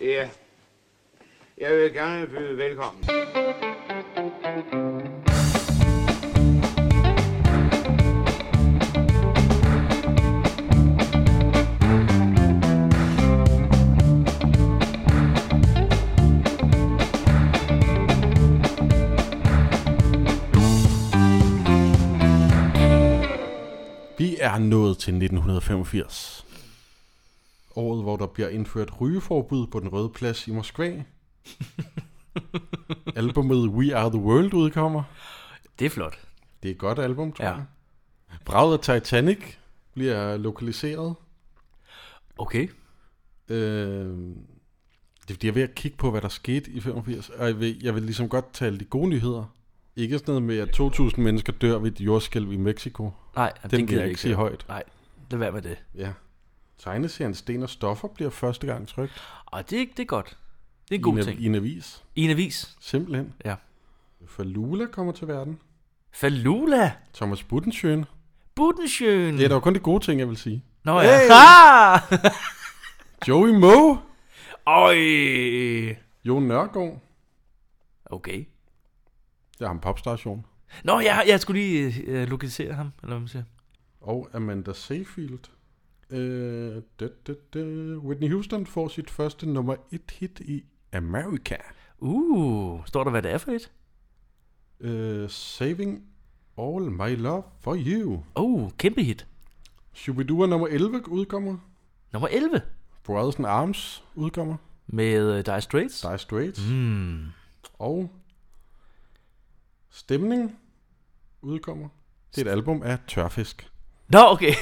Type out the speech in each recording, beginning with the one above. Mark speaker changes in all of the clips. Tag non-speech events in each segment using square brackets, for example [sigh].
Speaker 1: Ja. Jeg vil gerne byde velkommen.
Speaker 2: Vi er nået til 1985. Året, hvor der bliver indført rygeforbud på den røde plads i
Speaker 3: [laughs]
Speaker 2: Moskva. Albumet We Are The World udkommer.
Speaker 3: Det er flot.
Speaker 2: Det er et godt album, tror
Speaker 3: Ja.
Speaker 2: jeg. Braget af Titanic bliver lokaliseret.
Speaker 3: Okay.
Speaker 2: Øh, det er fordi, jeg er ved at kigge på, hvad der skete i 85, og jeg vil, jeg vil ligesom godt tale de gode nyheder. Ikke sådan noget med, at 2.000 mennesker dør ved et jordskælv i Mexico.
Speaker 3: Nej, det
Speaker 2: Den
Speaker 3: gider
Speaker 2: vil jeg ikke sige højt.
Speaker 3: Nej, lad være med det.
Speaker 2: Ja. Tegneserien Sten og Stoffer bliver første gang trygt
Speaker 3: Og det, er- det er godt. Det er en
Speaker 2: i en,
Speaker 3: god
Speaker 2: av-
Speaker 3: ting.
Speaker 2: i en avis.
Speaker 3: I en avis.
Speaker 2: Simpelthen.
Speaker 3: Ja.
Speaker 2: Falula kommer til verden.
Speaker 3: Falula.
Speaker 2: Thomas Budensjøen.
Speaker 3: Mm. Budensjøen.
Speaker 2: Ja, der var kun de gode ting, jeg vil sige.
Speaker 3: Nå ja.
Speaker 2: [laughs]
Speaker 3: Hey.
Speaker 2: Joey Moe.
Speaker 3: Øj.
Speaker 2: Jon Nørgaard.
Speaker 3: Okay.
Speaker 2: Det er ham popstation.
Speaker 3: Nå, jeg, jeg skulle lige øh, lokalisere ham, eller hvad man siger.
Speaker 2: Og Amanda Seyfield. Øh, da, da, da. Whitney Houston får sit første nummer et hit i America.
Speaker 3: Uh, står der, hvad det er for et?
Speaker 2: Øh, Saving All My Love For You.
Speaker 3: Oh, kæmpe hit.
Speaker 2: Shubidua nummer 11 udkommer.
Speaker 3: Nummer 11
Speaker 2: Brothers in Arms udkommer.
Speaker 3: med øh, Dire Straits.
Speaker 2: Dire Straits.
Speaker 3: Mm.
Speaker 2: Og Stemning udkommer. Det er et album af Tørfisk.
Speaker 3: Nå, okay.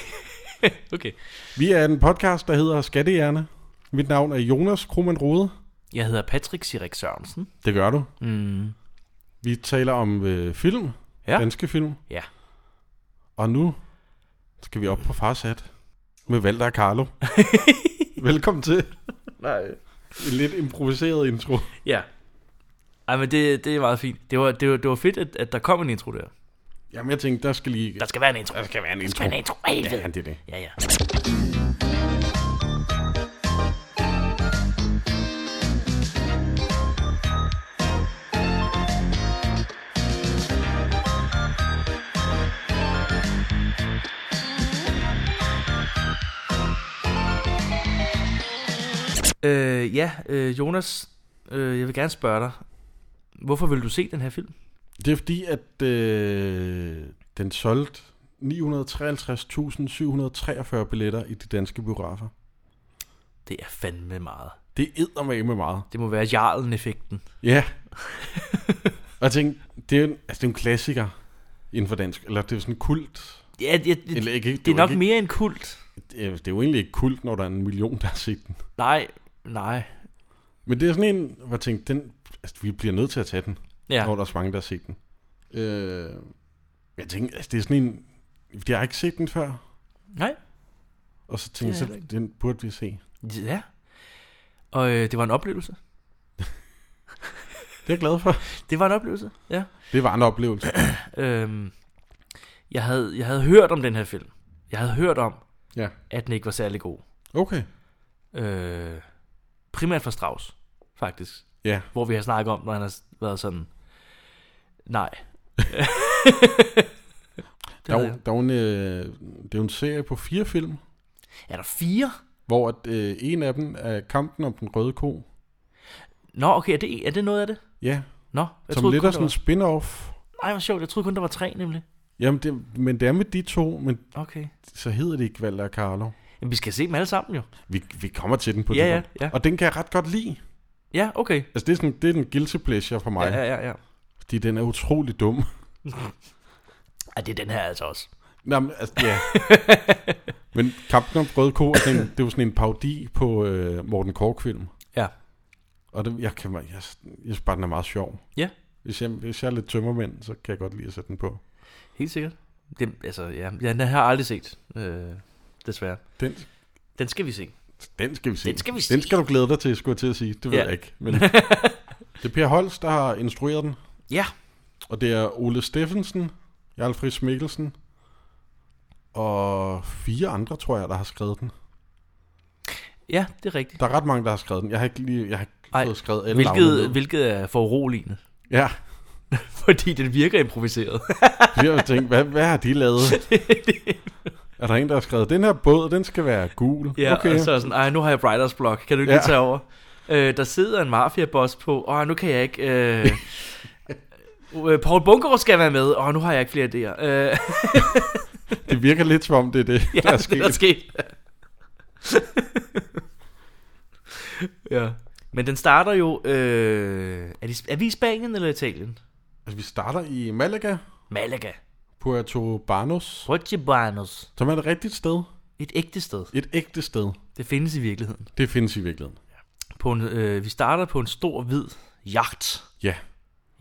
Speaker 3: [laughs] okay.
Speaker 2: Vi er en podcast, der hedder Skattehjerne. Mit navn er Jonas Krummen Rode.
Speaker 3: Jeg hedder Patrick Sirik Sørensen.
Speaker 2: Det gør du.
Speaker 3: Mm.
Speaker 2: Vi taler om øh, film.
Speaker 3: Ja.
Speaker 2: Danske film.
Speaker 3: Ja.
Speaker 2: Og nu skal vi op på farsat med Valter og Carlo. [laughs] Velkommen til.
Speaker 3: Nej.
Speaker 2: En lidt improviseret intro.
Speaker 3: Ja. Ej, men det, det er meget fint. Det var, det var, det var fedt, at, at der kom en intro der.
Speaker 2: Jamen, jeg tænkte, der skal lige...
Speaker 3: Der skal være en intro.
Speaker 2: Der skal være en intro.
Speaker 3: en intro. Ej,
Speaker 2: Ja, det er det.
Speaker 3: Ja, ja. Øh, ja, øh, Jonas, øh, jeg vil gerne spørge dig, hvorfor vil du se den her film?
Speaker 2: Det er fordi, at øh, den solgte 953.743 billetter i de danske biografer.
Speaker 3: Det er fandme meget.
Speaker 2: Det æder med med meget.
Speaker 3: Det må være jarlen-effekten.
Speaker 2: Ja. [laughs] og jeg tænkte, det er, en, altså, det er en klassiker inden for dansk. Eller det er sådan en kult.
Speaker 3: Ja, ja, det,
Speaker 2: Eller ikke,
Speaker 3: Det er
Speaker 2: jo
Speaker 3: nok
Speaker 2: ikke,
Speaker 3: mere en kult.
Speaker 2: det er- Det er jo egentlig ikke kult, når der er en million, der har set den.
Speaker 3: Nej, nej.
Speaker 2: Men det er sådan en, hvor jeg tænkte, den, altså, vi bliver nødt til at tage den, ja.
Speaker 3: Ja,
Speaker 2: når der er så mange, der har set den. Øh, jeg tænkte, altså, det er sådan en... fordi Jeg har ikke set den før.
Speaker 3: nej.
Speaker 2: Og så tænkte
Speaker 3: Det er
Speaker 2: jeg, så, den burde vi se.
Speaker 3: Ja. Og øh, det var en oplevelse.
Speaker 2: Det er jeg glad for.
Speaker 3: Det var en oplevelse, ja.
Speaker 2: Det var en oplevelse.
Speaker 3: Øhm, jeg, havde, jeg havde hørt om den her film. Jeg havde hørt om,
Speaker 2: Ja.
Speaker 3: at den ikke var særlig god.
Speaker 2: Okay.
Speaker 3: Øh, primært fra Strauss, faktisk.
Speaker 2: Ja.
Speaker 3: Hvor vi har snakket om, når han har været sådan... Nej. [laughs] det
Speaker 2: Der er,
Speaker 3: havde
Speaker 2: jo-
Speaker 3: jeg.
Speaker 2: der er jo en, øh, det er jo en serie på fire film,
Speaker 3: er der fire?
Speaker 2: hvor at, øh, en af dem er Kampen om den røde ko.
Speaker 3: Nå, okay, er det, er det noget af det?
Speaker 2: Ja,
Speaker 3: Nå, jeg
Speaker 2: som
Speaker 3: troede
Speaker 2: lidt
Speaker 3: kun,
Speaker 2: er
Speaker 3: der
Speaker 2: sådan en spin-off.
Speaker 3: var... Ej, hvor sjovt, jeg troede kun, der var tre, nemlig.
Speaker 2: Jamen, det, men det er med de to, men
Speaker 3: Okay.
Speaker 2: så hedder det ikke Valder og Carlo.
Speaker 3: Jamen, vi skal se dem alle sammen jo.
Speaker 2: Vi, vi kommer til den på det
Speaker 3: Ja, ja,
Speaker 2: tidspunkt.
Speaker 3: ja.
Speaker 2: Og den kan jeg ret godt lide.
Speaker 3: Ja, okay.
Speaker 2: Altså, det er, sådan, det er den guilty pleasure for mig,
Speaker 3: Ja, ja, ja, ja.
Speaker 2: fordi den er utrolig dum.
Speaker 3: Ej, det er den her altså også.
Speaker 2: Nå, men, altså,
Speaker 3: [laughs]
Speaker 2: ja. men Kampen om den røde ko, er sådan, en- det er jo sådan en parodi på øh, Morten Kork-film.
Speaker 3: Ja.
Speaker 2: Og det, jeg, kan, jeg, jeg, synes bare, den er meget sjov.
Speaker 3: Ja.
Speaker 2: Hvis jeg, hvis jeg er lidt tømmermænd, så kan jeg godt lide at sætte den på.
Speaker 3: Helt sikkert. Det, altså, ja, ja, den har jeg aldrig set, øh, desværre.
Speaker 2: Den,
Speaker 3: Den skal vi se.
Speaker 2: den skal vi se.
Speaker 3: Den skal vi
Speaker 2: Den
Speaker 3: se.
Speaker 2: skal du glæde dig til, skulle jeg til at sige. Det ved
Speaker 3: Ja.
Speaker 2: jeg ikke.
Speaker 3: [laughs]
Speaker 2: Men det er Per Holst, der har instrueret den.
Speaker 3: Ja.
Speaker 2: Og det er Ole Steffensen, Jarl Friis Mikkelsen og fire andre, tror jeg, der har skrevet den.
Speaker 3: Ja, det er rigtigt.
Speaker 2: Der er ret mange, der har skrevet den. Jeg har ikke, lige, jeg har ikke
Speaker 3: Ej,
Speaker 2: fået skrevet alle navnene ned.
Speaker 3: Hvilket, hvilket er for uroligende.
Speaker 2: Ja,
Speaker 3: [laughs] Fordi den virker improviseret.
Speaker 2: vi har tænkt, hvad, hvad har de lavet?
Speaker 3: [laughs]
Speaker 2: er der en, der har skrevet, den her båd, den skal være gul.
Speaker 3: [laughs] ja, okay.
Speaker 2: okay.
Speaker 3: og så er Altså sådan, ej, nu har jeg writers block. Kan du ikke ja.
Speaker 2: Ja.
Speaker 3: lige tage over? Øh, der sidder en mafiaboss på. Åh, nu kan jeg ikke...
Speaker 2: [laughs]
Speaker 3: Øh, øh, Paul Bunker skal være med. Åh, nu har jeg ikke flere idéer. Øh,
Speaker 2: Det virker lidt som om, det er det, [laughs] ja, der er sket.
Speaker 3: Det er sket. ja. Men den starter jo... Øh, er, det, er vi i Spanien eller Italien?
Speaker 2: Altså, vi starter i Malaga,
Speaker 3: Malaga.
Speaker 2: Puerto Banos,
Speaker 3: Portibanos.
Speaker 2: som er et rigtigt sted.
Speaker 3: Et ægte sted.
Speaker 2: Et ægte sted.
Speaker 3: Det findes i virkeligheden.
Speaker 2: Det findes i virkeligheden.
Speaker 3: På en, øh, vi starter på en stor hvid yacht.
Speaker 2: Ja,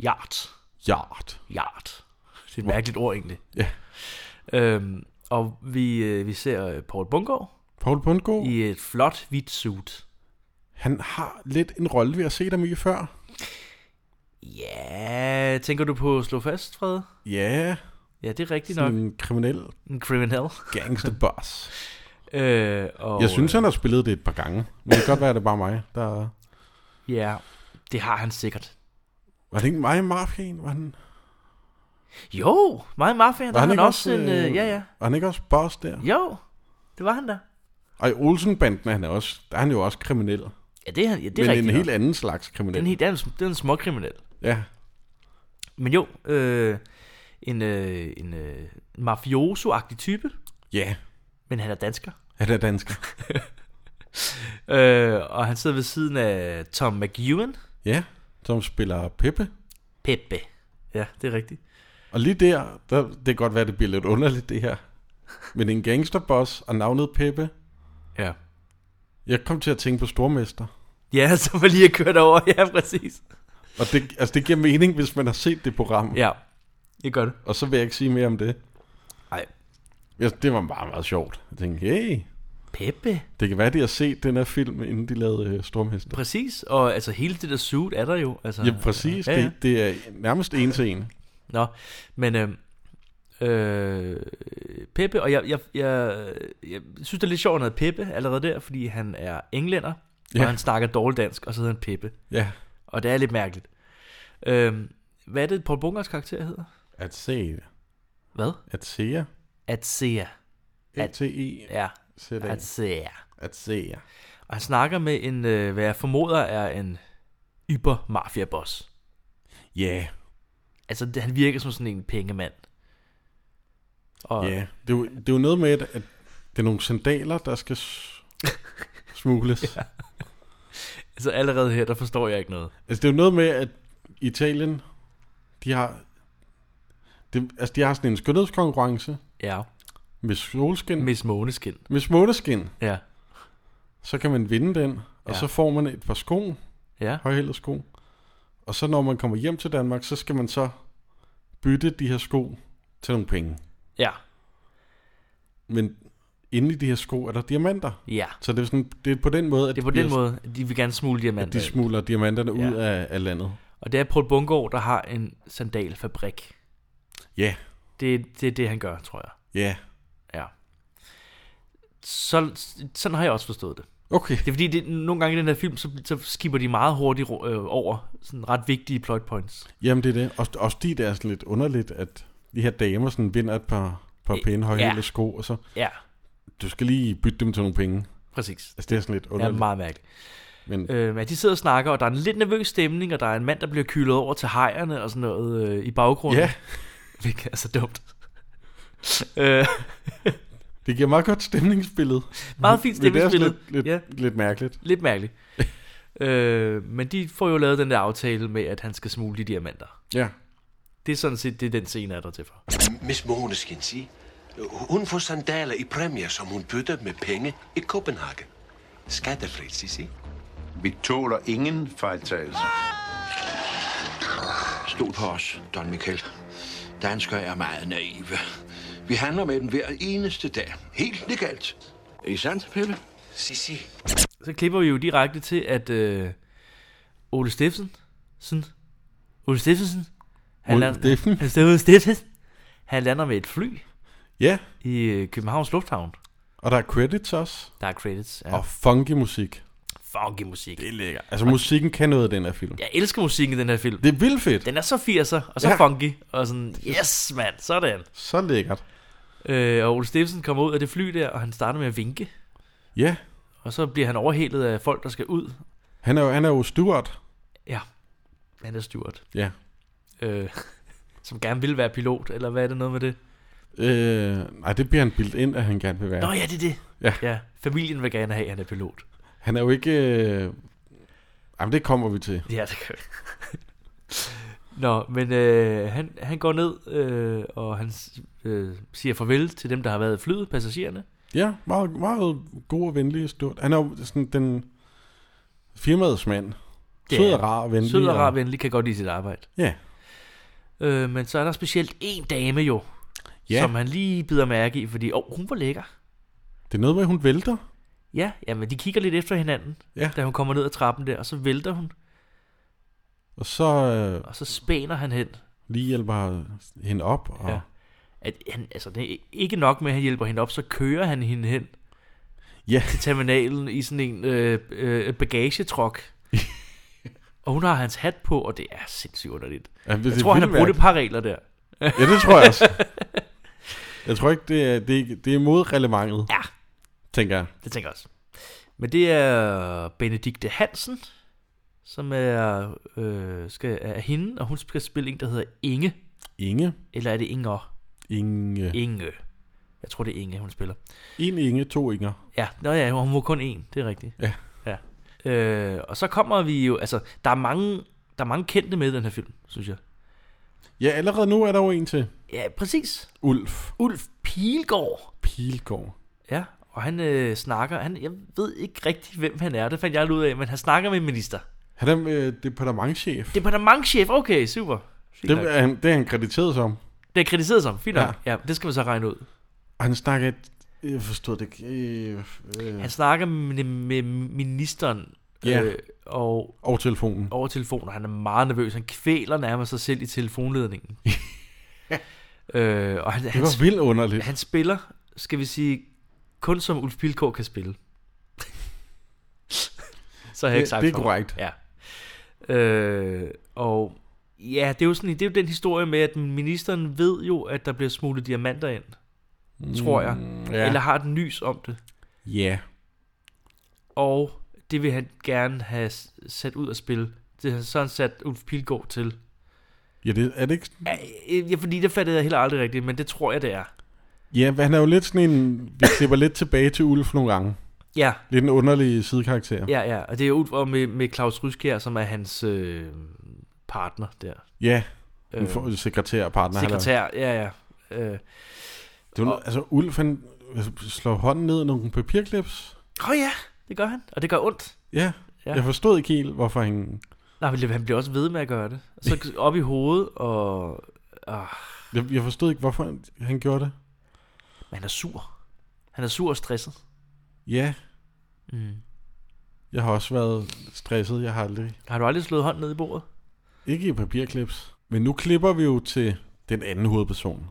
Speaker 3: Yacht.
Speaker 2: jart.
Speaker 3: Yacht. Det er et mærkeligt ord egentlig.
Speaker 2: Ja.
Speaker 3: Øhm, og vi, øh, vi ser øh, Paul Bungård
Speaker 2: Paul Bundgaard,
Speaker 3: i et flot hvidt suit.
Speaker 2: han har lidt en rolle, vi har set ham i før.
Speaker 3: Ja, tænker du på at slå fast, Fred?
Speaker 2: Ja,
Speaker 3: Ja, det er rigtigt nok.
Speaker 2: sådan en kriminel
Speaker 3: En criminal.
Speaker 2: gangsterboss.
Speaker 3: Øh, og,
Speaker 2: Jeg synes, han har spillet det et par gange. Men det kan godt være, at det er bare mig, der...
Speaker 3: øh, Ja, det har han sikkert.
Speaker 2: Var det ikke mig i Mafien? Var han,
Speaker 3: Jo, mig og Mafia,
Speaker 2: var
Speaker 3: der var
Speaker 2: han
Speaker 3: han
Speaker 2: ikke
Speaker 3: også,
Speaker 2: også,
Speaker 3: en... Øh,
Speaker 2: øh,
Speaker 3: ja, ja.
Speaker 2: var han ikke også boss der?
Speaker 3: Jo, det var han der.
Speaker 2: Og i Olsenbanden er han, også, der er han jo også kriminel.
Speaker 3: Ja, det er han. Ja, det er
Speaker 2: men
Speaker 3: rigtigt
Speaker 2: en
Speaker 3: nok.
Speaker 2: helt anden slags
Speaker 3: Det er
Speaker 2: kriminel.
Speaker 3: en helt det er en, sm- det er en småkriminel.
Speaker 2: Ja,
Speaker 3: Men jo, øh, en, øh, en øh, mafioso-agtig type,
Speaker 2: ja.
Speaker 3: men han er dansker.
Speaker 2: Han er dansker.
Speaker 3: Øh, og han sidder ved siden af Tom McEwen.
Speaker 2: Ja, som spiller Peppe.
Speaker 3: Peppe. Ja, det er rigtigt.
Speaker 2: Og lige der, der, det kan godt være, det bliver lidt underligt det her. Men en gangsterboss og navnet Peppe.
Speaker 3: Ja.
Speaker 2: Jeg kom til at tænke på Stormester.
Speaker 3: Ja, [laughs] så var lige at køre over. Ja, præcis.
Speaker 2: Og det, altså, det giver mening, hvis man har set det program.
Speaker 3: Ja, det gør det.
Speaker 2: Og så vil jeg ikke sige mere om det.
Speaker 3: Ej,
Speaker 2: Jeg, det var meget, meget sjovt. Jeg tænkte, hey,
Speaker 3: Peppe.
Speaker 2: det kan være, de har set den her film, inden de lavede øh, Stormhester.
Speaker 3: Præcis, og altså hele det der suit er der jo. Altså,
Speaker 2: Ja, præcis.
Speaker 3: Ja, ja.
Speaker 2: Det, det er nærmest en til en.
Speaker 3: Nå, men øh, øh, Peppe, og jeg, jeg, jeg, jeg synes, det er lidt sjovt, at han hedder Peppe allerede der, fordi han er englænder,
Speaker 2: Ja.
Speaker 3: ja. og han snakker dårligt dansk, og så hedder han Peppe.
Speaker 2: Ja,
Speaker 3: Og det er lidt mærkeligt. Øh, hvad er det, Paul Bunkers karakter hedder?
Speaker 2: at se.
Speaker 3: Hvad?
Speaker 2: At se.
Speaker 3: At se. At-
Speaker 2: At e
Speaker 3: Ja,
Speaker 2: At,
Speaker 3: at se.
Speaker 2: at se.
Speaker 3: Og han snakker med en, øh, hvad jeg formoder er en yber mafiaboss.
Speaker 2: Ja,
Speaker 3: Altså, det- han virker som sådan en pengemand. Og,
Speaker 2: ja. Det er jo- det er jo noget med, at at det er nogle sandaler, der skal
Speaker 3: [laughs]
Speaker 2: s- smugles.
Speaker 3: Altså allerede her, der forstår jeg ikke noget.
Speaker 2: Altså, det er jo noget med, at Italien, de har... Det, altså, de har sådan en skønhedskonkurrence
Speaker 3: Ja.
Speaker 2: med solskin. Med,
Speaker 3: Miss Måneskin.
Speaker 2: med småleskin.
Speaker 3: Ja.
Speaker 2: Så kan man vinde den, og
Speaker 3: Ja.
Speaker 2: så får man et par sko,
Speaker 3: Ja.
Speaker 2: højhældet sko. Og så når man kommer hjem til Danmark, så skal man så bytte de her sko til nogle penge.
Speaker 3: Ja.
Speaker 2: Men inde i de her sko er der diamanter.
Speaker 3: Ja.
Speaker 2: Så det er, sådan, det er på den måde, at
Speaker 3: Det er på
Speaker 2: bliver
Speaker 3: den måde, at de vil gerne smule
Speaker 2: at
Speaker 3: diamanter.
Speaker 2: de
Speaker 3: ind.
Speaker 2: smuler diamanterne
Speaker 3: Ja.
Speaker 2: ud af, af landet.
Speaker 3: Og det er Paul Bungård, der har en sandalfabrik.
Speaker 2: Ja,
Speaker 3: Det, er- det er det, han gør, tror jeg.
Speaker 2: ja.
Speaker 3: Ja. Så, sådan har jeg også forstået det.
Speaker 2: Okay.
Speaker 3: Det er fordi, det, nogle gange i den her film, så, så skipper de meget hurtigt ro- øh, over sådan ret vigtige plot points.
Speaker 2: Jamen det er det. Også, også de der er sådan lidt underligt, at de her damer sådan vinder et par, par
Speaker 3: Øh,
Speaker 2: pæne højhælede
Speaker 3: ja.
Speaker 2: sko, og så
Speaker 3: Ja,
Speaker 2: du skal lige bytte dem til nogle penge.
Speaker 3: præcis.
Speaker 2: Altså det er sådan lidt
Speaker 3: Det er
Speaker 2: underligt.
Speaker 3: meget mærkeligt.
Speaker 2: men
Speaker 3: Øh, men de sidder og snakker, og der er en lidt nervøs stemning, og der er en mand, der bliver kylet over til hejerne og sådan noget øh, i baggrunden.
Speaker 2: ja,
Speaker 3: [laughs] Hvilket er så dumt. [laughs] øh,
Speaker 2: det giver meget godt stemningsbillede.
Speaker 3: meget fint
Speaker 2: Men det er sådan
Speaker 3: stemningsbillede.
Speaker 2: lidt, lidt,
Speaker 3: Ja.
Speaker 2: ja. lidt mærkeligt.
Speaker 3: Lidt
Speaker 2: [laughs]
Speaker 3: mærkeligt. øh, men de får jo lavet den der aftale med, at han skal smule de diamanter.
Speaker 2: Ja.
Speaker 3: Det er sådan set det, den scene er der til for.
Speaker 4: Miss Måneskin, sig. Hun får sandaler i præmier, som hun bytter med penge i Copenhagen. Skattefrit, sig, sig.
Speaker 5: Vi tåler ingen fejltagelser.
Speaker 6: Stol på os, Don Michael. Danskere er meget naive. Vi handler med dem hver eneste dag. Helt legalt. Er I sandt, Peppe?
Speaker 4: Sig, sig.
Speaker 3: Så klipper vi jo direkte til, at øh, Ole Steffensen, sådan, Ole Steffensen, han,
Speaker 2: Ole
Speaker 3: lander,
Speaker 2: Steffen.
Speaker 3: [laughs] han, Ole Steffensen, han lander med et fly
Speaker 2: Ja,
Speaker 3: i øh, Københavns Lufthavn.
Speaker 2: Og der er credits også.
Speaker 3: Der er credits. Ja.
Speaker 2: Ja. Og funky musik.
Speaker 3: Funky musik.
Speaker 2: Det er lækkert. Altså, musikken kan noget i den her film.
Speaker 3: Jeg elsker musikken i den her film.
Speaker 2: Det er vildt fedt.
Speaker 3: Den er så 80'er, og så
Speaker 2: Ja.
Speaker 3: ja. funky, og sådan, yes mand, sådan.
Speaker 2: Så lækkert.
Speaker 3: Øh, og Ole Steffensen kommer ud af det fly der, og han starter med at vinke.
Speaker 2: Ja,
Speaker 3: Og så bliver han overhældet af folk, der skal ud.
Speaker 2: han er jo, han er jo Stuart.
Speaker 3: Ja, han er steward.
Speaker 2: Ja.
Speaker 3: Øh, [laughs] som gerne vil være pilot, eller hvad er det noget med det?
Speaker 2: Øh, nej, det bliver han bildt ind, at han gerne vil være.
Speaker 3: Nå ja, det er det.
Speaker 2: Ja.
Speaker 3: ja. Familien vil gerne have, at han er pilot.
Speaker 2: Han er jo ikke... Øh... Jamen, det kommer vi til.
Speaker 3: Ja, det kan vi. [laughs] Nå, men øh, han, han går ned, øh, og han s- øh, siger farvel til dem, der har været i flyet, passagererne.
Speaker 2: Ja, meget, meget god og venlig Stuart. Han er jo sådan den firmaets mand.
Speaker 3: Det
Speaker 2: Sød
Speaker 3: er
Speaker 2: og rar og venlig.
Speaker 3: Sød og rar venlig kan godt lide sit arbejde.
Speaker 2: Ja.
Speaker 3: Øh, men så er der specielt en dame jo,
Speaker 2: Ja.
Speaker 3: ja. som han lige bider mærke i, fordi åh, hun var lækker.
Speaker 2: Det er noget med, at hun vælter.
Speaker 3: Ja, jamen de kigger lidt efter hinanden,
Speaker 2: Ja.
Speaker 3: da hun kommer ned ad trappen der, og så vælter hun,
Speaker 2: Og så øh,
Speaker 3: og så spæner han hen.
Speaker 2: lige hjælper hende op. Og... Ja.
Speaker 3: Ja. At han, altså, det er ikke nok med, at han hjælper hende op, så kører han hende hen
Speaker 2: Ja.
Speaker 3: til terminalen i sådan en øh, øh, bagagetrok.
Speaker 2: [laughs]
Speaker 3: og hun har hans hat på, og det er sindssygt underligt.
Speaker 2: ja det,
Speaker 3: Jeg tror, han har brugt et par regler der.
Speaker 2: Ja, det tror jeg også. jeg tror ikke, det er, det er, det er mod reglementet.
Speaker 3: Ja.
Speaker 2: Tænker jeg.
Speaker 3: Det tænker jeg også. Men det er Benedikte Hansen, som er, øh, skal, er hende, og hun skal spille en, der hedder Inge.
Speaker 2: Inge.
Speaker 3: Eller er det Inger?
Speaker 2: Inge.
Speaker 3: Inge. Jeg tror, det er Inge, hun spiller.
Speaker 2: En Inge, to Inger.
Speaker 3: Ja, nå ja, hun var kun én, det er rigtigt.
Speaker 2: Ja.
Speaker 3: ja. Øh, og så kommer vi jo, altså, der er mange, der er mange kendte med i den her film, synes jeg.
Speaker 2: Ja, allerede nu er der jo en til.
Speaker 3: Ja, præcis.
Speaker 2: Ulf
Speaker 3: Ulf Pilgaard.
Speaker 2: Pilgaard.
Speaker 3: Ja, og han øh, snakker, han, jeg ved ikke rigtig, hvem han er, det fandt jeg aldrig ud af, men han snakker med en minister.
Speaker 2: Han er øh, departementchef.
Speaker 3: Departementchef, okay, super. Fint
Speaker 2: Det,
Speaker 3: nok.
Speaker 2: er han, det er han krediteret som.
Speaker 3: Det er kritiseret som, fint nok. Ja. ja, det skal man så regne ud.
Speaker 2: Og han snakker... et- Jeg forstod det ikke. Øh, øh,
Speaker 3: Han snakker med, med ministeren
Speaker 2: Ja.
Speaker 3: øh, og
Speaker 2: over telefonen.
Speaker 3: over telefonen, og han er meget nervøs. Han kvæler nærmest sig selv i
Speaker 2: [laughs]
Speaker 3: telefonledningen. øh, og han,
Speaker 2: Det
Speaker 3: han,
Speaker 2: var vildt underligt.
Speaker 3: han spiller, skal vi sige, kun som Ulf Pilgaard kan spille. [laughs] så har jeg
Speaker 2: Det-
Speaker 3: ikke sagt
Speaker 2: det er
Speaker 3: for meget.
Speaker 2: korrekt.
Speaker 3: Ja. Øh, og ja, det er, jo sådan, det er jo den historie med, at ministeren ved jo, at der bliver smuglet diamanter ind. Tror jeg.
Speaker 2: Mm, ja.
Speaker 3: Eller har den nys om det.
Speaker 2: Ja.
Speaker 3: Og det vil han gerne have s- sat ud at spille. Det har sådan sat Ulf Pilgaard til.
Speaker 2: Ja, det, er det ikke... sådan-
Speaker 3: Øh, Ja, fordi det fattede jeg heller aldrig rigtigt, men det tror jeg, det er.
Speaker 2: Ja, men han er jo lidt sådan en... Vi klipper lidt tilbage til Ulf nogle gange.
Speaker 3: Ja,
Speaker 2: Lidt en underlig sidekarakter.
Speaker 3: ja, ja. Og det er Ulf og med, med Claus Ryskjær, som er hans øh, partner der.
Speaker 2: Ja, en
Speaker 3: Øh,
Speaker 2: for, sekretær og partner. han er.
Speaker 3: sekretær, ja, ja. Øh.
Speaker 2: Det var, altså, Ulf, han altså, slår hånden ned i nogle papirklips.
Speaker 3: Oh ja, det gør han. Og det gør ondt.
Speaker 2: Ja. ja.
Speaker 3: Ja.
Speaker 2: Jeg forstod ikke helt, hvorfor han...
Speaker 3: Nej, men han bliver også ved med at gøre det. Og [laughs] Så op i hovedet, og... Ah,
Speaker 2: Jeg, jeg forstod ikke, hvorfor han, han gjorde det.
Speaker 3: men han er sur. Han er sur og stresset.
Speaker 2: Ja.
Speaker 3: Mm.
Speaker 2: Jeg har også været stresset. Jeg har aldrig
Speaker 3: Har du aldrig slået hånden ned i bordet?
Speaker 2: Ikke i papirklips. Men nu klipper vi jo til den anden hovedperson.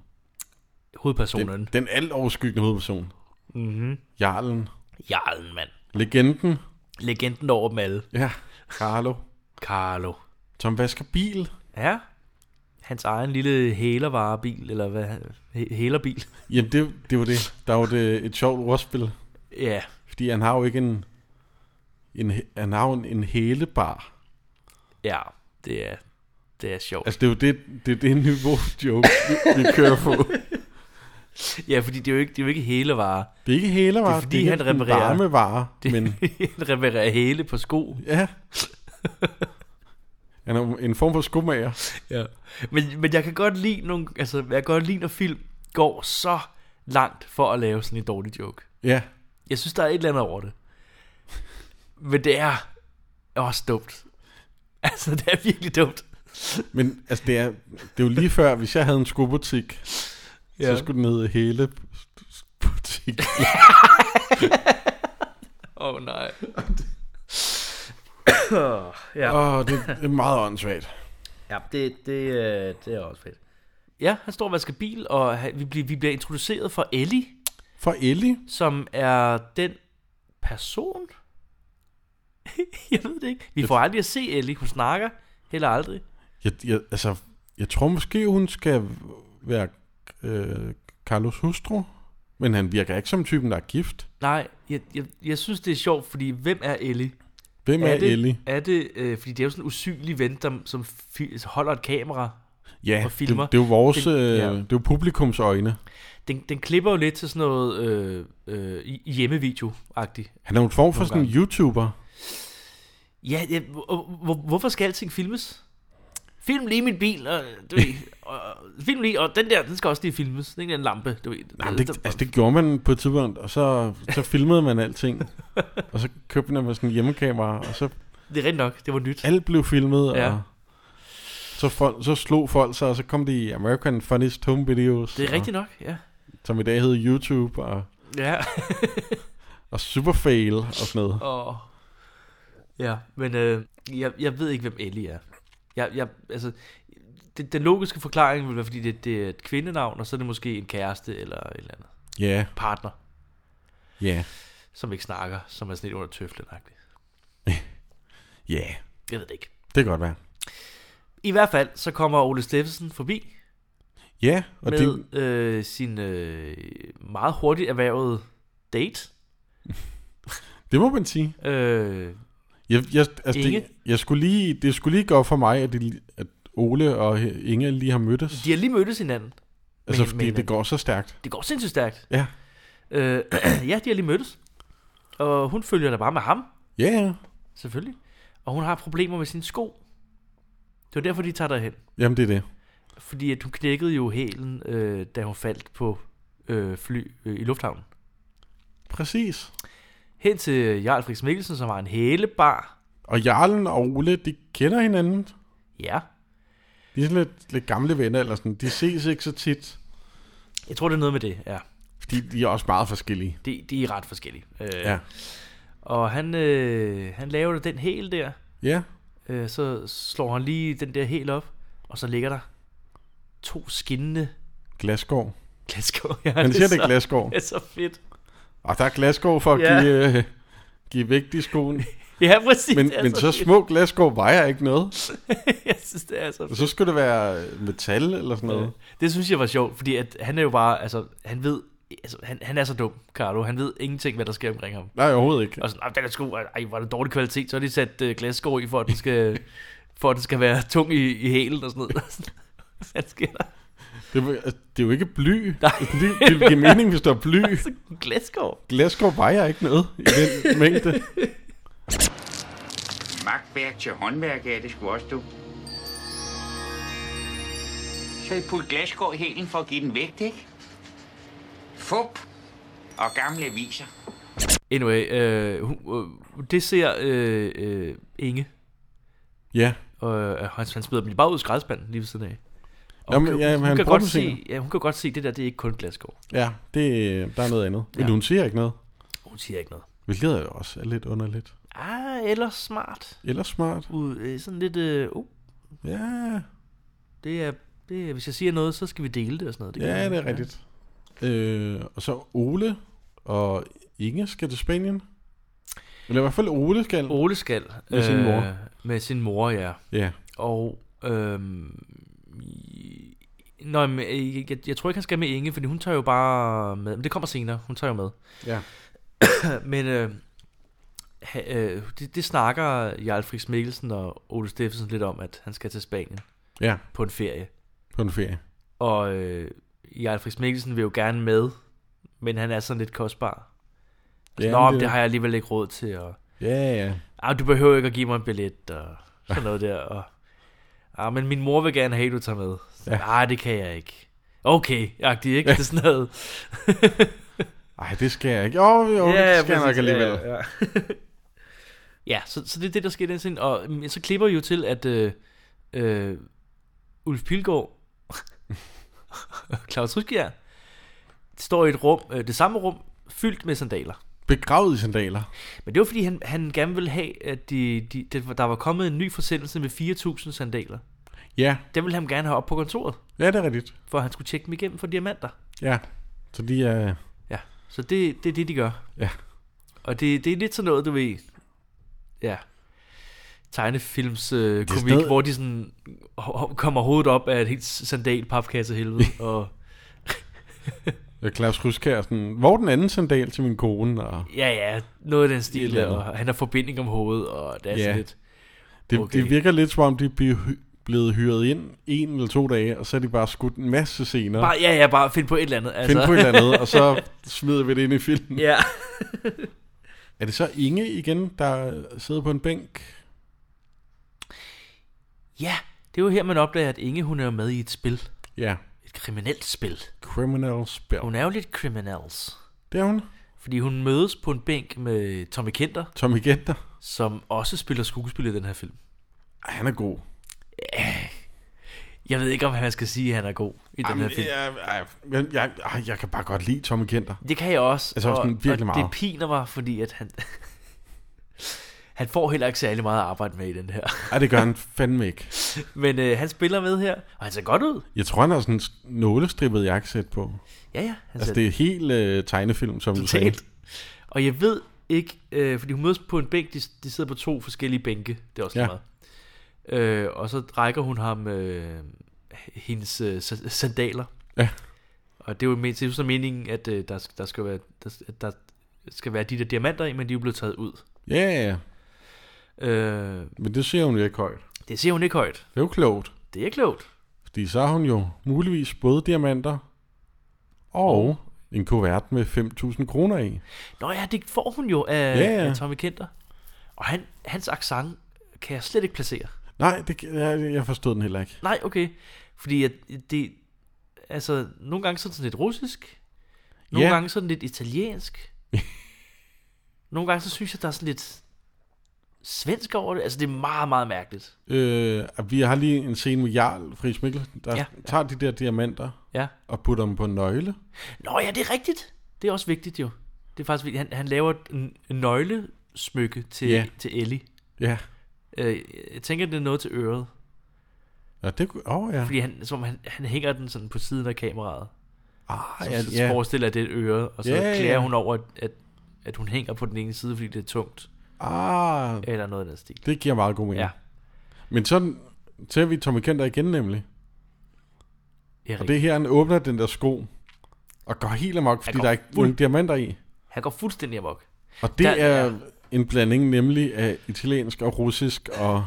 Speaker 3: Hovedpersonen.
Speaker 2: Den, den alt overskyggende hovedperson.
Speaker 3: Mm-hmm.
Speaker 2: Jarlen.
Speaker 3: Jarlen, mand.
Speaker 2: Legenden.
Speaker 3: Legenden over dem alle.
Speaker 2: Ja. Carlo.
Speaker 3: Carlo.
Speaker 2: Som vasker bil.
Speaker 3: Ja. Hans egen lille hælervarebil, eller hvad? hæ- Hælerbil.
Speaker 2: Jamen, det, det var det. Der var det et sjovt ordspil.
Speaker 3: Ja.
Speaker 2: Fordi han har jo ikke en... en han har jo en, en hælebar.
Speaker 3: Ja, det er, det er sjovt.
Speaker 2: Altså, det er jo det, det, er det niveau [laughs] joke, vi, vi kører på.
Speaker 3: Ja, fordi det er jo ikke, det er jo ikke hælervare.
Speaker 2: Det er ikke hælebar.
Speaker 3: Det er fordi,
Speaker 2: ikke
Speaker 3: han
Speaker 2: en
Speaker 3: reparerer.
Speaker 2: varmevare,
Speaker 3: [laughs] Det
Speaker 2: men...
Speaker 3: er reparerer hæle på sko.
Speaker 2: Ja. Han er jo en form for skomager.
Speaker 3: Ja. Men, men jeg kan godt lide nogle, altså, jeg kan godt lide, når film går så langt for at lave sådan en dårlig joke.
Speaker 2: Ja.
Speaker 3: Jeg synes, der er et eller andet over det. Men det er også dumt. Altså, det er virkelig dumt.
Speaker 2: Men altså, det er, det er jo lige før, hvis jeg havde en skobutik, ja. så skulle den hedde hele butik.
Speaker 3: Åh, oh, nej.
Speaker 2: Og det, det er meget åndssvagt.
Speaker 3: Ja, det, det, øh, det er også fedt. Ja, han står og vasker bil, og han- vi bliver, vi bliver introduceret for Ellie,
Speaker 2: For Ellie?
Speaker 3: som er den person. [laughs] jeg ved det ikke. Vi får aldrig at se Ellie. Hun snakker heller aldrig.
Speaker 2: Jeg, jeg, altså, jeg tror måske, hun skal være øh, Carlos hustru. Men han virker ikke som typen, der er gift.
Speaker 3: Nej, jeg, jeg, jeg synes, det er sjovt, fordi hvem er Ellie?
Speaker 2: Hvem er, er
Speaker 3: det,
Speaker 2: Ellie?
Speaker 3: Er det, øh, fordi det er jo sådan en usynlig ven, der, som fi- holder et kamera.
Speaker 2: Ja,
Speaker 3: og
Speaker 2: det,
Speaker 3: filmer.
Speaker 2: det er jo vores,
Speaker 3: Den-
Speaker 2: øh, det
Speaker 3: ja.
Speaker 2: er jo publikums øjne.
Speaker 3: Den, den klipper jo lidt til sådan noget øh, øh, i- hjemmevideo-agtigt.
Speaker 2: Han er jo en form for sådan
Speaker 3: Nogle
Speaker 2: en YouTuber.
Speaker 3: Ja, ja hvor, hvor, hvorfor skal alting filmes? Film lige min bil, og, du ved,
Speaker 2: [laughs]
Speaker 3: og, film lige, og den der, den skal også lige filmes. Den der lampe, du ved.
Speaker 2: Nej, men det, altså, det gjorde man på et tidspunkt, og så, så filmede man alting. og så købte man med sådan en hjemmekamera, og så
Speaker 3: det er rent nok, det var nyt.
Speaker 2: alt blev filmet,
Speaker 3: Ja.
Speaker 2: og så, folk, så slog folk sig, og så kom de i American Funniest Home Videos,
Speaker 3: Det er
Speaker 2: og,
Speaker 3: rigtigt nok, ja.
Speaker 2: som i dag hedder YouTube, og,
Speaker 3: Ja,
Speaker 2: og Superfail og sådan noget.
Speaker 3: og... Ja, men øh, jeg, jeg ved ikke, hvem Ellie er. Jeg, jeg, altså, det, den logiske forklaring vil være, fordi det, det er et kvindenavn, og så er det måske en kæreste eller et eller andet.
Speaker 2: Ja,
Speaker 3: Partner,
Speaker 2: ja,
Speaker 3: som ikke snakker, som er sådan lidt under tøflen -agtig.
Speaker 2: ja.
Speaker 3: Jeg ved det ikke.
Speaker 2: Det kan godt være.
Speaker 3: I hvert fald, så kommer Ole Steffensen forbi,
Speaker 2: Ja, og
Speaker 3: med
Speaker 2: det,
Speaker 3: øh, sin øh, meget hurtigt erhvervede date.
Speaker 2: det må man sige.
Speaker 3: Øh,
Speaker 2: Jeg, jeg, altså,
Speaker 3: Inge?
Speaker 2: det, jeg skulle lige, det skulle lige gå op for mig, at, det, at Ole og Inge lige har mødtes.
Speaker 3: de har lige mødtes hinanden.
Speaker 2: altså,
Speaker 3: men-
Speaker 2: fordi
Speaker 3: men-
Speaker 2: det går så stærkt.
Speaker 3: Det går sindssygt stærkt.
Speaker 2: Ja.
Speaker 3: Øh, [clears throat] ja, de har lige mødtes. Og hun følger da bare med ham,
Speaker 2: Ja, ja.
Speaker 3: selvfølgelig. Og hun har problemer med sine sko. Det var derfor, de tager derhen.
Speaker 2: Jamen, det er det.
Speaker 3: Fordi at hun knækkede jo hælen, øh, da hun faldt på øh, fly øh, i lufthavnen.
Speaker 2: Præcis.
Speaker 3: Hen til Jarl Friis Mikkelsen, som har en hælebar.
Speaker 2: Og Jarlen og Ole, de kender hinanden.
Speaker 3: Ja.
Speaker 2: De er sådan lidt, lidt gamle venner, eller sådan. De ses ikke så tit,
Speaker 3: Jeg tror, det er noget med det, ja.
Speaker 2: fordi de er også meget forskellige.
Speaker 3: De, de er ret forskellige. Øh,
Speaker 2: Ja.
Speaker 3: Og han, øh, han laver da den hæl der.
Speaker 2: Ja,
Speaker 3: Øh, så slår han lige den der hæl op. Og så ligger der to skinnende
Speaker 2: Glasgård.
Speaker 3: glaskår. [laughs] Ja,
Speaker 2: Han siger, det er
Speaker 3: så,
Speaker 2: Glasgård.
Speaker 3: det er så fedt.
Speaker 2: Og der er Glasgård for at
Speaker 3: Ja.
Speaker 2: give, øh, give vægt i skoen.
Speaker 3: [laughs] Ja, præcis.
Speaker 2: Men,
Speaker 3: det er
Speaker 2: men så
Speaker 3: fedt.
Speaker 2: små Glasgård vejer ikke noget.
Speaker 3: [laughs] Jeg synes, det er så
Speaker 2: Og
Speaker 3: fedt.
Speaker 2: så skulle det være metal eller sådan noget.
Speaker 3: Det synes jeg var sjovt, fordi at han er jo bare, altså, han ved, altså, han, han er så dum, Carlo. Han ved ingenting, hvad der sker omkring ham.
Speaker 2: Nej, overhovedet ikke.
Speaker 3: Og sådan, "Ah, den er sgu, ej, hvor er det dårlig kvalitet. Så har de sat øh, glasskår i, for at den skal, for at den skal være tung i, i hælen og sådan noget. [laughs] Hvad sker der?
Speaker 2: Det, er jo- altså, det er jo ikke bly.
Speaker 3: Nej.
Speaker 2: Altså, Det, det vil give mening, hvis der er [laughs] bly.
Speaker 3: Glasskår?
Speaker 2: Glasgård vejer ikke noget i den mængde.
Speaker 7: Magtværk til håndværk er det sgu også, du. Så I putte glasgård i hælen for at give den vægt, ikke? Fup og gamle aviser.
Speaker 3: Anyway, øh, hun, øh, det ser øh, øh, Inge,
Speaker 2: Ja,
Speaker 3: og øh, han, han smider dem lige bare ud i skraldespanden lige ved siden af. Og
Speaker 2: Jamen,
Speaker 3: hun,
Speaker 2: ja,
Speaker 3: kan- hun,
Speaker 2: han
Speaker 3: kan
Speaker 2: prøver
Speaker 3: godt
Speaker 2: at se
Speaker 3: se, ja, hun kan godt se, det der, det er ikke kun glasgård.
Speaker 2: ja det, der er noget andet. Men
Speaker 3: Ja.
Speaker 2: hun siger ikke noget.
Speaker 3: Hun siger ikke noget.
Speaker 2: Hvilket er jo også er lidt underligt.
Speaker 3: Ah, eller smart.
Speaker 2: Eller smart.
Speaker 3: Ud, øh, sådan lidt, øh, oh,
Speaker 2: Ja,
Speaker 3: det er, det er, hvis jeg siger noget, så skal vi dele det og sådan noget. kan
Speaker 2: ja
Speaker 3: man-
Speaker 2: det er rigtigt. Øh, og så Ole og Inge skal til Spanien. Eller i hvert fald Ole skal.
Speaker 3: Ole skal.
Speaker 2: Med sin mor.
Speaker 3: Øh, med sin mor, ja.
Speaker 2: Ja,
Speaker 3: Og, øhm, i- Nå, men, øh, jeg, jeg, jeg tror ikke, han skal med Inge, fordi hun tager jo bare med. Men det kommer senere. Hun tager jo med. [clears throat]
Speaker 2: ja.
Speaker 3: Men øh, ha, øh, det, det snakker Jarl Friis Mikkelsen og Ole Steffensen lidt om, at han skal til Spanien
Speaker 2: Ja,
Speaker 3: på en ferie.
Speaker 2: på en ferie.
Speaker 3: Og øh, Jarl Friis Mikkelsen vil jo gerne med, men han er sådan lidt kostbar.
Speaker 2: Ja,
Speaker 3: Ja, Nå,
Speaker 2: men
Speaker 3: det... det har jeg alligevel ikke råd til. Og,
Speaker 2: Ja, ja.
Speaker 3: ah, du behøver ikke at give mig en billet og sådan noget der. Og, ah, men min mor vil gerne have, at du tager med.
Speaker 2: Ja.
Speaker 3: Ja. Nej, det kan jeg ikke. Okay, agtigt, ikke? Det er sådan noget.
Speaker 2: Ej, det skal jeg ikke. Jo, [laughs] jo, det skal jeg nok
Speaker 3: præcis.
Speaker 2: alligevel.
Speaker 3: Ja, [laughs] ja. ja så, så det er det, der sker i den scene. Og mm, så klipper vi jo til, at øh, øh, Ulf Pilgaard [laughs] og Claus Ryskjær står i et rum, øh, det samme rum, fyldt med sandaler.
Speaker 2: Begravet i sandaler.
Speaker 3: Men det var, fordi han, han gerne ville have, at de, de, det- der var kommet en ny forsendelse med 4.000 sandaler.
Speaker 2: Ja,
Speaker 3: Den ville han gerne have op på kontoret,
Speaker 2: ja det er rigtigt.
Speaker 3: for at han skulle tjekke dem igennem for diamanter.
Speaker 2: øh, Ja, så de er...
Speaker 3: Ja, Så det, det er det, de gør.
Speaker 2: Ja.
Speaker 3: Og det, det er lidt sådan noget, du ved... Ja. Tegnefilms øh, komik,
Speaker 2: stadig-
Speaker 3: stadig... hvor de sådan ho- ho- kommer hovedet op af et helt sandalpapkasse helvede. og
Speaker 2: Øh, Claus Ryskær er sådan, hvor er den anden sandal til min kone? Og
Speaker 3: ja, ja, noget af den
Speaker 2: Et
Speaker 3: stil
Speaker 2: eller
Speaker 3: der,
Speaker 2: andet.
Speaker 3: og han har forbinding om hovedet, og det er
Speaker 2: Ja.
Speaker 3: sådan lidt...
Speaker 2: det, okay.
Speaker 3: Okay.
Speaker 2: det virker lidt som om, de bliver hy- blevet hyret ind en eller to dage, og så er de bare skudt en masse scener.
Speaker 3: Bare, ja, ja, bare find på et eller andet.
Speaker 2: Find
Speaker 3: Altså.
Speaker 2: altså. på et eller andet, og så smider vi det ind i filmen.
Speaker 3: [laughs] Ja.
Speaker 2: Er det så Inge igen, der sidder på en bænk?
Speaker 3: ja, det er jo her, man opdager, at Inge, hun er jo med i et spil.
Speaker 2: Ja,
Speaker 3: Et kriminelt spil.
Speaker 2: criminal spell.
Speaker 3: Hun er jo lidt criminals.
Speaker 2: Det er hun.
Speaker 3: Fordi hun mødes på en bænk med Tommy Kenter,
Speaker 2: Tommy Genter.
Speaker 3: som også spiller skuespil i den her film.
Speaker 2: Ej, Han er god.
Speaker 3: Jeg ved ikke, om han skal sige, at han er god i den her
Speaker 2: Jamen,
Speaker 3: film.
Speaker 2: jeg, jeg, jeg, jeg, ej, jeg kan bare godt lide Tommy Kenter.
Speaker 3: Det kan jeg også.
Speaker 2: Altså, sådan virkelig
Speaker 3: og
Speaker 2: meget.
Speaker 3: det piner mig, fordi at han... [laughs] han får heller ikke særlig meget at arbejde med i den her. [laughs]
Speaker 2: Ej, det gør han fandme ikke.
Speaker 3: Men øh, han spiller med her, og han ser godt ud.
Speaker 2: Jeg tror, han har sådan en nålestrippet jakkesæt på.
Speaker 3: Ja, ja. Han
Speaker 2: Altså,
Speaker 3: ser
Speaker 2: det er helt øh, tegnefilm, som du sagde.
Speaker 3: Totalt. Og jeg ved ikke, øh, fordi hun mødes på en bænk, de, de sidder på to forskellige bænke, det er også
Speaker 2: Ja.
Speaker 3: ja. meget. Øh, og så rækker hun ham øh, hendes øh, sa- sandaler.
Speaker 2: Ja.
Speaker 3: Og det er jo men- det er jo så meningen, at øh, der, der, skal være, der, at der skal være de der diamanter i, men de er jo blevet taget ud.
Speaker 2: Ja, ja, ja.
Speaker 3: Øh,
Speaker 2: Men det ser hun jo ikke højt.
Speaker 3: det siger hun ikke højt.
Speaker 2: Det er jo klogt.
Speaker 3: Det er klogt.
Speaker 2: Fordi så har hun jo muligvis både diamanter og en kuvert med 5.000 kroner i.
Speaker 3: Nå ja, det får hun jo af,
Speaker 2: Ja, ja.
Speaker 3: af Tommy Kenter. Og han, hans accent kan jeg slet ikke placere.
Speaker 2: Nej, det, jeg, jeg forstod den heller ikke.
Speaker 3: Nej, okay. Fordi at det... Altså, nogle gange så er det sådan lidt russisk. Nogle
Speaker 2: Ja.
Speaker 3: gange sådan lidt italiensk.
Speaker 2: [laughs]
Speaker 3: nogle gange så synes jeg, der er sådan lidt svensk over det. Altså, det er meget, meget mærkeligt.
Speaker 2: Øh, og vi har lige en scene med Jarl Friis Mikkelsen, der ja.
Speaker 3: Ja.
Speaker 2: tager de der diamanter
Speaker 3: Ja.
Speaker 2: og putter dem på en nøgle.
Speaker 3: Nå ja, det er rigtigt. Det er også vigtigt jo. Det er faktisk vigtigt. Han, han laver en en nøglesmykke til,
Speaker 2: Ja.
Speaker 3: til Ellie.
Speaker 2: Ja,
Speaker 3: Øh, jeg tænker, det er noget til øret.
Speaker 2: ja det kunne... Åh, oh, ja.
Speaker 3: Fordi han, som om han, han hænger den sådan på siden af kameraet.
Speaker 2: Ah,
Speaker 3: Ja,
Speaker 2: ja,
Speaker 3: så
Speaker 2: ja.
Speaker 3: forestiller jeg, det er et øre, og så
Speaker 2: Ja,
Speaker 3: ja,
Speaker 2: ja,
Speaker 3: klager
Speaker 2: ja.
Speaker 3: hun over, at, at hun hænger på den ene side, fordi det er tungt.
Speaker 2: Ah,
Speaker 3: Eller noget af den stil.
Speaker 2: det giver meget god mening.
Speaker 3: Ja,
Speaker 2: Ja. Men sådan ser vi Tommy Kenter igen nemlig.
Speaker 3: det er
Speaker 2: Og
Speaker 3: rigtigt.
Speaker 2: det er her, han åbner den der sko og går helt amok, fordi
Speaker 3: går
Speaker 2: der er ikke
Speaker 3: fuld-
Speaker 2: nogen diamanter i.
Speaker 3: Han går fuldstændig amok.
Speaker 2: Og det
Speaker 3: Der-
Speaker 2: er en blanding nemlig af italiensk og russisk og...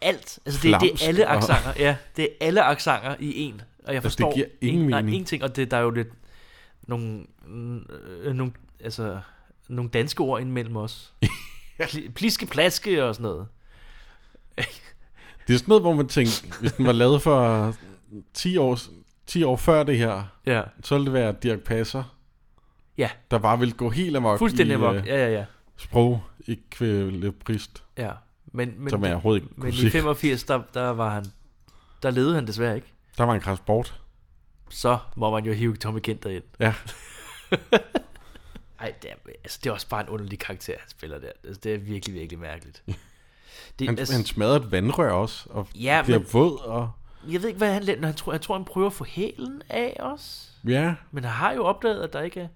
Speaker 3: Alt. Altså, det, det
Speaker 2: Flamsk
Speaker 3: er alle
Speaker 2: og-
Speaker 3: accenter. Ja, det er alle accenter i en.
Speaker 2: Altså,
Speaker 3: Og jeg
Speaker 2: det
Speaker 3: forstår
Speaker 2: giver ingen
Speaker 3: nej,
Speaker 2: mening.
Speaker 3: ingenting. Og det, der er jo lidt nogle, øh, nogle, altså, nogle danske ord indimellem
Speaker 2: [laughs]
Speaker 3: os. Pli- Pliske, plaske og sådan noget.
Speaker 2: Det er sådan noget, hvor man tænker, hvis den var lavet for 10 år, 10 år før det her,
Speaker 3: Ja,
Speaker 2: så ville det være Dirk Passer,
Speaker 3: ja
Speaker 2: der bare ville gå helt amok
Speaker 3: fuldstændig
Speaker 2: i
Speaker 3: amok.
Speaker 2: øh,
Speaker 3: Ja, ja, ja.
Speaker 2: sprogekvilibrist,
Speaker 3: ja. Men, men,
Speaker 2: som jeg overhovedet ikke
Speaker 3: Men
Speaker 2: kunne
Speaker 3: i
Speaker 2: sige.
Speaker 3: 85, der, der var han... Der levede han desværre ikke.
Speaker 2: Der var en kraft bort.
Speaker 3: Så må man jo hive Tommy Kenter ind.
Speaker 2: Ja,
Speaker 3: Ej, det er, altså, det er også bare en underlig karakter, han spiller der. Altså, det er virkelig, virkelig
Speaker 2: [laughs]
Speaker 3: mærkeligt. Det,
Speaker 2: han,
Speaker 3: altså,
Speaker 2: han smadrer et vandrør også, og
Speaker 3: Ja,
Speaker 2: bliver
Speaker 3: men-
Speaker 2: våd, og...
Speaker 3: Jeg ved ikke, hvad han laver. Han tror, jeg tror, han prøver at få hælen af os.
Speaker 2: Ja,
Speaker 3: Men han har jo opdaget, at der ikke er...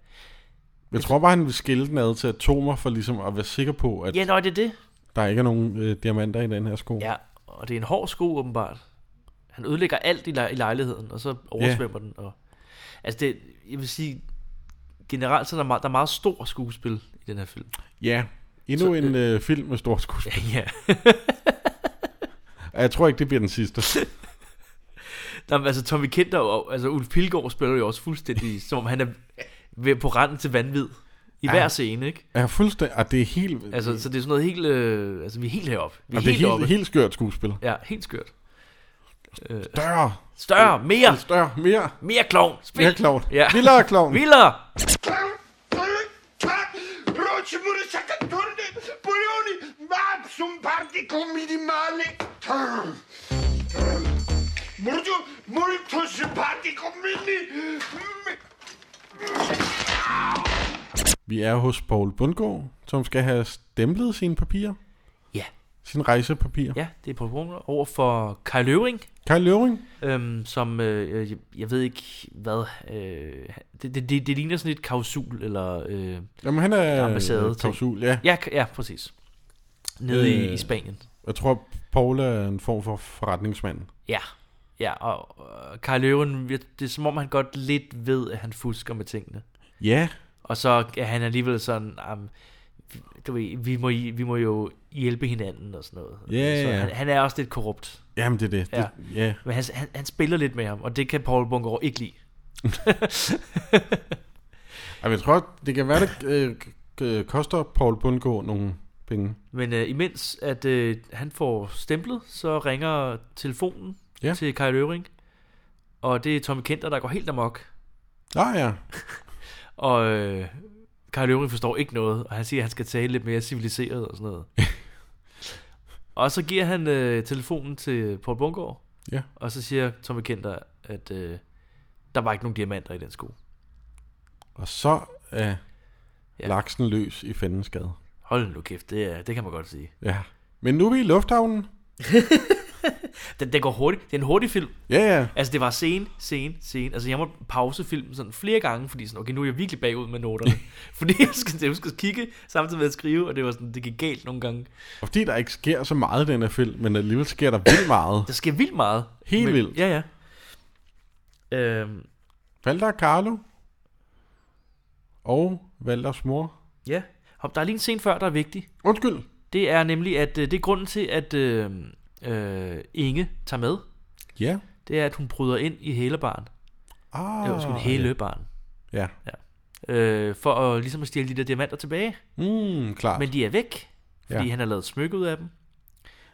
Speaker 2: jeg tror bare, han vil skille den ad til atomer, for ligesom at være sikker på, at
Speaker 3: Ja, nå, det er det.
Speaker 2: der ikke er nogen øh, diamanter i den her sko.
Speaker 3: Ja, og det er en hård sko, åbenbart. Han ødelægger alt i, lej- i lejligheden, og så oversvømmer den. Og, altså, det, jeg vil sige... Generelt så er der meget, der er meget stor skuespil i den her film.
Speaker 2: ja. Endnu
Speaker 3: Så,
Speaker 2: en øh, film med stor skuespil.
Speaker 3: Ja.
Speaker 2: Ja. Jeg tror ikke, det bliver den sidste.
Speaker 3: Nå, men altså Tommy Kenter, og, altså Ulf Pilgaard spiller jo også [laughs] fuldstændig, som om han er ved, på randen til vanvid. I ja. hver scene, ikke?
Speaker 2: Ja, fuldstændig. Ah, det er helt...
Speaker 3: Altså, så det er sådan noget helt, øh, altså vi er helt heroppe. Vi er
Speaker 2: Jamen,
Speaker 3: helt,
Speaker 2: det er
Speaker 3: oppe.
Speaker 2: helt, helt skørt skuespil.
Speaker 3: Ja, helt skørt.
Speaker 2: Større, Altså,
Speaker 3: Større, mere,
Speaker 2: større, mere,
Speaker 3: mere klovn, spil.
Speaker 2: mere klovn.
Speaker 3: Ja.
Speaker 2: Vildere klovn.
Speaker 3: [laughs] Vildere.
Speaker 2: Vi er hos Paul Bundgaard, som skal have stemplet sine papirer.
Speaker 3: Ja,
Speaker 2: sine rejsepapirer. Ja.
Speaker 3: Ja, det er på grund over for Kai Løvring,
Speaker 2: Kai Løvring?
Speaker 3: øhm, som øh, jeg, jeg ved ikke hvad. Øh, det, det, det, det ligner sådan lidt kausul, eller... Øh,
Speaker 2: Jamen, han er
Speaker 3: Ambassade-
Speaker 2: øh, klausul, ja.
Speaker 3: ja, ka- ja, præcis. Nede øh. i, i
Speaker 2: Øh.
Speaker 3: Spanien.
Speaker 2: Jeg tror, Paul er en form for forretningsmand.
Speaker 3: Ja, ja og øh, Kai Løvring, det er som om han godt lidt ved, at han fusker med tingene.
Speaker 2: Ja,
Speaker 3: Og så er han alligevel sådan, um, du ved, vi, må, vi må jo hjælpe hinanden og sådan noget.
Speaker 2: Ja,
Speaker 3: så
Speaker 2: ja.
Speaker 3: Han, han er også lidt korrupt.
Speaker 2: jamen det er det.
Speaker 3: Ja.
Speaker 2: det ja.
Speaker 3: Men han, han, han spiller lidt med ham, og det kan Paul Bunker ikke lide.
Speaker 2: Ej, men jeg tror, det kan være, det øh, k- øh, koster Paul Bundgaard nogle penge.
Speaker 3: Men øh, imens at øh, han får stemplet, så ringer telefonen
Speaker 2: Ja.
Speaker 3: til Kai Løvring. Og det er Tommy Kenter, der går helt amok.
Speaker 2: Ah ja,
Speaker 3: Og øh, Kai Løvring forstår ikke noget, og han siger, at han skal tale lidt mere civiliseret og sådan
Speaker 2: [laughs]
Speaker 3: noget. og så giver han øh, telefonen til Paul Bungård.
Speaker 2: Ja.
Speaker 3: Og så siger Tommy Kenter, at øh, der var ikke nogen diamanter i den sko.
Speaker 2: og så er
Speaker 3: Ja.
Speaker 2: ja. laksen løs i fændens gade.
Speaker 3: Hold nu kæft, det, er, det kan man godt sige.
Speaker 2: Ja. Men nu er vi i lufthavnen.
Speaker 3: Den, den går hurtigt. Det er en hurtig film.
Speaker 2: Ja, ja.
Speaker 3: Altså, det var scene, scene, scene. Altså, jeg måtte pause filmen sådan flere gange, fordi sådan, okay, nu er jeg virkelig bagud med
Speaker 2: [laughs]
Speaker 3: noterne. fordi jeg skal, jeg skal kigge samtidig med at skrive, og det var sådan, det gik galt nogle gange.
Speaker 2: Og fordi der ikke sker så meget i den her film, men alligevel sker der vildt meget.
Speaker 3: Der sker vildt meget.
Speaker 2: Helt vildt.
Speaker 3: Ja, ja. Øhm,
Speaker 2: Valder Carlo og Valders mor.
Speaker 3: ja. Hop, der er lige en scene før, der er vigtig.
Speaker 2: Undskyld.
Speaker 3: Det er nemlig, at øh, det er grunden til, at øh, øh, Inge tager med.
Speaker 2: Ja.
Speaker 3: Det er, at hun bryder ind i hælebaren.
Speaker 2: Ah,
Speaker 3: Ah, Eller sgu hælebaren.
Speaker 2: Ja.
Speaker 3: Øh, for at, ligesom at stjæle de der diamanter tilbage.
Speaker 2: Mm, klart.
Speaker 3: Men de er væk, fordi ja.
Speaker 2: Ja.
Speaker 3: han har lavet et smykke ud af dem.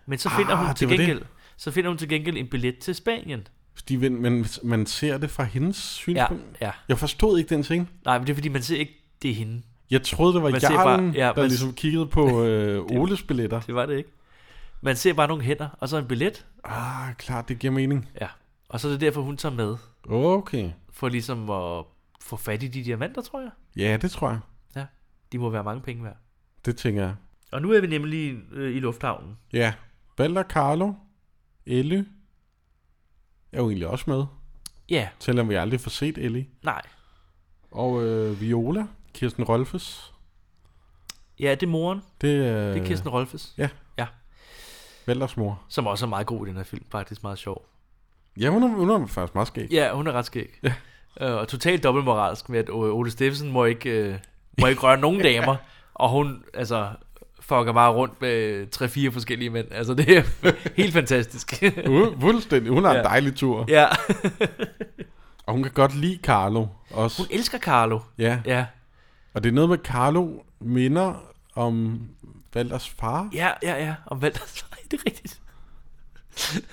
Speaker 3: Men så finder
Speaker 2: Ah,
Speaker 3: hun til
Speaker 2: det var det.
Speaker 3: gengæld, så finder hun til gengæld en billet til Spanien.
Speaker 2: De, men, men man ser det fra hendes
Speaker 3: Ja,
Speaker 2: synspunkt. Ja.
Speaker 3: ja.
Speaker 2: Jeg forstod ikke den ting.
Speaker 3: Nej, men det er fordi man ser ikke det er hende.
Speaker 2: Jeg troede, det var
Speaker 3: Man ser bare-
Speaker 2: Jarlen, ja,
Speaker 3: ja,
Speaker 2: der
Speaker 3: man-
Speaker 2: ligesom kiggede
Speaker 3: [laughs]
Speaker 2: på øh, Oles billetter.
Speaker 3: Det var det ikke. Man ser bare nogle hænder og så en billet.
Speaker 2: Ah, klart, det giver mening.
Speaker 3: Ja. Og så er det derfor hun tager med
Speaker 2: Okay.
Speaker 3: for ligesom at få fat i de diamanter, tror jeg.
Speaker 2: Ja, det tror jeg.
Speaker 3: Ja. De må være mange penge værd.
Speaker 2: Det tænker jeg.
Speaker 3: Og nu er vi nemlig øh, i lufthavnen.
Speaker 2: Ja. Valder Carlo, Elle er jo egentlig også med,
Speaker 3: Ja,
Speaker 2: selvom vi aldrig får set Ellie.
Speaker 3: nej.
Speaker 2: Og øh, Viola, Kirsten Rolfes.
Speaker 3: Ja, det er moren.
Speaker 2: Det er,
Speaker 3: Det er Kirsten Rolfes.
Speaker 2: ja.
Speaker 3: Ja.
Speaker 2: Valders mor.
Speaker 3: Som også er meget god i den her film. Faktisk meget sjov.
Speaker 2: Ja, hun er, hun er faktisk meget skæg.
Speaker 3: Ja, hun er ret skæg. Ja. Øh, og totalt dobbeltmoralsk med, at O- Ole Steffensen må ikke, øh, må ikke røre nogen [laughs] damer, og hun altså, fucker bare rundt med 3-4 forskellige mænd. Altså, det er [laughs] helt [laughs] fantastisk.
Speaker 2: Fu- Fuldstændig. Hun har
Speaker 3: Ja.
Speaker 2: en dejlig tur.
Speaker 3: ja.
Speaker 2: Og hun kan godt lide Carlo også.
Speaker 3: Hun elsker Carlo.
Speaker 2: Ja.
Speaker 3: Ja,
Speaker 2: Og det er noget med, Carlo minder om Valders far,
Speaker 3: ja, ja, ja. Om Valder. [laughs] Nej, det er rigtigt.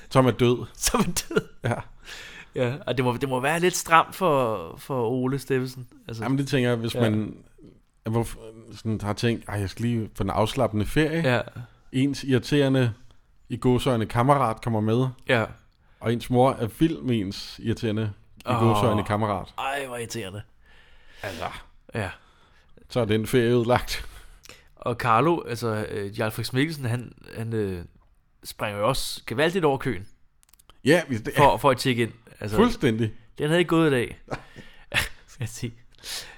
Speaker 2: som er død.
Speaker 3: Så er man død.
Speaker 2: Ja.
Speaker 3: Ja, og det må, det må være lidt stramt for, for Ole Steffensen. Altså,
Speaker 2: Jamen det tænker jeg, hvis
Speaker 3: Ja.
Speaker 2: ja. man at hvorfor- sådan, har tænkt, at jeg skal lige få en afslappende ferie. Ja.
Speaker 3: ja,
Speaker 2: Ens irriterende i godsøjne kammerat kommer med,
Speaker 3: ja.
Speaker 2: og ens mor er vild med ens irriterende i
Speaker 3: Åh.
Speaker 2: oh. godsøjne kammerat.
Speaker 3: Ej, hvor irriterende.
Speaker 2: Altså,
Speaker 3: Ja.
Speaker 2: så er den ferie udlagt.
Speaker 3: Og Carlo, altså øh, Jarl Friis Mikkelsen, han, han øh, springer jo også gevaldigt over køen
Speaker 2: [laughs] Ja, hvis det er
Speaker 3: for, for at tjekke ind. Altså,
Speaker 2: fuldstændig.
Speaker 3: den havde ikke gået i dag. [laughs] Skal jeg sige.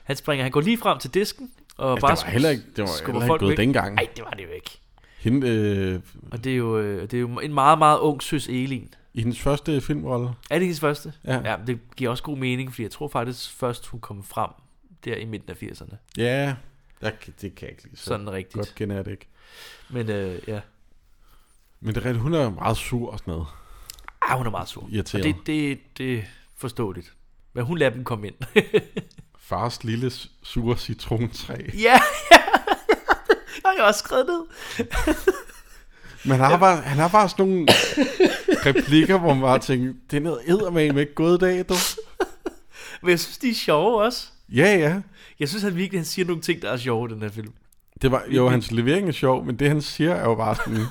Speaker 3: Han springer, han går lige frem til disken, og
Speaker 2: Altså,
Speaker 3: bare
Speaker 2: det var heller ikke, det var
Speaker 3: skubber
Speaker 2: heller ikke
Speaker 3: folk
Speaker 2: gået
Speaker 3: væk.
Speaker 2: dengang.
Speaker 3: Nej, det var det jo ikke.
Speaker 2: Hende, øh,
Speaker 3: Og det er jo, øh, det er jo en meget, meget ung søs Elin.
Speaker 2: I hendes første filmrolle.
Speaker 3: Er det hendes første?
Speaker 2: Ja.
Speaker 3: ja. men det giver også god mening, fordi jeg tror faktisk først, hun kom frem der i midten af 80'erne.
Speaker 2: Ja, jeg, kan- det kan jeg ikke lige så
Speaker 3: Sådan rigtigt.
Speaker 2: godt kender jeg det ikke.
Speaker 3: Men øh, ja,
Speaker 2: Men det er rigtigt, hun er meget sur og sådan noget.
Speaker 3: ah, hun er meget sur.
Speaker 2: Irriteret.
Speaker 3: Og det, det, det er forståeligt. Men hun lader dem komme ind. [laughs]
Speaker 2: Fars lille s- sure citrontræ.
Speaker 3: Ja, [laughs] ja. Jeg har jeg også skrevet ned.
Speaker 2: [laughs] Men han har, bare, han har bare sådan nogle replikker, hvor man bare tænker, det er noget eddermame ikke gået i dag, du.
Speaker 3: Men jeg synes, de er sjove også.
Speaker 2: Ja, ja.
Speaker 3: Jeg synes, han virkelig han siger nogle ting, der er sjove i den her film. [laughs]
Speaker 2: Det var, jo, hans levering er sjov, men det han siger er jo bare [laughs] sådan,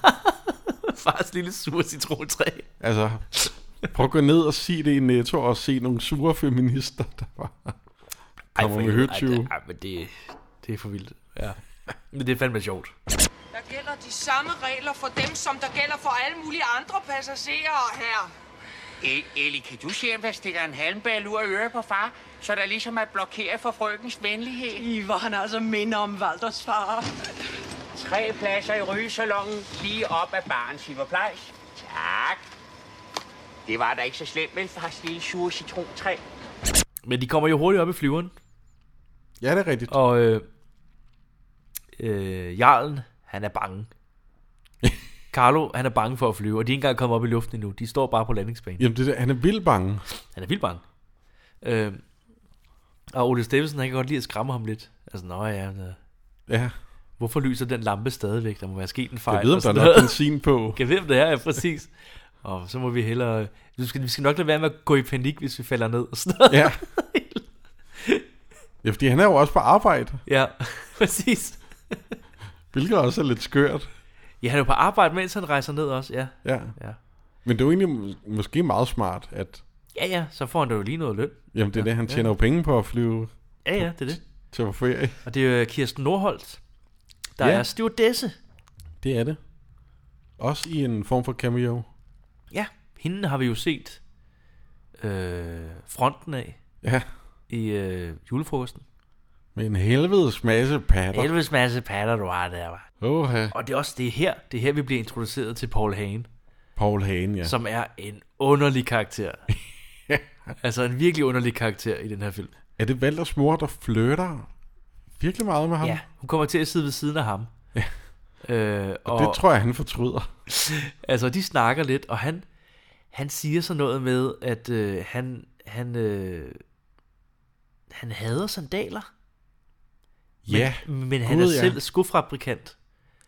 Speaker 3: Fars lille sure citrontræ.
Speaker 2: altså, prøv at gå ned og sige det i Netto og se nogle sure feminister, der var.
Speaker 3: Ej,
Speaker 2: Kommer med
Speaker 3: helvede. Ej,
Speaker 2: høtyve.
Speaker 3: [laughs] det- Ej, men det, det er for vildt. Ja. Men det er fandme sjovt.
Speaker 8: Der gælder de samme regler for dem, som der gælder for alle mulige andre passagerer her.
Speaker 7: E- Ellie, kan du se, om der stikker en halmball ud af øret på far, så der ligesom er blokeret for frøkens venlighed?
Speaker 9: Ivar, han altså minder om Valders far.
Speaker 7: Tre pladser i rygesalongen, lige op af baren, Silver Plejs. Tak. Det var da ikke så slemt, vel, fars lille sure citrontræ?
Speaker 3: Men de kommer jo hurtigt op i flyveren,
Speaker 2: Ja, det er rigtigt.
Speaker 3: og øh, øh, Jarlen, han er bange. Carlo, han er bange for at flyve, og de er ikke engang kommet op i luften endnu. De står bare på landingsbanen.
Speaker 2: Jamen, det der, han er vildt bange.
Speaker 3: Han er vildt bange. Øh, og Ole Steffensen, han kan godt lide at skræmme ham lidt. Altså, nå ja, øh,
Speaker 2: Ja,
Speaker 3: hvorfor lyser den lampe stadigvæk? Der må være sket en
Speaker 2: jeg
Speaker 3: fejl.
Speaker 2: ved, om
Speaker 3: og
Speaker 2: der er
Speaker 3: sådan
Speaker 2: nok
Speaker 3: altså noget.
Speaker 2: benzin på.
Speaker 3: Kan vi vide, om det her er præcis? Og så må vi hellere... Vi skal, vi skal nok lade være med at gå i panik, hvis vi falder ned og sådan noget.
Speaker 2: Ja. Ja, fordi han er jo også på arbejde,
Speaker 3: [laughs] Ja, præcis.
Speaker 2: hvilket også er lidt skørt.
Speaker 3: Ja, han er jo på arbejde, mens han rejser ned også, ja.
Speaker 2: Ja.
Speaker 3: Ja,
Speaker 2: Men det er jo egentlig mås- måske meget smart, at
Speaker 3: ja, ja så får han da jo lige noget løn.
Speaker 2: jamen, det er det, han tjener jo penge på at flyve
Speaker 3: Ja, ja, det er det.
Speaker 2: til på ferie.
Speaker 3: Og det er jo øh, Kirsten Nordholt, der
Speaker 2: Ja.
Speaker 3: ja. er stewardesse.
Speaker 2: Det er det. Også i en form for cameo.
Speaker 3: Ja, hende har vi jo set øh, fronten af
Speaker 2: Ja,
Speaker 3: i øh, julefrokosten.
Speaker 2: med en helvedes masse patter.
Speaker 3: Elvis masse patter, du har der, var.
Speaker 2: Åh,
Speaker 3: Og det er også det er her, det er her, vi bliver introduceret til Paul Hagen.
Speaker 2: Paul Hagen, ja.
Speaker 3: ja. som er en underlig karakter. altså en virkelig underlig karakter i den her film.
Speaker 2: Er det Valders mor, der flytter virkelig meget med ham?
Speaker 3: Ja, hun kommer til at sidde ved siden af ham. Ja. Øh, og,
Speaker 2: Det tror jeg, han fortryder.
Speaker 3: altså, de snakker lidt, og han, han siger sådan noget med, at øh, han, han, øh, han hader sandaler,
Speaker 2: Ja,
Speaker 3: men han
Speaker 2: Gud,
Speaker 3: er
Speaker 2: ja.
Speaker 3: selv skofabrikant.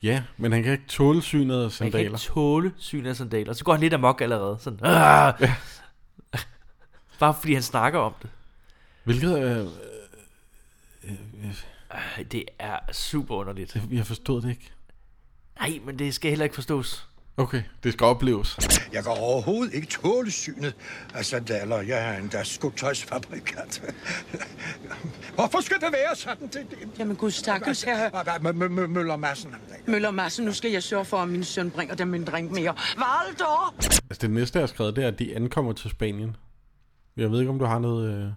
Speaker 2: ja, men han kan ikke tåle synet af
Speaker 3: Han kan ikke
Speaker 2: sandaler.
Speaker 3: tåle syn af sandaler. Så går han lidt amok allerede. Sådan, "Ah!" Bare fordi han snakker om det.
Speaker 2: Hvilket, øh,
Speaker 3: Ej, Det er super underligt.
Speaker 2: jeg forstod det ikke.
Speaker 3: Nej, men det skal heller ikke forstås.
Speaker 2: Okay, det skal opleves.
Speaker 10: Jeg kan overhovedet ikke tåle synet af sandaler. Jeg er endda skotøjsfabrikant. [laughs] Hvorfor skal det være sådan? Det, det,
Speaker 9: Jamen, gud
Speaker 11: Altså-
Speaker 9: stakkels herre
Speaker 10: Hvad- hvad- hvad- Møller Madsen.
Speaker 9: Møller Madsen, nu skal jeg sørge for, at min søn bringer dem en drink mere. Valdor!
Speaker 2: Altså det næste, jeg har skrevet, det er, at de ankommer til Spanien. Jeg ved ikke, om du har noget... Øh...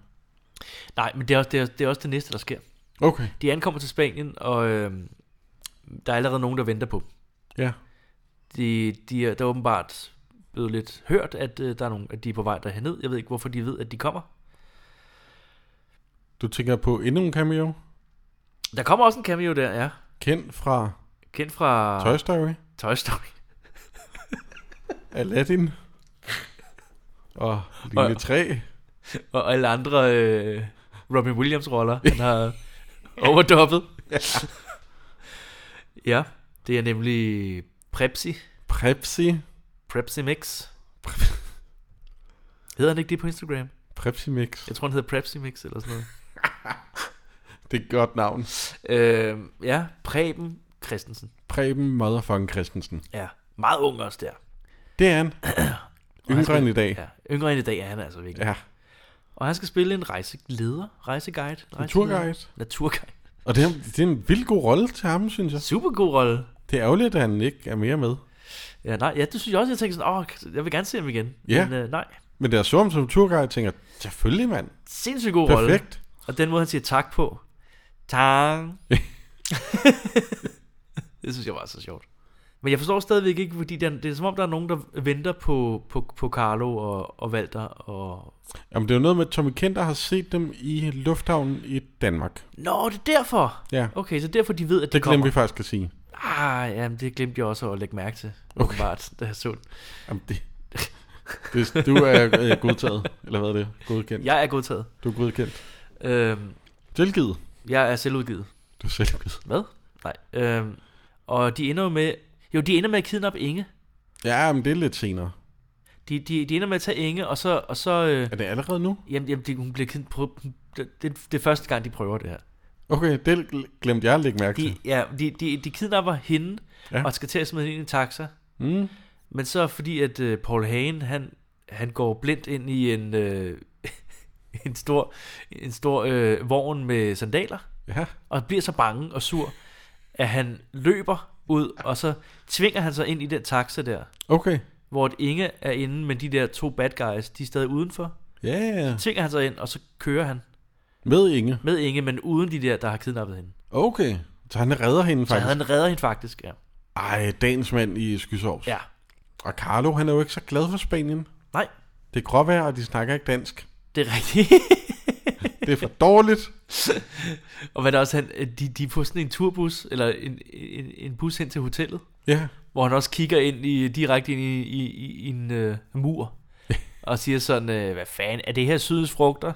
Speaker 3: Nej, men det er, også, det, er, det er også det næste, der sker.
Speaker 2: Okay,
Speaker 3: De ankommer til Spanien, og øh, der er allerede nogen, der venter på dem.
Speaker 2: ja.
Speaker 3: De, de er, der er åbenbart blevet lidt hørt, at, øh, der er nogen, at de er på vej derhened. Jeg ved ikke, hvorfor de ved, at de kommer.
Speaker 2: Du tænker på endnu en cameo.
Speaker 3: Der kommer også en cameo der, ja.
Speaker 2: Kendt fra
Speaker 3: Kendt fra
Speaker 2: Toy Story,
Speaker 3: Toy Story.
Speaker 2: Aladdin og Line 3.
Speaker 3: Og alle andre øh, Robin Williams-roller, han
Speaker 2: [laughs]
Speaker 3: har overdoppet. ja. ja, det er nemlig Prepsi.
Speaker 2: Prepsi.
Speaker 3: Prepsi Mix. Hedder han ikke det på Instagram?
Speaker 2: Prepsi Mix.
Speaker 3: Jeg tror, han hedder Prepsi Mix eller sådan noget. [laughs]
Speaker 2: Det er et godt navn.
Speaker 3: Øh, ja, Preben Christensen.
Speaker 2: Preben Motherfucking Christensen.
Speaker 3: Ja, meget ung også der.
Speaker 2: Det er han. Yngre end i dag.
Speaker 3: Ja, yngre end i dag er han altså virkelig. Ja.
Speaker 2: Ja.
Speaker 3: Og han skal spille en rejseleder, rejseguide. rejseleder.
Speaker 2: Naturguide.
Speaker 3: Naturguide.
Speaker 2: Og det er, det er en vild god rolle til ham, synes jeg.
Speaker 3: Super god rolle.
Speaker 2: Det er ærgerligt, at han ikke er mere med.
Speaker 3: Ja, nej, ja, det synes jeg også, jeg tænkte sådan, åh, jeg vil gerne se ham igen.
Speaker 2: Ja.
Speaker 3: Men øh, nej,
Speaker 2: Men da jeg så ham som turguide, tænker jeg, selvfølgelig mand.
Speaker 3: sindssygt god rolle.
Speaker 2: Perfekt.
Speaker 3: Og den måde, han siger tak på. Tak. [laughs] det synes jeg var så sjovt. Men jeg forstår stadigvæk ikke, fordi det er, det er som om, der er nogen, der venter på, på, på Carlo og, og Walter og
Speaker 2: Jamen, det er jo noget med, at Tommy Kenter har set dem i lufthavnen i Danmark.
Speaker 3: Nå, det er derfor.
Speaker 2: Ja.
Speaker 3: Okay, så derfor de ved, at de
Speaker 2: Det
Speaker 3: kommer.
Speaker 2: glemte vi faktisk at sige.
Speaker 3: Ah, jamen, det glemte jeg også at lægge mærke til.
Speaker 2: Okay.
Speaker 3: Okay. Bare, da jeg så den.
Speaker 2: Jamen, det, det, du er øh, godtaget, eller hvad er det? Godkendt.
Speaker 3: Jeg er godtaget.
Speaker 2: Du er godkendt.
Speaker 3: Øhm,
Speaker 2: Tilgivet.
Speaker 3: jeg er selvudgivet.
Speaker 2: Du er selvgivet.
Speaker 3: Hvad? Nej. Øhm, og de ender jo med... Jo, de ender med at kidnappe Inge.
Speaker 2: Ja, men det er lidt senere.
Speaker 3: De, de, de ender med at tage Inge, og så... Og så øh,
Speaker 2: Er det allerede nu?
Speaker 3: jamen, jamen de, hun bliver kidnappet... prøv- Det, det, det er første gang, de prøver det her.
Speaker 2: Okay, det glemte jeg at lægge mærke
Speaker 3: De,
Speaker 2: til.
Speaker 3: ja, de, de, de kidnapper hende,
Speaker 2: Ja.
Speaker 3: ja. og skal til at smide hende i en taxa.
Speaker 2: Mm.
Speaker 3: Men så fordi, at øh, Paul Hagen, han, han går blindt ind i en, øh, [laughs] en stor, en stor øh, vogn med sandaler,
Speaker 2: Ja,
Speaker 3: og bliver så bange og sur, at han løber ud, og så tvinger han sig ind i den taxa der.
Speaker 2: Okay.
Speaker 3: Hvor et Inge er inde, men de der to bad guys, de er stadig udenfor.
Speaker 2: Ja, ja, ja.
Speaker 3: Så tvinger han sig ind, og så kører han
Speaker 2: Med Inge.
Speaker 3: med Inge, men uden de der, der har kidnappet hende.
Speaker 2: Okay. Så han redder hende
Speaker 3: Så
Speaker 2: faktisk.
Speaker 3: han redder hende faktisk, ja.
Speaker 2: Ej, dagens mand i Skysovs.
Speaker 3: Ja.
Speaker 2: Og Carlo, han er jo ikke så glad for Spanien.
Speaker 3: Nej.
Speaker 2: Det er gråvejr, og de snakker ikke dansk.
Speaker 3: Det er rigtigt. [laughs]
Speaker 2: Det er for dårligt.
Speaker 3: [laughs] og hvad der også, han, øh, de, de er på sådan en turbus, eller en, en, en bus hen til hotellet.
Speaker 2: Ja.
Speaker 3: Hvor han også kigger ind i, direkte ind i, i, i, i en øh, [laughs] mur. og siger sådan, øh, hvad fanden, er det her sydens [laughs] frugter?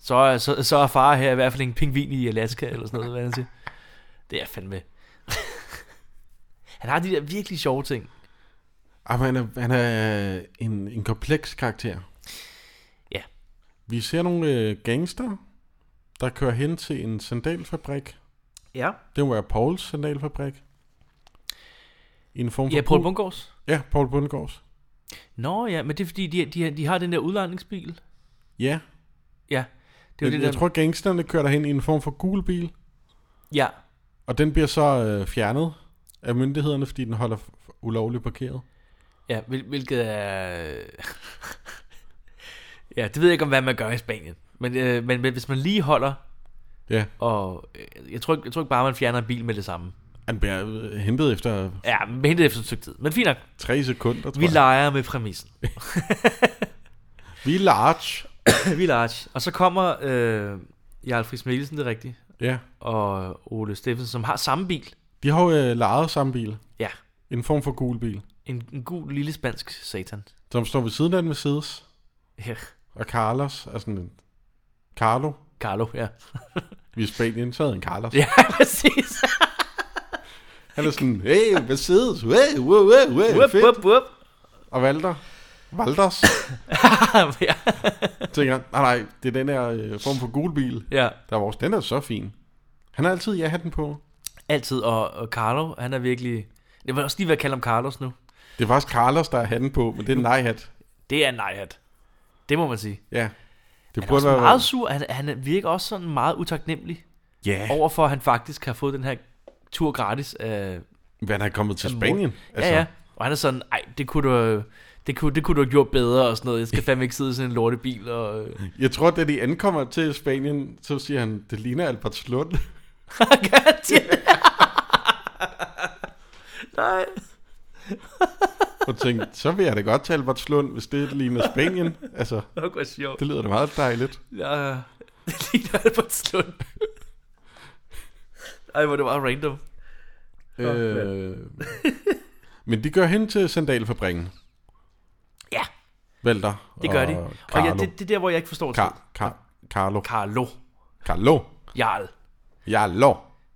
Speaker 3: så, er, så, så er far her i hvert fald en pingvin i Alaska, eller sådan noget, hvad han siger. Det er fandme. [laughs] han har de der virkelig sjove ting.
Speaker 2: Ej, Ah, men han er, han er en, en kompleks karakter.
Speaker 3: Ja.
Speaker 2: Vi ser nogle øh, gangster, der kører hen til en sandalfabrik.
Speaker 3: Ja.
Speaker 2: Det må være Pauls sandalfabrik. I en form for...
Speaker 3: Ja, Paul
Speaker 2: bu-
Speaker 3: Bundgaards.
Speaker 2: Ja, Paul Bundgaards.
Speaker 3: Nå ja, men det er fordi, de, de, de har den der udlejningsbil.
Speaker 2: Ja,
Speaker 3: Ja, det er
Speaker 2: jeg,
Speaker 3: jo det
Speaker 2: jeg
Speaker 3: der...
Speaker 2: tror, gangsterne kører derhen i en form for gul bil,
Speaker 3: Ja,
Speaker 2: og den bliver så øh, fjernet af myndighederne, fordi den holder f- f- ulovligt parkeret.
Speaker 3: ja hvil, hvilket er... [laughs] ja, det ved jeg ikke om, hvad man gør i Spanien. Men, øh, men, men hvis man lige holder,
Speaker 2: Ja,
Speaker 3: og øh, jeg tror, ikke- jeg tror ikke bare, man fjerner en bil med det samme.
Speaker 2: han bliver øh, hentet efter
Speaker 3: Ja, men hentet efter et stykke tid. Men fint nok,
Speaker 2: tre sekunder, tror
Speaker 3: vi
Speaker 2: jeg.
Speaker 3: leger med præmissen.
Speaker 2: Vi er large.
Speaker 3: [laughs] vi leger. Og så kommer øh, Jarl Friis Mikkelsen, det er rigtigt,
Speaker 2: Ja,
Speaker 3: og Ole Steffensen, som har samme bil.
Speaker 2: de har jo øh, lejet samme bil.
Speaker 3: Ja,
Speaker 2: En form for gul bil,
Speaker 3: en, en god lille spansk satan.
Speaker 2: som står ved siden af en Mercedes.
Speaker 3: Ja,
Speaker 2: Og Carlos er sådan en... Carlo.
Speaker 3: Carlo, ja.
Speaker 2: Vi er i Spanien, så havde han Carlos.
Speaker 3: Ja, [laughs] præcis.
Speaker 2: Han er sådan, hey, Mercedes, hey, wow, wow, wow,
Speaker 3: Wup,
Speaker 2: fedt.
Speaker 3: wup, wup.
Speaker 2: Og Valder. Valders.
Speaker 3: [laughs]
Speaker 2: [laughs]
Speaker 3: ja.
Speaker 2: Tænker han, nej, nej, det er den her øh, form for gul bil.
Speaker 3: ja,
Speaker 2: Der er vores, den er så fin. Han har altid ja-hatten på.
Speaker 3: altid. Og, og Carlo, han er virkelig... Jeg vil også lige være kaldt om Carlos nu.
Speaker 2: Det er faktisk Carlos, der har hatten på, men det er
Speaker 3: Mm.
Speaker 2: en nej-hat.
Speaker 3: Det er en nejhat. Det må man sige.
Speaker 2: Ja. Det
Speaker 3: Han er også
Speaker 2: burde være...
Speaker 3: meget sur. Han, han virker også sådan meget utaknemmelig
Speaker 2: Ja,
Speaker 3: ja. overfor, at han faktisk har fået den her tur gratis af
Speaker 2: hvad han er kommet til Spanien.
Speaker 3: Altså. Ja, ja. Og han er sådan, ej, det kunne du, det kunne, det kunne du have gjort bedre og sådan noget. Jeg skal fandme ikke sidde i sådan en lortebil. Og... [laughs]
Speaker 2: Jeg tror, da de ankommer til Spanien, så siger han, det ligner Albertslund.
Speaker 3: Nej.
Speaker 2: Og tænkte, så vil jeg da godt til Albertslund, hvis det ligner Spanien. Altså,
Speaker 3: Det var sjovt.
Speaker 2: det lyder da meget dejligt.
Speaker 3: Ja, [laughs] ja. det ligner Albertslund. Ej, hvor det var random.
Speaker 2: Øh, men de gør hen til sandalfabrikken.
Speaker 3: Ja,
Speaker 2: Valter
Speaker 3: det gør
Speaker 2: og
Speaker 3: de. Og
Speaker 2: Carlo.
Speaker 3: ja, det, det er der, hvor jeg ikke forstår det.
Speaker 2: Car- Car- Carlo.
Speaker 3: Carlo.
Speaker 2: Carlo.
Speaker 3: Jarl.
Speaker 2: Jarlo.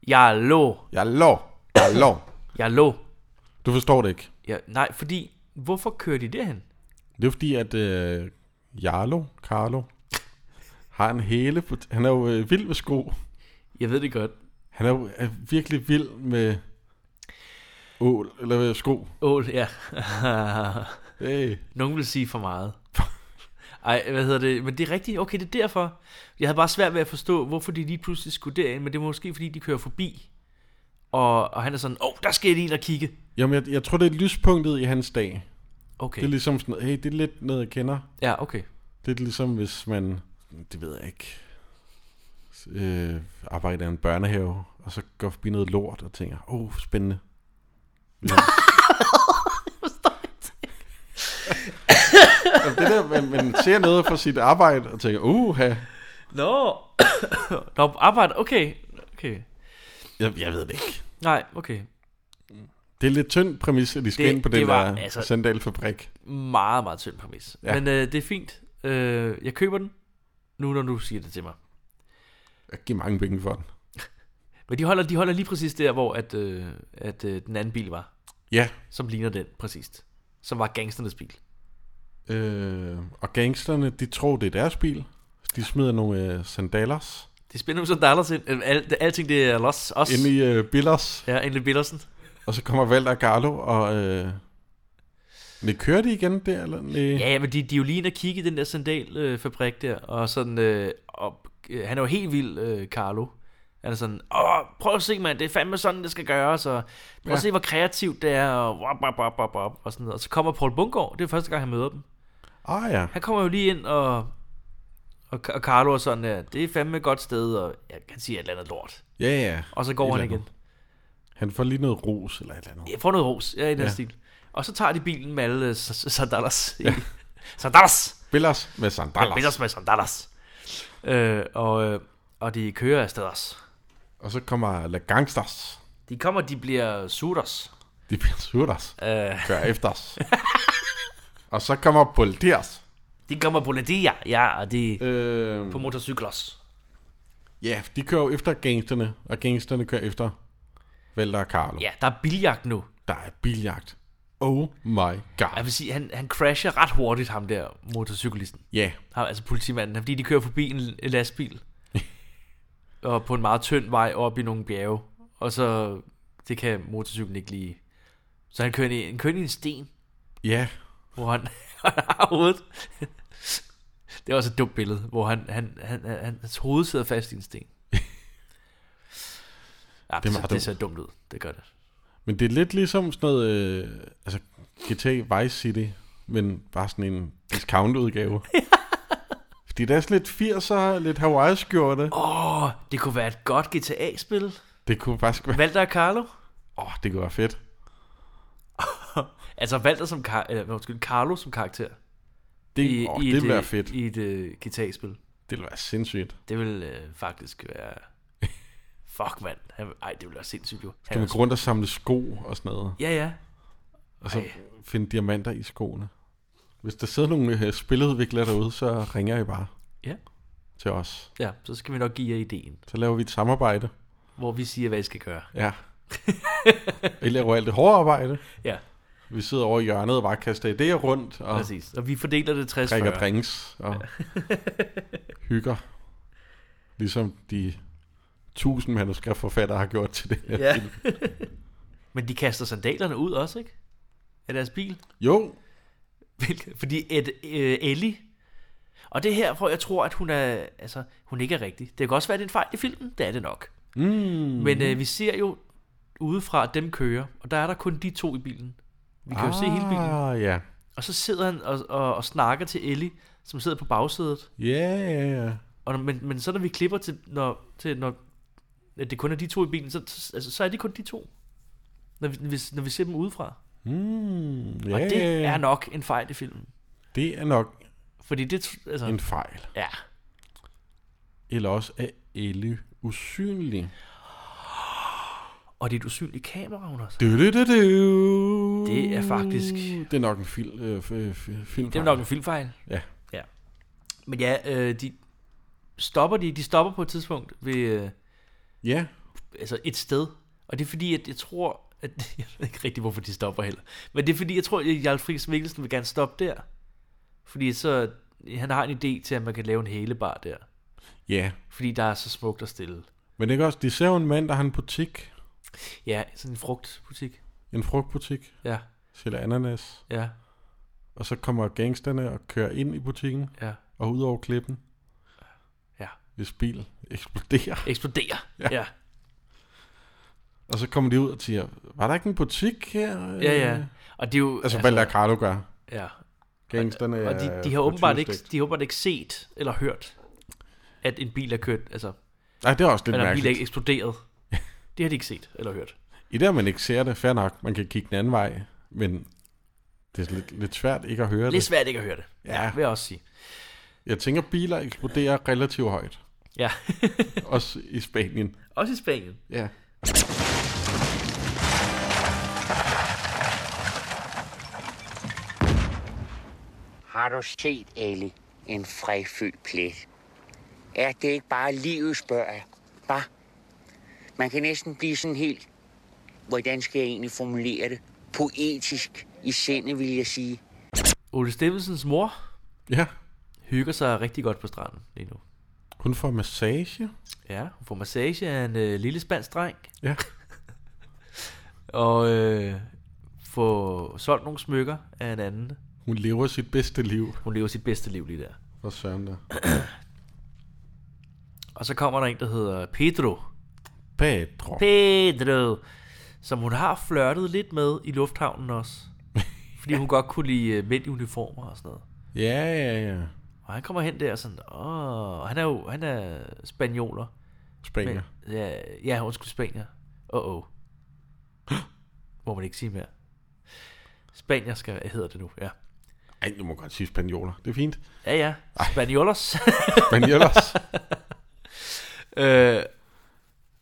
Speaker 3: Jarlo.
Speaker 2: Jarlo. Jarlo.
Speaker 3: Jarlo.
Speaker 2: Du forstår det ikke.
Speaker 3: Ja, nej, fordi, hvorfor kører de derhen?
Speaker 2: Det er fordi, at øh, Jarlo, Carlo, har en hele... På t- han er jo øh, vild med sko.
Speaker 3: Jeg ved det godt.
Speaker 2: Han er jo er virkelig vild med ål, eller hvad, sko.
Speaker 3: Åh, oh, ja.
Speaker 2: Hey.
Speaker 3: Nogen vil sige for
Speaker 2: [laughs]
Speaker 3: meget. Ej, hvad hedder det? Men det er rigtigt. Okay, det er derfor. Jeg havde bare svært ved at forstå, hvorfor de lige pludselig skulle derind, men det er måske, fordi de kører forbi. Og, og han er sådan, åh, oh, der skal jeg lige ind og kigge.
Speaker 2: Jamen, jeg, jeg tror, det er lyspunktet i hans dag. Okay.
Speaker 3: Okay.
Speaker 2: Det er ligesom sådan, hey, det er lidt noget, jeg kender.
Speaker 3: Ja, okay.
Speaker 2: Det er ligesom, hvis man, det ved jeg ikke, øh, arbejder i en børnehave, og så går forbi noget lort og tænker, åh, oh, [laughs] spændende. Ligesom. Jamen, det der, man, man ser noget fra sit arbejde og tænker, uh, jeg,
Speaker 3: Nå. [coughs] Nå, arbejde. Okay. Okay.
Speaker 2: jeg ved det ikke.
Speaker 3: Nej, okay.
Speaker 2: Det er lidt tynd præmis, at de skal
Speaker 3: Det-
Speaker 2: ind på
Speaker 3: det
Speaker 2: den
Speaker 3: var,
Speaker 2: der
Speaker 3: altså-
Speaker 2: altså... sandalfabrik.
Speaker 3: Meget, meget tynd præmis. Ja.
Speaker 2: Ja.
Speaker 3: Men øh, det er fint. Øh, jeg køber den, nu når du siger det til mig.
Speaker 2: Jeg giver mange penge for den.
Speaker 3: Men de holder, de holder lige præcis der, hvor at, øh, at øh, den anden bil var,
Speaker 2: Ja,
Speaker 3: som ligner den præcist. Som var gangsternes bil.
Speaker 2: øh, og gangsterne, de tror, det er deres bil. De smider nogle øh, sandalers
Speaker 3: Det spænder jo så dollars ind. Øh, Al, det, alting det er los, os.
Speaker 2: ind i øh, billers.
Speaker 3: Ja, endelig Billersen.
Speaker 2: Og så kommer Valder og Carlo, og... Øh... Men kører de igen der, eller? Næ.
Speaker 3: Ja, ja, men de, de er jo lige inde og kigge i den der sandalfabrik øh, fabrik der, og sådan, øh, og, øh, han er jo helt vild, øh, Carlo. Han er sådan, åh, prøv at se, mand, det er fandme sådan, det skal gøres, og prøv
Speaker 2: Ja.
Speaker 3: at se, hvor kreativt det er, og, wop, wop, wop, wop, wop, og sådan noget. Og så kommer Paul Bungård, det er første gang, han møder dem.
Speaker 2: Ah ja.
Speaker 3: Han kommer jo lige ind, og, og, og Carlo er sådan, ja, det er fandme et godt sted, og jeg kan sige et eller andet lort.
Speaker 2: Ja, ja.
Speaker 3: Og så går
Speaker 2: Et
Speaker 3: han
Speaker 2: eller
Speaker 3: igen.
Speaker 2: andet. Han får lige noget ros eller et eller andet.
Speaker 3: Jeg får noget ros, ja, i den ja.
Speaker 2: Ja.
Speaker 3: stil. Og så tager de bilen med alle øh, s- s- [laughs] sandalas. Ja. sandalas!
Speaker 2: Billers med sandalas.
Speaker 3: Ja, Billers med sandalas. Øh, og, øh, og de kører afsted også.
Speaker 2: Og så kommer La Gangsters.
Speaker 3: De kommer, de bliver sutters.
Speaker 2: De bliver surters.
Speaker 3: Øh.
Speaker 2: Kører efter
Speaker 3: [laughs]
Speaker 2: os. og så kommer Politeres.
Speaker 3: De kommer på Nadia, ja, og de
Speaker 2: øh,
Speaker 3: på motorcyklers.
Speaker 2: Ja, de kører jo efter gangsterne, og gangsterne kører efter Valter og Carlo.
Speaker 3: Ja, der er biljagt nu.
Speaker 2: Der er biljagt. Oh my
Speaker 3: Jeg
Speaker 2: god.
Speaker 3: vil sige, han, han crasher ret hurtigt, ham der motorcyklisten.
Speaker 2: Ja,
Speaker 3: Ham, altså politimanden, fordi de kører forbi en, en lastbil. og på en meget tynd vej op i nogle bjerge. Og så, det kan motorcyklen ikke lige. Så han kører ind i, han kører ind i en sten,
Speaker 2: ja.
Speaker 3: hvor han [laughs] har hovedet. det er også et dumt billede, hvor han, han, han, han, hans hoved sidder fast i en
Speaker 2: [laughs]
Speaker 3: sten. Ja, det, det,
Speaker 2: meget
Speaker 3: ser, det
Speaker 2: dumt.
Speaker 3: ser dumt ud. Det gør det.
Speaker 2: Men det er lidt ligesom sådan noget, øh, altså GTA Vice City, men bare sådan en
Speaker 3: [laughs]
Speaker 2: discount-udgave. Fordi der er sådan lidt 80'er, lidt Hawaii-skjorte. Oh.
Speaker 3: Åh, oh, det kunne være et godt GTA-spil.
Speaker 2: Det kunne faktisk være...
Speaker 3: Valter og Carlo?
Speaker 2: Åh, oh, det kunne være fedt.
Speaker 3: Altså Valter som kar- eller, undskyld, Carlo som karakter.
Speaker 2: Det, oh, det ville
Speaker 3: et,
Speaker 2: være fedt.
Speaker 3: I et uh, guitarspil.
Speaker 2: Det ville være sindssygt.
Speaker 3: Det ville uh, faktisk være... Fuck, mand. Han, ej, det ville være sindssygt, jo.
Speaker 2: Kan man gå rundt og samle sko og sådan noget,
Speaker 3: Ja, ja.
Speaker 2: og så
Speaker 3: Ej.
Speaker 2: finde diamanter i skoene. Hvis der sidder nogle øh, spiludviklere derude, så ringer I bare
Speaker 3: Ja.
Speaker 2: til os.
Speaker 3: Ja, så skal vi nok give jer ideen,
Speaker 2: Så laver vi et samarbejde.
Speaker 3: hvor vi siger, hvad I skal gøre.
Speaker 2: Ja. I laver alt det hårde arbejde.
Speaker 3: Ja,
Speaker 2: Vi sidder over i hjørnet og bare kaster idéer rundt og
Speaker 3: præcis. Og vi fordeler det 60
Speaker 2: drikker
Speaker 3: 40.
Speaker 2: drinks
Speaker 3: [laughs]
Speaker 2: og hygger. Ligesom de tusind manuskriptforfattere har gjort til det her
Speaker 3: Ja.
Speaker 2: film.
Speaker 3: [laughs] Men de kaster sandalerne ud også, ikke? Af deres bil.
Speaker 2: Jo,
Speaker 3: Hvilket- Fordi et, øh, Ellie... Og det er her, hvor jeg tror, at hun er... Altså, hun ikke er rigtig. Det kan også være, at det er en fejl i filmen. Det er det nok. Mm. Men øh, vi ser jo udefra, at dem kører. Og der er der kun de to i bilen. Vi kan ah. jo se hele bilen.
Speaker 2: Ah, ja.
Speaker 3: Og så sidder han og, og, og snakker til Ellie, som sidder på bagsædet.
Speaker 2: Ja, ja, ja.
Speaker 3: Og, når- men, men så når vi klipper til, når, til når at det kun er de to i bilen, så, så- altså, så er det kun de to. Når vi, hvis, når vi ser dem udefra.
Speaker 2: Mm, ja,
Speaker 3: Og
Speaker 2: ja,
Speaker 3: det
Speaker 2: ja.
Speaker 3: er nok en fejl i filmen.
Speaker 2: det er nok
Speaker 3: Fordi det... tr- Altså,
Speaker 2: en fejl.
Speaker 3: ja.
Speaker 2: Eller også er Ellie usynlig.
Speaker 3: Og det er et usynligt kamera, hun også.
Speaker 2: Du, du, du, du.
Speaker 3: Det er faktisk...
Speaker 2: Det er nok en fil, øh, f- f- film.
Speaker 3: Det er nok en filmfejl.
Speaker 2: Ja.
Speaker 3: ja. Men ja, øh, de stopper de, de stopper på et tidspunkt ved øh,
Speaker 2: Ja,
Speaker 3: altså et sted. Og det er fordi, at jeg tror, at, [laughs] jeg ved ikke rigtig, hvorfor de stopper heller. Men det er fordi, jeg tror, at Jarl Friis Mikkelsen vil gerne stoppe der. Fordi så, han har en idé til, at man kan lave en hælebar der.
Speaker 2: ja.
Speaker 3: Fordi der er så smukt og stille.
Speaker 2: Men det er også, de ser jo en mand, der har en butik.
Speaker 3: Ja, sådan en frugtbutik.
Speaker 2: En frugtbutik.
Speaker 3: Ja,
Speaker 2: Sælger ananas.
Speaker 3: ja,
Speaker 2: Og så kommer gangsterne og kører ind i butikken
Speaker 3: ja.
Speaker 2: og ud over klippen.
Speaker 3: Ja.
Speaker 2: Hvis bil eksploderer.
Speaker 3: Eksploderer.
Speaker 2: Ja.
Speaker 3: ja.
Speaker 2: Og så kommer de ud og siger, var der ikke en butik her?
Speaker 3: Ja, ja. Og det er jo...
Speaker 2: Altså, hvad altså, Carlo gør.
Speaker 3: ja.
Speaker 2: Gangsterne
Speaker 3: Og de,
Speaker 2: er
Speaker 3: de, har
Speaker 2: på
Speaker 3: åbenbart
Speaker 2: 20
Speaker 3: ikke,
Speaker 2: styk.
Speaker 3: de har åbenbart ikke set eller hørt, at en bil er kørt, altså,
Speaker 2: Nej, det er også lidt
Speaker 3: eller en bil er
Speaker 2: mærkeligt. [laughs]
Speaker 3: eksploderet. Det har de ikke set eller hørt.
Speaker 2: I det, at man ikke ser det, fair nok. Man kan kigge den anden vej, men det er sådan lidt, lidt svært ikke at høre
Speaker 3: Det er
Speaker 2: det.
Speaker 3: svært ikke at høre det,
Speaker 2: Ja.
Speaker 3: vil jeg også sige.
Speaker 2: Jeg tænker, biler eksploderer relativt
Speaker 3: [laughs]
Speaker 2: højt.
Speaker 3: Ja,
Speaker 2: Også i Spanien.
Speaker 3: også i Spanien.
Speaker 2: Ja.
Speaker 7: Har du set, Ellie, en fræfyldt plet? Er det ikke bare livet, spørger jeg? Hva? Man kan næsten blive sådan helt... Hvordan skal jeg egentlig formulere det? Poetisk i sindet, vil jeg sige.
Speaker 3: Ole Steffensens mor
Speaker 2: Ja.
Speaker 3: hygger sig rigtig godt på stranden lige nu.
Speaker 2: Hun får massage.
Speaker 3: Ja, hun får massage af en øh, lille spansk dreng,
Speaker 2: Ja.
Speaker 3: og øh, får solgt nogle smykker af en anden.
Speaker 2: Hun lever sit bedste liv.
Speaker 3: Hun lever sit bedste liv lige der.
Speaker 2: For søren der.
Speaker 3: Og så kommer der en, der hedder Pedro,
Speaker 2: Pedro.
Speaker 3: Pedro. Som hun har flørtet lidt med i lufthavnen også. [laughs] Fordi hun godt kunne lide øh, mænd i uniformer og sådan noget.
Speaker 2: Ja, ja, ja.
Speaker 3: Og han kommer hen der og sådan, åh, han er jo, han er spanioler.
Speaker 2: Spanier.
Speaker 3: Men, ja, ja, undskyld, spanier. Åh, oh, oh. [gasps] Må man ikke sige mere. Spanier skal, hedder det nu, ja.
Speaker 2: Ej, nu må jeg godt sige spanioler. Det er fint.
Speaker 3: Ja, ja.
Speaker 2: [laughs]
Speaker 3: Spaniolos.
Speaker 2: Spaniolos.
Speaker 3: øh, jeg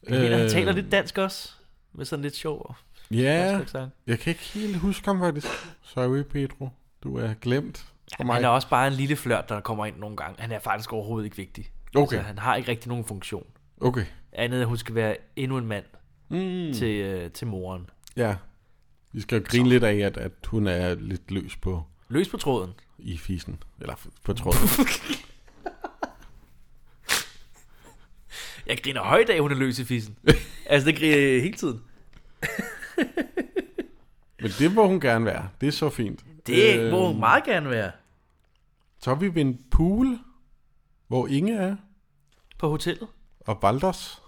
Speaker 3: mener, han taler lidt dansk også. Med sådan lidt sjov. og-
Speaker 2: Øh. Ja,
Speaker 3: dansk accent.
Speaker 2: jeg kan ikke helt huske ham faktisk. Sorry, Pedro. Du er glemt for mig.
Speaker 3: Han er også bare en lille flørt, der kommer ind nogle gange. Han er faktisk overhovedet ikke vigtig.
Speaker 2: Okay.
Speaker 3: Altså, han har ikke rigtig nogen funktion.
Speaker 2: Okay.
Speaker 3: Andet, at hun skal være endnu en mand
Speaker 2: Mm.
Speaker 3: til, øh, til moren.
Speaker 2: Ja. Vi skal jo grine lidt af, at, at hun er lidt løs på
Speaker 3: Løs på tråden.
Speaker 2: i fisen. Eller f- på
Speaker 3: [laughs]
Speaker 2: tråden.
Speaker 3: Jeg griner højt af, hun er løs
Speaker 2: [laughs]
Speaker 3: i fissen. altså, det griner jeg hele tiden.
Speaker 2: Men det må hun gerne være. Det er så fint.
Speaker 3: Det
Speaker 2: Øhm,
Speaker 3: må hun meget gerne være.
Speaker 2: Så er vi ved en pool, hvor Inge er.
Speaker 3: På hotellet.
Speaker 2: Og Valders.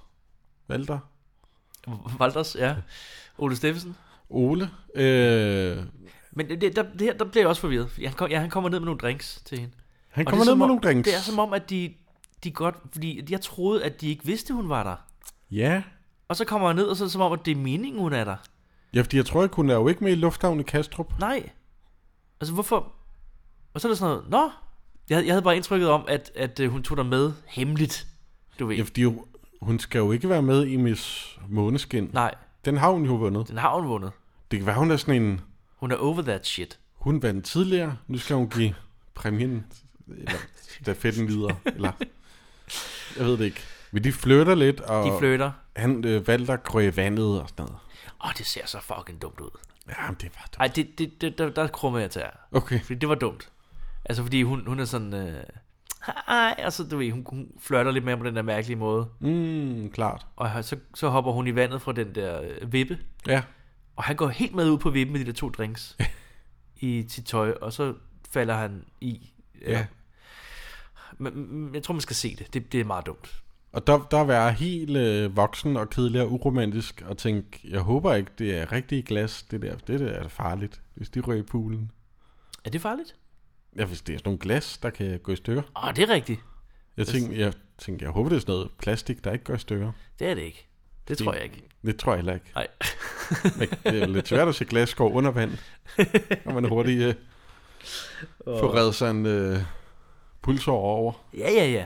Speaker 2: Valder.
Speaker 3: Valders, ja. Ole Steffensen.
Speaker 2: Ole. Øh,
Speaker 3: Men det, der, det her, der bliver jeg også forvirret. fordi Han, kom, ja, han kommer ned med nogle drinks til hende.
Speaker 2: Han
Speaker 3: Og
Speaker 2: kommer
Speaker 3: det er
Speaker 2: ned med
Speaker 3: som om-
Speaker 2: nogle drinks.
Speaker 3: Det er som om, at de, de godt... Fordi jeg troede, at de ikke vidste, hun var der.
Speaker 2: ja.
Speaker 3: Og så kommer han ned, og så er det som om, at det er meningen, hun er der.
Speaker 2: Ja, fordi jeg tror ikke, hun er jo ikke med i Lufthavn i Kastrup.
Speaker 3: Nej. Altså, hvorfor... Og så er der sådan noget... Nå! Jeg, jeg havde bare indtrykket om, at, at øh, hun tog dig med hemmeligt. Du ved.
Speaker 2: Ja, fordi jo- hun skal jo ikke være med i Miss Måneskin.
Speaker 3: Nej.
Speaker 2: Den har hun jo vundet.
Speaker 3: Den har hun vundet.
Speaker 2: Det kan være, hun er sådan en...
Speaker 3: Hun er over that shit.
Speaker 2: Hun vandt tidligere, nu skal hun give præmien, eller stafetten
Speaker 3: [laughs]
Speaker 2: videre, eller... Jeg ved det ikke. Men de flytter lidt, og...
Speaker 3: De flytter.
Speaker 2: Han øh, valgte at gå i vandet og sådan noget.
Speaker 3: Åh, det ser så fucking dumt ud.
Speaker 2: Ja, men det var...
Speaker 3: Ej, det, det, det, der, der krummer jeg til jer.
Speaker 2: Okay.
Speaker 3: Fordi det var dumt. Altså, fordi hun, hun er sådan... Øh, Hej, altså du ved, hun, hun flirter lidt mere på den der mærkelige måde.
Speaker 2: Mm, klart.
Speaker 3: Og så, så hopper hun i vandet fra den der øh, vippe.
Speaker 2: Ja.
Speaker 3: Og han går helt med ud på vippen med de der to [laughs] drinks i sit tøj, og så falder han i. Eller-
Speaker 2: Ja.
Speaker 3: Men, men jeg tror, man skal se det. Det, det er meget dumt.
Speaker 2: Og der, der være helt øh, voksen og kedelig og uromantisk og tænke, jeg håber ikke, det er rigtige glas, det der. Det der er farligt, hvis de rører i poolen.
Speaker 3: Er det farligt?
Speaker 2: Ja, hvis det er sådan nogle glas, der kan gå i stykker.
Speaker 3: Åh, det er rigtigt.
Speaker 2: Jeg tænkte, jeg, tænkte, jeg håber, det er sådan noget plastik, der ikke går i stykker.
Speaker 3: Det er det ikke. Det tror jeg ikke.
Speaker 2: Det tror jeg heller ikke.
Speaker 3: Nej.
Speaker 2: Men det er jo lidt svært at se glas gå under vand, når man hurtigt øh, får reddet sig en øh, pulsår over.
Speaker 3: Ja, ja, ja.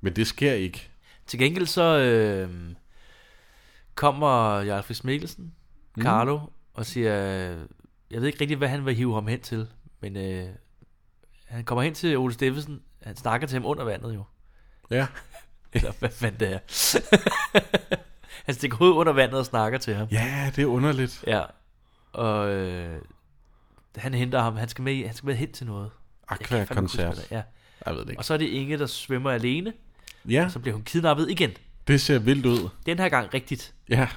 Speaker 2: Men det sker ikke.
Speaker 3: Til gengæld så øh, kommer Jarl Friis Mikkelsen,
Speaker 2: Mm.
Speaker 3: Carlo, mm. og siger, øh, jeg ved ikke rigtig, hvad han vil hive ham hen til, men øh, han kommer hen til Ole Steffensen, han snakker til ham under
Speaker 2: [laughs]
Speaker 3: vandet jo.
Speaker 2: Ja.
Speaker 3: Eller hvad fanden det er. [laughs] han stikker hovedet under vandet og snakker til ham.
Speaker 2: Ja, det er underligt.
Speaker 3: Ja. Og øh, han henter ham, han skal med, i- han skal med hen til noget. Jeg kan fandme ikke huske, hvad
Speaker 2: Aqua-koncert.
Speaker 3: det er. Ja.
Speaker 2: Jeg ved det ikke.
Speaker 3: Og så er det Inge, der svømmer alene,
Speaker 2: Ja,
Speaker 3: og så bliver hun kidnappet igen.
Speaker 2: det ser vildt ud.
Speaker 3: Den her gang rigtigt.
Speaker 2: Ja.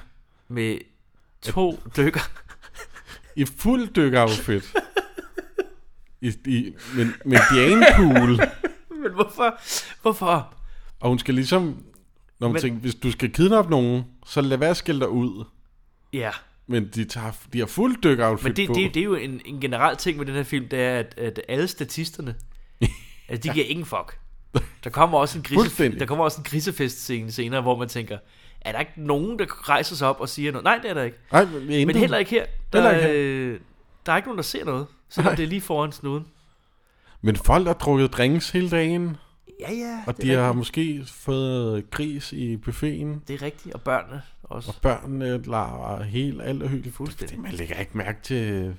Speaker 3: Med
Speaker 2: [laughs]
Speaker 3: to dykker.
Speaker 2: I fuld dykkeroutfit. I, i, men, men Diane Pool.
Speaker 3: Men hvorfor? Hvorfor?
Speaker 2: Og hun skal ligesom... Når man
Speaker 3: Men-
Speaker 2: men, tænker, hvis du skal kidnappe nogen, så lad være at skille dig ud.
Speaker 3: Ja.
Speaker 2: Men de, tager, de har fuld dykkeroutfit
Speaker 3: Men det,
Speaker 2: på.
Speaker 3: det, det er jo en, en generel ting med den her film, det er, at, at alle
Speaker 2: [laughs]
Speaker 3: statisterne, altså de giver ingen fuck. Der kommer også en, grise,
Speaker 2: Fuldstændig.
Speaker 3: der kommer også en grisefest scene senere, hvor man tænker, er der ikke nogen, der rejser sig op og siger noget? Nej, det er der ikke.
Speaker 2: Nej, men, intet.
Speaker 3: Men heller ikke her. Der,
Speaker 2: Heller
Speaker 3: ikke
Speaker 2: ikke
Speaker 3: her. Øh, der er ikke nogen, der ser noget, selvom det er lige foran snuden.
Speaker 2: men folk har drukket drinks hele dagen,
Speaker 3: Ja, ja.
Speaker 2: og
Speaker 3: det,
Speaker 2: de
Speaker 3: er
Speaker 2: har
Speaker 3: rigtigt.
Speaker 2: måske fået gris i buffeten.
Speaker 3: det er rigtigt, og børnene også.
Speaker 2: Og børnene laver helt alt og hyggeligt.
Speaker 3: Fuldstændig.
Speaker 2: Fuldstændig. Man lægger ikke mærke til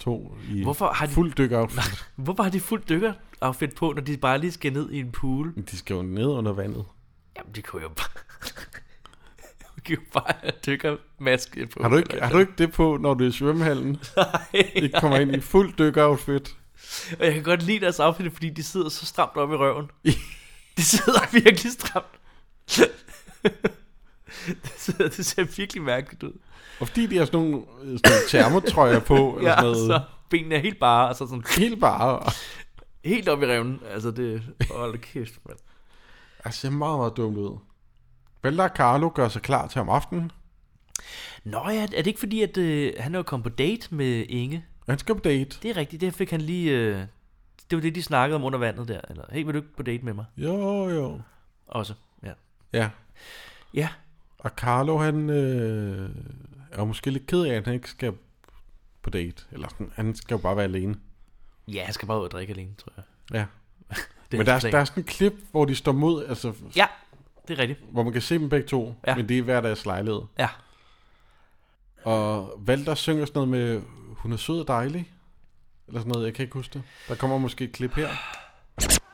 Speaker 2: to i
Speaker 3: Hvorfor har de-
Speaker 2: fuld dykkeroutfit.
Speaker 3: Hvorfor har de fuldt dykkeroutfit på, når de bare lige skal ned i en pool?
Speaker 2: Men De skal jo ned under vandet.
Speaker 3: Jamen, de kunne jo bare... [laughs] de kunne jo bare have dykkermaske på.
Speaker 2: Har du, ikke, har
Speaker 3: [laughs]
Speaker 2: du ikke det på, når du er i svømmehallen? Ikke kommer ind i fuld dykkeroutfit.
Speaker 3: Og jeg kan godt lide deres outfit, fordi de sidder så stramt op i røven. De sidder [laughs] virkelig stramt. det, sidder, det ser virkelig mærkeligt ud.
Speaker 2: Og fordi de har sådan nogle, øh, sådan nogle termotrøjer
Speaker 3: [laughs]
Speaker 2: på, eller
Speaker 3: Ja,
Speaker 2: sådan
Speaker 3: og
Speaker 2: noget.
Speaker 3: så benene er helt bare, og så sådan
Speaker 2: Helt bare.
Speaker 3: helt op i revnen. Altså det, hold da kæft, mand.
Speaker 2: Det ser meget, meget dumt ud. Bella Carlo gør sig klar til om aftenen.
Speaker 3: Nå ja, er det ikke fordi, at øh, han er jo kommet på date med Inge?
Speaker 2: Han skal på date.
Speaker 3: Det er rigtigt, det fik han lige... Øh, det var det, de snakkede om under vandet der. Eller, hey, vil du ikke på date med mig?
Speaker 2: Jo, jo.
Speaker 3: Også, ja.
Speaker 2: Ja.
Speaker 3: Ja.
Speaker 2: Og Carlo, han øh, er jo måske lidt ked af, at han ikke skal på date. Eller sådan, han skal jo bare være alene.
Speaker 3: Ja, han skal bare ud og drikke alene, tror jeg.
Speaker 2: Ja.
Speaker 3: Det er
Speaker 2: Men der er,
Speaker 3: hans plan.
Speaker 2: der er sådan en klip, hvor de står mod, altså,
Speaker 3: Ja, det er rigtigt.
Speaker 2: hvor man kan se dem begge to,
Speaker 3: Ja.
Speaker 2: ja. men det er hver deres lejlighed.
Speaker 3: Ja.
Speaker 2: Og Valter synger sådan noget med, hun er sød og dejlig, eller sådan noget, jeg kan ikke huske det. Der kommer måske et klip her.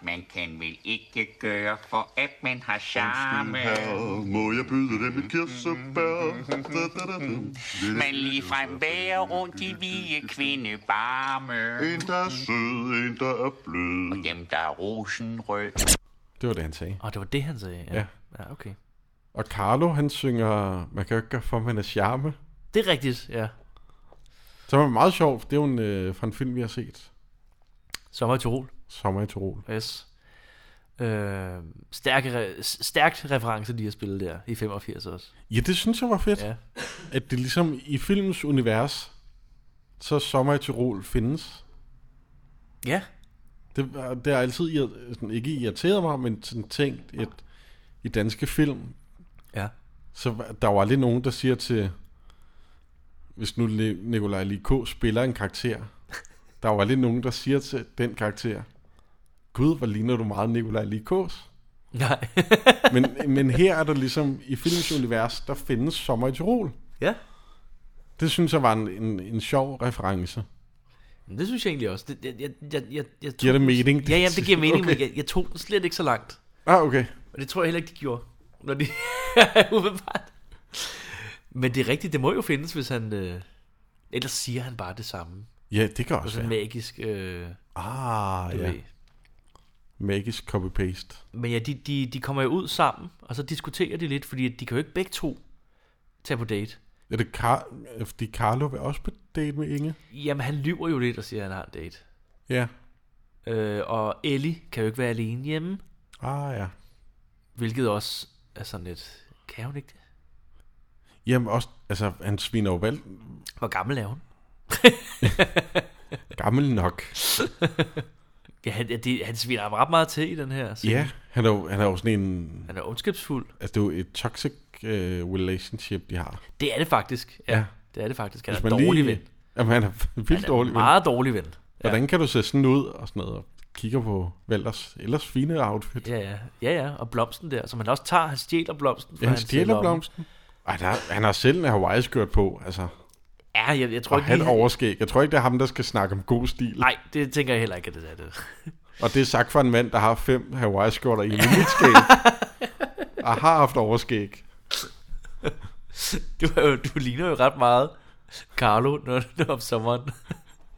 Speaker 12: Man kan vel ikke gøre for, at man har charme.
Speaker 13: Må jeg byde dem et kirsebær?
Speaker 12: Man ligefrem bærer rundt i vige kvindebarme.
Speaker 13: En der er sød, en der er blød.
Speaker 12: Og dem, der er rosenrød.
Speaker 2: Det var det, han sagde.
Speaker 3: Og det var det, han sagde.
Speaker 2: Ja.
Speaker 3: ja okay.
Speaker 2: Og Carlo, han synger, man kan jo ikke gøre for, at man er charme.
Speaker 3: Det er rigtigt, ja.
Speaker 2: Som er meget sjov, for det er jo en, øh, fra en film, vi har set.
Speaker 3: Sommer i Tirol.
Speaker 2: Sommer i Tirol.
Speaker 3: Yes. Øh, stærke re- s- stærkt reference, de har spillet der i 85 også.
Speaker 2: Ja, det synes jeg var fedt.
Speaker 3: Ja.
Speaker 2: At det ligesom i filmens univers, så Sommer i Tirol findes.
Speaker 3: Ja.
Speaker 2: Det, var- det har altid irri- sådan, ikke irriteret mig, men sådan tænkt, at i danske film,
Speaker 3: Ja. [laughs]
Speaker 2: så var- der var lidt nogen, der siger til, hvis nu Le- Nikolaj Liko spiller en karakter, der var lidt nogen, der siger til den karakter, Gud, hvor ligner du meget Nikolaj Likos.
Speaker 3: Nej.
Speaker 2: men, men her er der ligesom, i filmens univers, der findes Sommer i Tirol.
Speaker 3: Ja.
Speaker 2: Det synes jeg var en, en, en sjov reference.
Speaker 3: Men det synes jeg egentlig også. Det, jeg, jeg, jeg, jeg, jeg
Speaker 2: Giver
Speaker 3: tog
Speaker 2: det
Speaker 3: den-
Speaker 2: mening, det
Speaker 3: Ja, ja, det giver mening, okay. men
Speaker 2: [laughs] Okay.
Speaker 3: jeg, jeg tog den slet ikke så langt.
Speaker 2: Ah, okay.
Speaker 3: Og det tror jeg heller ikke, de gjorde, når de [laughs] umiddelbart. Men det er rigtigt, det må jo findes, hvis han... Øh, ellers siger han bare det samme.
Speaker 2: Ja, det kan også
Speaker 3: Det er
Speaker 2: være.
Speaker 3: magisk... Øh,
Speaker 2: Ah,
Speaker 3: Altså, du
Speaker 2: ja.
Speaker 3: ved.
Speaker 2: Magisk copy-paste.
Speaker 3: Men ja, de, de, de kommer jo ud sammen, og så diskuterer de lidt, fordi de kan jo ikke begge to tage på date.
Speaker 2: Er det Car- fordi Carlo vil også på date med Inge?
Speaker 3: Jamen, han lyver jo lidt og siger, at han har en date.
Speaker 2: Ja.
Speaker 3: Øh, og Ellie kan jo ikke være alene hjemme,
Speaker 2: Ah, ja.
Speaker 3: hvilket også er sådan lidt... Kan hun ikke det?
Speaker 2: Jamen også, altså, han sviner jo valg.
Speaker 3: Hvor gammel er hun?
Speaker 2: Gammel nok.
Speaker 3: Ja, han, ja, det, han sviner ham ret meget til i den her scene.
Speaker 2: Ja, han er jo, han er jo sådan en...
Speaker 3: Han er ondskabsfuld.
Speaker 2: Altså, det er jo et toxic uh, relationship, de har.
Speaker 3: Det er det faktisk. Ja,
Speaker 2: Ja.
Speaker 3: Det er det faktisk. Han er en dårlig ven.
Speaker 2: Jamen, han er [laughs] vildt
Speaker 3: Han er
Speaker 2: dårlig
Speaker 3: en meget dårlig ven. Ja.
Speaker 2: Hvordan kan du se sådan ud og sådan noget, og kigger på Valders ellers fine outfit?
Speaker 3: Ja, ja. Ja, ja. Og blomsten der, som han også tager. Han stjæler blomsten fra
Speaker 2: Ja, han
Speaker 3: hans
Speaker 2: stjæler
Speaker 3: lomme.
Speaker 2: blomsten. Ej, der, han har selv en Hawaii-skørt på, altså.
Speaker 3: Ja, jeg, jeg tror
Speaker 2: Og
Speaker 3: ikke
Speaker 2: han overskæg. Jeg tror ikke, det er ham, der skal snakke om god stil.
Speaker 3: Nej, det tænker jeg heller ikke, at det er det.
Speaker 2: Og det er sagt for en mand, der har fem Hawaii-skjorter i mit
Speaker 3: [laughs]
Speaker 2: skæg. Og har haft overskæg.
Speaker 3: Du, er jo, du ligner jo ret meget Carlo, når du er om sommeren.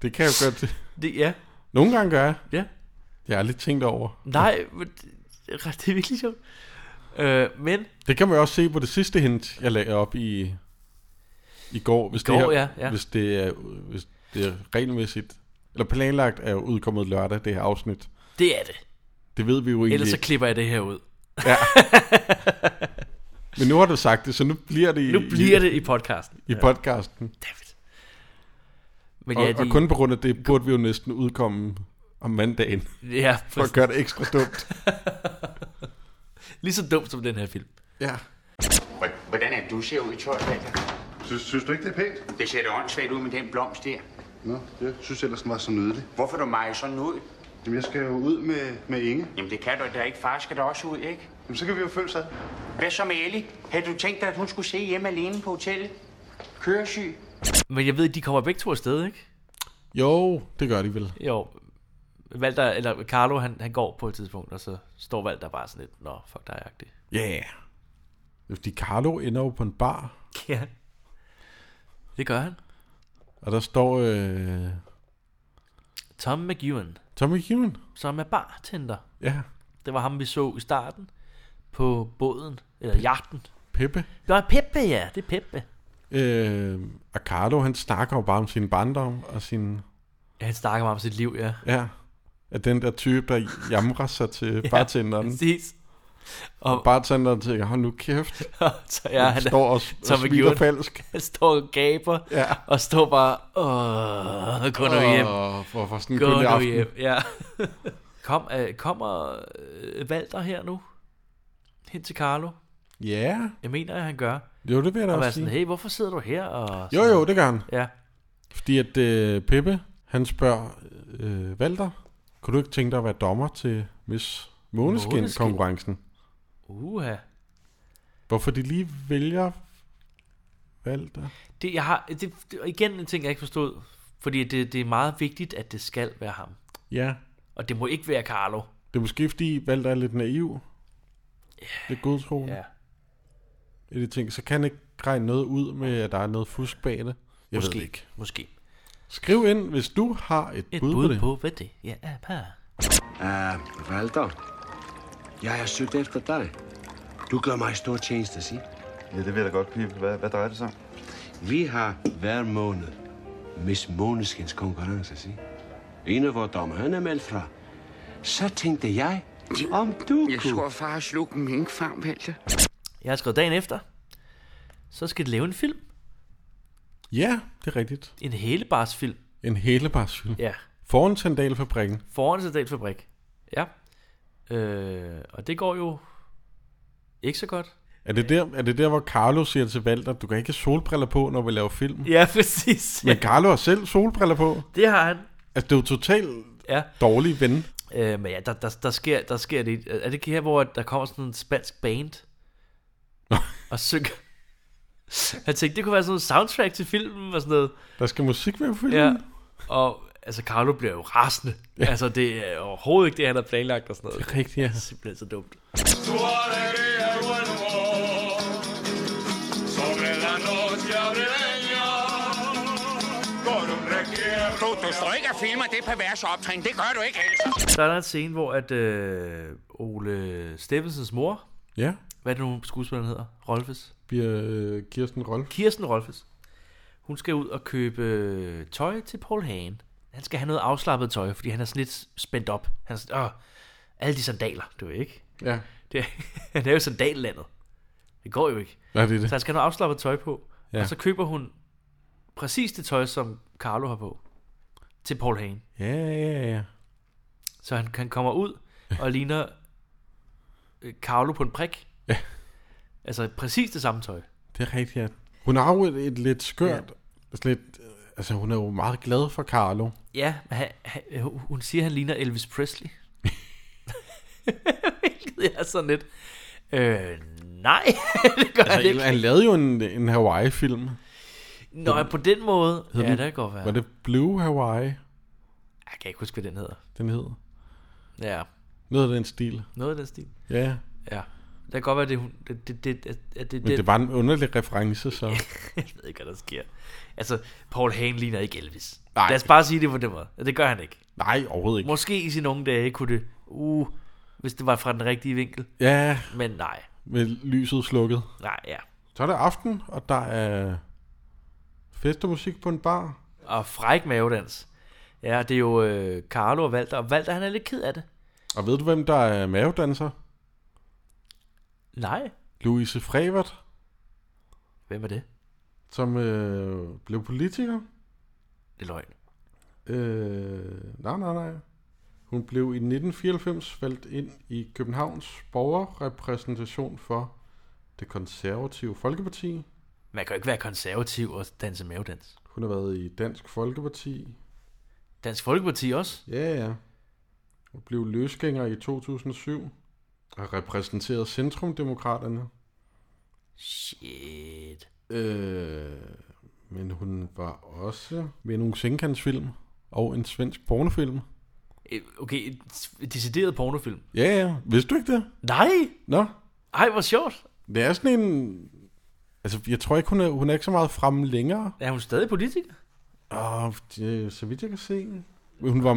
Speaker 2: Det kan jeg jo godt.
Speaker 3: Det, ja.
Speaker 2: Nogle gange gør jeg.
Speaker 3: Ja.
Speaker 2: Jeg har lidt tænkt over.
Speaker 3: Nej, men det, det er virkelig sjovt. Øh, men
Speaker 2: Det kan man jo også se på det sidste hint, jeg lagde op i i går, hvis,
Speaker 3: går,
Speaker 2: det, her,
Speaker 3: ja, ja.
Speaker 2: hvis, det, er, hvis det er regelmæssigt, eller planlagt er udkommet lørdag, det her afsnit.
Speaker 3: det er det.
Speaker 2: Det ved vi jo egentlig
Speaker 3: Ellers så
Speaker 2: ikke.
Speaker 3: klipper jeg det her ud.
Speaker 2: Ja. Men nu har du sagt det, så nu bliver det i,
Speaker 3: Nu bliver
Speaker 2: i,
Speaker 3: det i podcasten.
Speaker 2: i podcasten.
Speaker 3: Men
Speaker 2: og,
Speaker 3: ja, de,
Speaker 2: og kun på grund af det, burde vi jo næsten udkomme om mandagen,
Speaker 3: Ja,
Speaker 2: for at gøre det ekstra dumt.
Speaker 3: [laughs] lige så dumt som den her film.
Speaker 2: Ja.
Speaker 12: Hvordan er du ser ud i tøj, Valter?
Speaker 5: Synes, synes du ikke, det er pænt?
Speaker 12: Det ser da åndssvagt ud med den blomst der.
Speaker 5: Nå, jeg synes ellers, den var så nydelig.
Speaker 12: Hvorfor du mig sådan ud?
Speaker 5: Jamen, jeg skal jo ud med, med Inge.
Speaker 12: Jamen det kan du da ikke. Far skal da også ud, ikke?
Speaker 5: Jamen, så kan vi jo følge sig.
Speaker 12: Hvad så med Ellie? Havde du tænkt dig, at hun skulle se hjemme alene på hotellet? Køresyg?
Speaker 3: Men jeg ved, at de kommer begge to afsted, ikke?
Speaker 2: Jo, det gør de vel.
Speaker 3: Jo. Valter, eller Carlo, han, han går på et tidspunkt, og så står Valter bare sådan lidt, nå, fuck dig, agtig.
Speaker 2: Ja. Yeah. Fordi Carlo ender jo på en bar,
Speaker 3: Ja. Det gør han.
Speaker 2: og der står øh,
Speaker 3: Tom McEwan,
Speaker 2: Tommy Hewan.
Speaker 3: som er bartender.
Speaker 2: Ja,
Speaker 3: Det var ham, vi så i starten på båden, eller jagten.
Speaker 2: Peppe.
Speaker 3: Det var Peppe, ja. Det er Peppe.
Speaker 2: Øh, og Carlo, han snakker jo bare om sin barndom og sin...
Speaker 3: Ja, han snakker meget om sit liv, ja.
Speaker 2: [laughs]
Speaker 3: [laughs]
Speaker 2: Ja, at den der type, der jamrer sig til bartenderen.
Speaker 3: Præcis. [laughs]
Speaker 2: Og bartenderen tænker, hold nu kæft.
Speaker 3: så ja,
Speaker 2: han står og, og
Speaker 3: Tom
Speaker 2: smiler
Speaker 3: McEwan,
Speaker 2: falsk.
Speaker 3: Han står og gaber,
Speaker 2: ja.
Speaker 3: og står bare, åh, gå nu
Speaker 2: Åh,
Speaker 3: hjem.
Speaker 2: hvorfor sådan en
Speaker 3: gå
Speaker 2: kønlig
Speaker 3: nu
Speaker 2: aften?
Speaker 3: hjem, ja. [laughs] Kom, øh, kommer øh, Valder her nu? Hen til Carlo?
Speaker 2: Ja.
Speaker 3: Jeg mener, at han gør.
Speaker 2: Jo, det vil jeg da
Speaker 3: og
Speaker 2: også
Speaker 3: være sådan,
Speaker 2: sige.
Speaker 3: hey, hvorfor sidder du her? Og
Speaker 2: Jo, jo, det gør han.
Speaker 3: Ja.
Speaker 2: Fordi at øh, Peppe, han spørger øh, Valter, kunne du ikke tænke dig at være dommer til Miss Måneskin-konkurrencen?
Speaker 3: Uha.
Speaker 2: Hvorfor de lige vælger Valter?
Speaker 3: Det, jeg har, det, det, og igen en ting, jeg ikke forstod. Fordi det, det er meget vigtigt, at det skal være ham.
Speaker 2: Ja,
Speaker 3: Og det må ikke være Carlo.
Speaker 2: det er måske fordi Valter er lidt naiv. Lidt godtroende.
Speaker 3: Ja.
Speaker 2: I de ting, så kan han ikke regne noget ud med, at der er noget fusk bag det. Jeg
Speaker 3: Måske.
Speaker 2: ved det ikke.
Speaker 3: Måske.
Speaker 2: Skriv ind, hvis du har et,
Speaker 3: Et
Speaker 2: bud,
Speaker 3: bud
Speaker 2: på det.
Speaker 3: på, hvad det ja, er. Par.
Speaker 4: Uh, Valder, jeg har søgt efter dig. Du gør mig stor tjeneste, sig. Ja, det ved jeg godt, Pip. Hvad, hvad drejer det sig om? Vi har hver måned Miss Måneskins konkurrence, sig. En af vores dommer, han er meldt fra. Så tænkte jeg, om du
Speaker 7: Jeg tror, far slog en minkfarm, Valter.
Speaker 3: Jeg har skrevet dagen efter. Så skal det lave en film.
Speaker 2: Ja, det er rigtigt.
Speaker 3: En helebarsfilm.
Speaker 2: En helebarsfilm.
Speaker 3: Ja.
Speaker 2: Foran sandalfabrikken.
Speaker 3: Foran Sedatfabrik. Ja. Øh, og det går jo ikke så godt.
Speaker 2: Er det, der, er det der, hvor Carlo siger til Walter, du kan ikke have solbriller på, når vi laver film?
Speaker 3: [laughs] Ja, præcis.
Speaker 2: Men Carlo har selv solbriller på.
Speaker 3: Det har han.
Speaker 2: Altså, det er jo totalt
Speaker 3: Ja.
Speaker 2: dårlig ven.
Speaker 3: Øh, men ja, der, der, der, sker, der sker det. Er det ikke her, hvor der kommer sådan en spansk band [laughs] og synger? Jeg tænkte, det kunne være sådan en soundtrack til filmen og sådan noget.
Speaker 2: Der skal musik være på filmen.
Speaker 3: Ja, og altså Carlo bliver jo rasende. Ja. Altså, det er overhovedet ikke det, han har planlagt og sådan noget.
Speaker 2: Det er rigtigt, ja.
Speaker 3: Det er [laughs] simpelthen så dumt.
Speaker 14: Tu alegría y buen humor sobre la noche abreña con un requiebro.
Speaker 12: Du, du står ikke og filmer det perverse optrin. Det gør du ikke, altså.
Speaker 3: Så er der en scene, hvor at øh, Ole Steffensens mor,
Speaker 2: Ja.
Speaker 3: hvad er det nu skuespilleren hedder? Rolfes?
Speaker 2: Bliver øh, Kirsten Rolf.
Speaker 3: Kirsten Rolfes. Hun skal ud og købe øh, tøj til Paul Hagen. Han skal have noget afslappet tøj, fordi han er sådan lidt spændt op. Han er sådan, Åh, alle de sandaler, du ved ikke?
Speaker 2: Ja.
Speaker 3: Det, er- [laughs] han er jo sandallandet. Det går jo ikke.
Speaker 2: Nej, det er det.
Speaker 3: Så han skal have noget afslappet tøj på.
Speaker 2: Ja.
Speaker 3: Ja. Og så køber hun præcis det tøj, som Carlo har på. Til Paul Hagen.
Speaker 2: Ja, ja, ja.
Speaker 3: Så han, han kommer ud og ligner øh, Carlo på en prik.
Speaker 2: Ja.
Speaker 3: Altså præcis det samme tøj.
Speaker 2: Det er rigtigt, ja. Hun har jo et, et lidt skørt... Ja. Lidt, altså, hun er jo meget glad for Carlo.
Speaker 3: Ja, men han, han, øh, hun siger, at han ligner Elvis Presley. [laughs] Hvilket er sådan lidt... Øh, nej, [laughs] det gør han
Speaker 2: Altså,
Speaker 3: ikke.
Speaker 2: han lavede jo en, en Hawaii-film.
Speaker 3: Nå, ja, på den måde.
Speaker 2: Hed
Speaker 3: ja,
Speaker 2: den-
Speaker 3: det kan godt være.
Speaker 2: Var det Blue Hawaii,
Speaker 3: Jeg kan ikke huske, hvad den hedder.
Speaker 2: den hed?
Speaker 3: Ja,
Speaker 2: Noget af den stil.
Speaker 3: noget af den stil.
Speaker 2: Ja.
Speaker 3: Ja. Det kan godt være, det, hun- det, det, det, at- at det,
Speaker 2: Men det var en underlig reference, så...
Speaker 3: [laughs] jeg ved ikke, hvad der sker. Altså, Paul Hagen ligner ikke Elvis.
Speaker 2: Nej.
Speaker 3: Nej. Lad os bare sige det på den måde. Det gør han ikke.
Speaker 2: Nej, overhovedet ikke.
Speaker 3: Måske i sine unge dage kunne det... Uh, hvis det var fra den rigtige vinkel.
Speaker 2: Ja.
Speaker 3: Men nej.
Speaker 2: Med lyset slukket.
Speaker 3: Nej, ja.
Speaker 2: Så er der aften, og der er fest og musik på en bar.
Speaker 3: Og fræk mavedans. Ja, det er jo øh, Carlo og Walter. Og Walter, han er lidt ked af det.
Speaker 2: Og ved du, hvem der er mavedanser?
Speaker 3: Nej.
Speaker 2: Louise Frevert,
Speaker 3: Hvem er det?
Speaker 2: som øh, blev politiker.
Speaker 3: Det er løgn.
Speaker 2: Øh, nej, nej, nej. Hun blev i 1994 valgt ind i Københavns borgerrepræsentation for det konservative Folkeparti.
Speaker 3: Man kan jo ikke være konservativ og danse mavedans.
Speaker 2: Hun har været i Dansk Folkeparti.
Speaker 3: Dansk Folkeparti også?
Speaker 2: Ja, ja. Hun blev løsgænger i 2007 og repræsenterede Centrumdemokraterne.
Speaker 3: Shit.
Speaker 2: Øh, men hun var også med nogle senkantsfilm og en svensk pornofilm.
Speaker 3: Øh, Okay, et decideret pornofilm.
Speaker 2: Ja, ja. Vidste du ikke det?
Speaker 3: Nej!
Speaker 2: Nå.
Speaker 3: Ej, hvor sjovt.
Speaker 2: Det er sådan en... Altså, jeg tror ikke, hun er, hun er ikke så meget fremme længere.
Speaker 3: Er hun stadig politiker?
Speaker 2: Åh, det, så vidt jeg kan se. Hun var,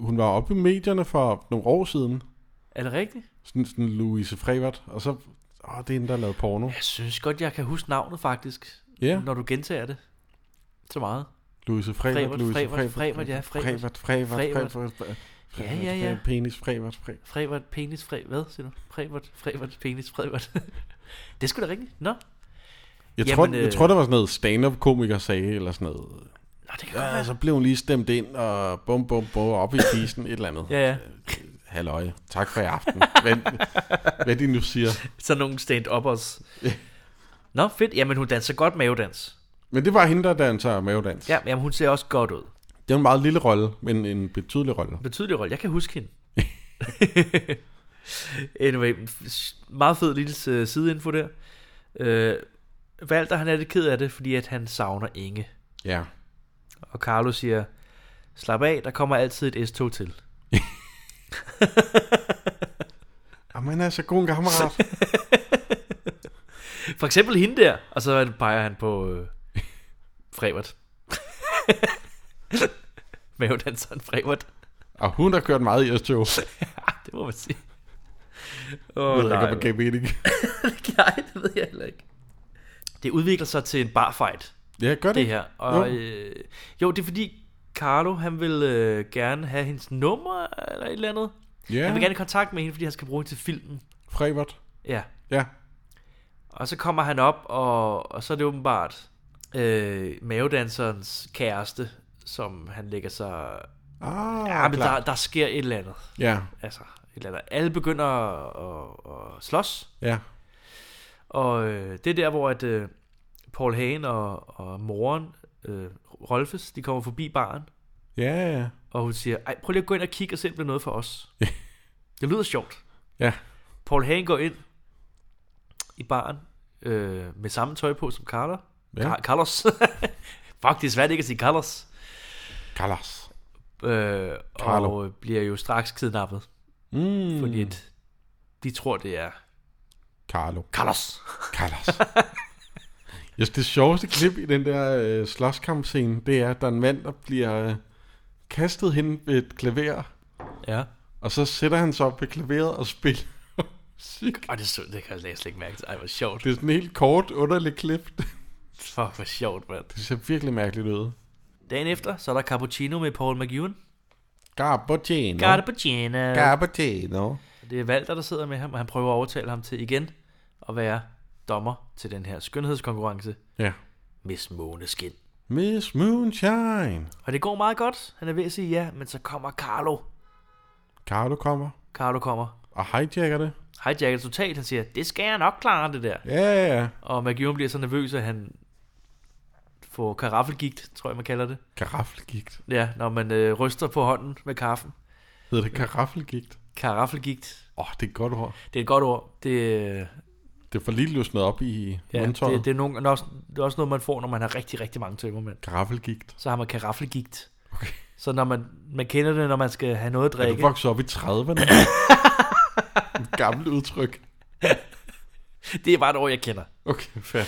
Speaker 2: hun var oppe i medierne for nogle år siden.
Speaker 3: Er det rigtigt?
Speaker 2: Sådan, sådan Louise Frevert. Og så... Åh, det er hende, der har lavet porno.
Speaker 3: Jeg synes godt, jeg kan huske navnet faktisk.
Speaker 2: Ja.
Speaker 3: Når du gentager det. Så meget.
Speaker 2: Louise Frevert,
Speaker 3: Frevert,
Speaker 2: Louise
Speaker 3: Frevert, Frevert, ja, Frevert.
Speaker 2: Frevert, Frevert,
Speaker 3: Frevert.
Speaker 2: Frevert.
Speaker 3: Ja, ja, ja.
Speaker 2: Penis, Frevert, Frevert.
Speaker 3: Frevert, penis, fre... Hvad siger du? Frevert, Frevert, penis, Frevert. [laughs] det er sgu da rigtigt. Nå.
Speaker 2: Jeg,
Speaker 3: Jamen,
Speaker 2: tror, jeg
Speaker 3: øh,
Speaker 2: tror, der var sådan noget stand-up-komiker sagde, eller sådan noget. Nå,
Speaker 3: det
Speaker 2: kan ja, altså, så blev hun lige stemt ind, og bum, bum, bum, op i kisten, et eller andet.
Speaker 3: Ja, ja.
Speaker 2: Halløj, tak for i aften. Hvad, hvad de nu siger.
Speaker 3: Sådan nogle stand-uppers. Nå, fedt. Jamen, hun danser godt mavedans.
Speaker 2: Men det var hende, der danser mavedans.
Speaker 3: Ja, jamen, hun ser også godt ud.
Speaker 2: Det er en meget lille rolle, men en betydelig rolle.
Speaker 3: Betydelig rolle. Jeg kan huske hende. [laughs] anyway, s- meget fed lille øh, sideinfo der. Øh, Valter, han er lidt ked af det, fordi at han savner Inge.
Speaker 2: Ja.
Speaker 3: Og Carlo siger, slap af, der kommer altid et S-tog til.
Speaker 2: Jamen, han er
Speaker 3: altså,
Speaker 2: så god en kammerat.
Speaker 3: For eksempel hende der, og så peger han på øh, [laughs] Frevert. Mavedanseren Frevert,
Speaker 2: [laughs] og hun har kørt meget i s tog
Speaker 3: [laughs] det må man sige.
Speaker 2: Åh,
Speaker 3: nej,
Speaker 2: nej.
Speaker 3: hvor- [laughs]
Speaker 2: Det ikke.
Speaker 3: nej, det ved jeg heller ikke. Det udvikler sig til en barfight.
Speaker 2: Ja, gør det.
Speaker 3: Det her. Og,
Speaker 2: Jo.
Speaker 3: jo. Øh, jo, det er fordi Carlo, han vil øh, gerne have hendes nummer eller et eller andet.
Speaker 2: Ja.
Speaker 3: Han vil gerne i kontakt med hende, fordi han skal bruge hende til filmen.
Speaker 2: Frevert.
Speaker 3: Ja.
Speaker 2: Ja.
Speaker 3: Og så kommer han op, og, og så er det åbenbart øh, mavedanserens kæreste, som han lægger sig...
Speaker 2: Ah,
Speaker 3: ja, men
Speaker 2: klar.
Speaker 3: der, der sker et eller andet.
Speaker 2: Ja.
Speaker 3: Altså, et eller andet. Alle begynder at, at, at slås.
Speaker 2: Ja.
Speaker 3: Og øh, det er der, hvor at, øh, Paul Hagen og, og moren, øh, Rolfes, de kommer forbi baren.
Speaker 2: Ja, ja.
Speaker 3: Og hun siger, Ej, prøv lige at gå ind og kigge og se, om det er noget for os. det lyder sjovt.
Speaker 2: Ja.
Speaker 3: Paul Hagen går ind i baren øh, med samme tøj på som Carla.
Speaker 2: Ja.
Speaker 3: Car- Carlos. [laughs] Fuck, det er svært ikke at sige Carlos.
Speaker 2: Carlos.
Speaker 3: Øh,
Speaker 2: Carlo.
Speaker 3: og bliver jo straks kidnappet.
Speaker 2: Mm.
Speaker 3: Fordi at de tror, det er
Speaker 2: Carlo.
Speaker 3: Carlos.
Speaker 2: [laughs] Carlos. Jeg synes, det sjoveste klip i den der øh, slåskampscene, det er, at der er en mand, der bliver øh, kastet hen ved et klaver.
Speaker 3: Ja.
Speaker 2: Og så sætter han sig op ved klaveret og spiller. [laughs]
Speaker 3: Og det, så, det kan jeg slet ikke mærke. til. Ej, hvor sjovt.
Speaker 2: Det er sådan en helt kort, underlig klip.
Speaker 3: Fuck, hvor sjovt, mand.
Speaker 2: Det ser virkelig mærkeligt ud.
Speaker 3: Dagen efter, så er der cappuccino med Paul McEwan.
Speaker 2: Cappuccino.
Speaker 3: Cappuccino.
Speaker 2: Cappuccino.
Speaker 3: Det er Walter, der sidder med ham, og han prøver at overtale ham til igen at være dommer til den her skønhedskonkurrence.
Speaker 2: Ja.
Speaker 3: Miss Måneskin.
Speaker 2: Miss Moonshine.
Speaker 3: Og det går meget godt. Han er ved at sige ja, men så kommer Carlo.
Speaker 2: Carlo kommer
Speaker 3: Carlo kommer.
Speaker 2: og hijacker det.
Speaker 3: Hijacker totalt. Han siger, det skal jeg nok klare, det der.
Speaker 2: Ja, ja, ja.
Speaker 3: Og McEwan bliver så nervøs, at han får karaffelgigt, tror jeg, man kalder det.
Speaker 2: Karaffelgigt.
Speaker 3: Ja, når man øh, ryster på hånden med kaffen.
Speaker 2: Hedder det karaffelgigt?
Speaker 3: Karaffelgigt.
Speaker 2: Åh, oh, det er et godt ord.
Speaker 3: Det er et godt ord. Det, øh,
Speaker 2: Det får lige løsnet op i
Speaker 3: ja, det,
Speaker 2: mundtøjet.
Speaker 3: det, er nogle, det, er også, det er også noget, man får, når man har rigtig, rigtig mange tømmermænd.
Speaker 2: Karaffelgigt.
Speaker 3: Så har man karaffelgigt. Okay. Så når man, man kender det, når man skal have noget at
Speaker 2: Er du
Speaker 3: drikke.
Speaker 2: vokset op i
Speaker 3: [laughs]
Speaker 2: 30'erne? Et Gammelt udtryk.
Speaker 3: det er bare et ord, jeg kender.
Speaker 2: Okay, fair.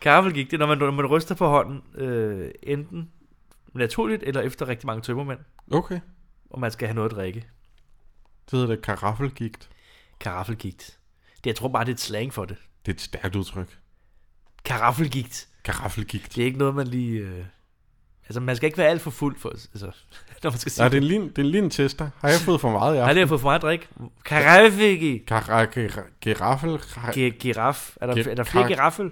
Speaker 3: Karaffelgigt, det er, når man, når man ryster på hånden, øh, enten naturligt eller efter rigtig mange tømmermænd.
Speaker 2: Okay.
Speaker 3: Og man skal have noget at drikke.
Speaker 2: Det hedder det karaffelgigt.
Speaker 3: Karaffelgigt. Det, jeg tror bare, det er et slang for det.
Speaker 2: Det er et stærkt udtryk.
Speaker 3: Karaffelgigt.
Speaker 2: Karaffelgigt.
Speaker 3: Det er ikke noget, man lige... Øh... Altså, man skal ikke være alt for fuld for... Altså, [laughs] når man skal sige
Speaker 2: Nej, det er en lin, det er en lin tester. Har jeg fået for meget i
Speaker 3: [laughs] Har
Speaker 2: aften?
Speaker 3: det fået for meget drik? Karaffelgigt.
Speaker 2: Giraffel.
Speaker 3: Gi- giraf. Er der, er der flere giraffel?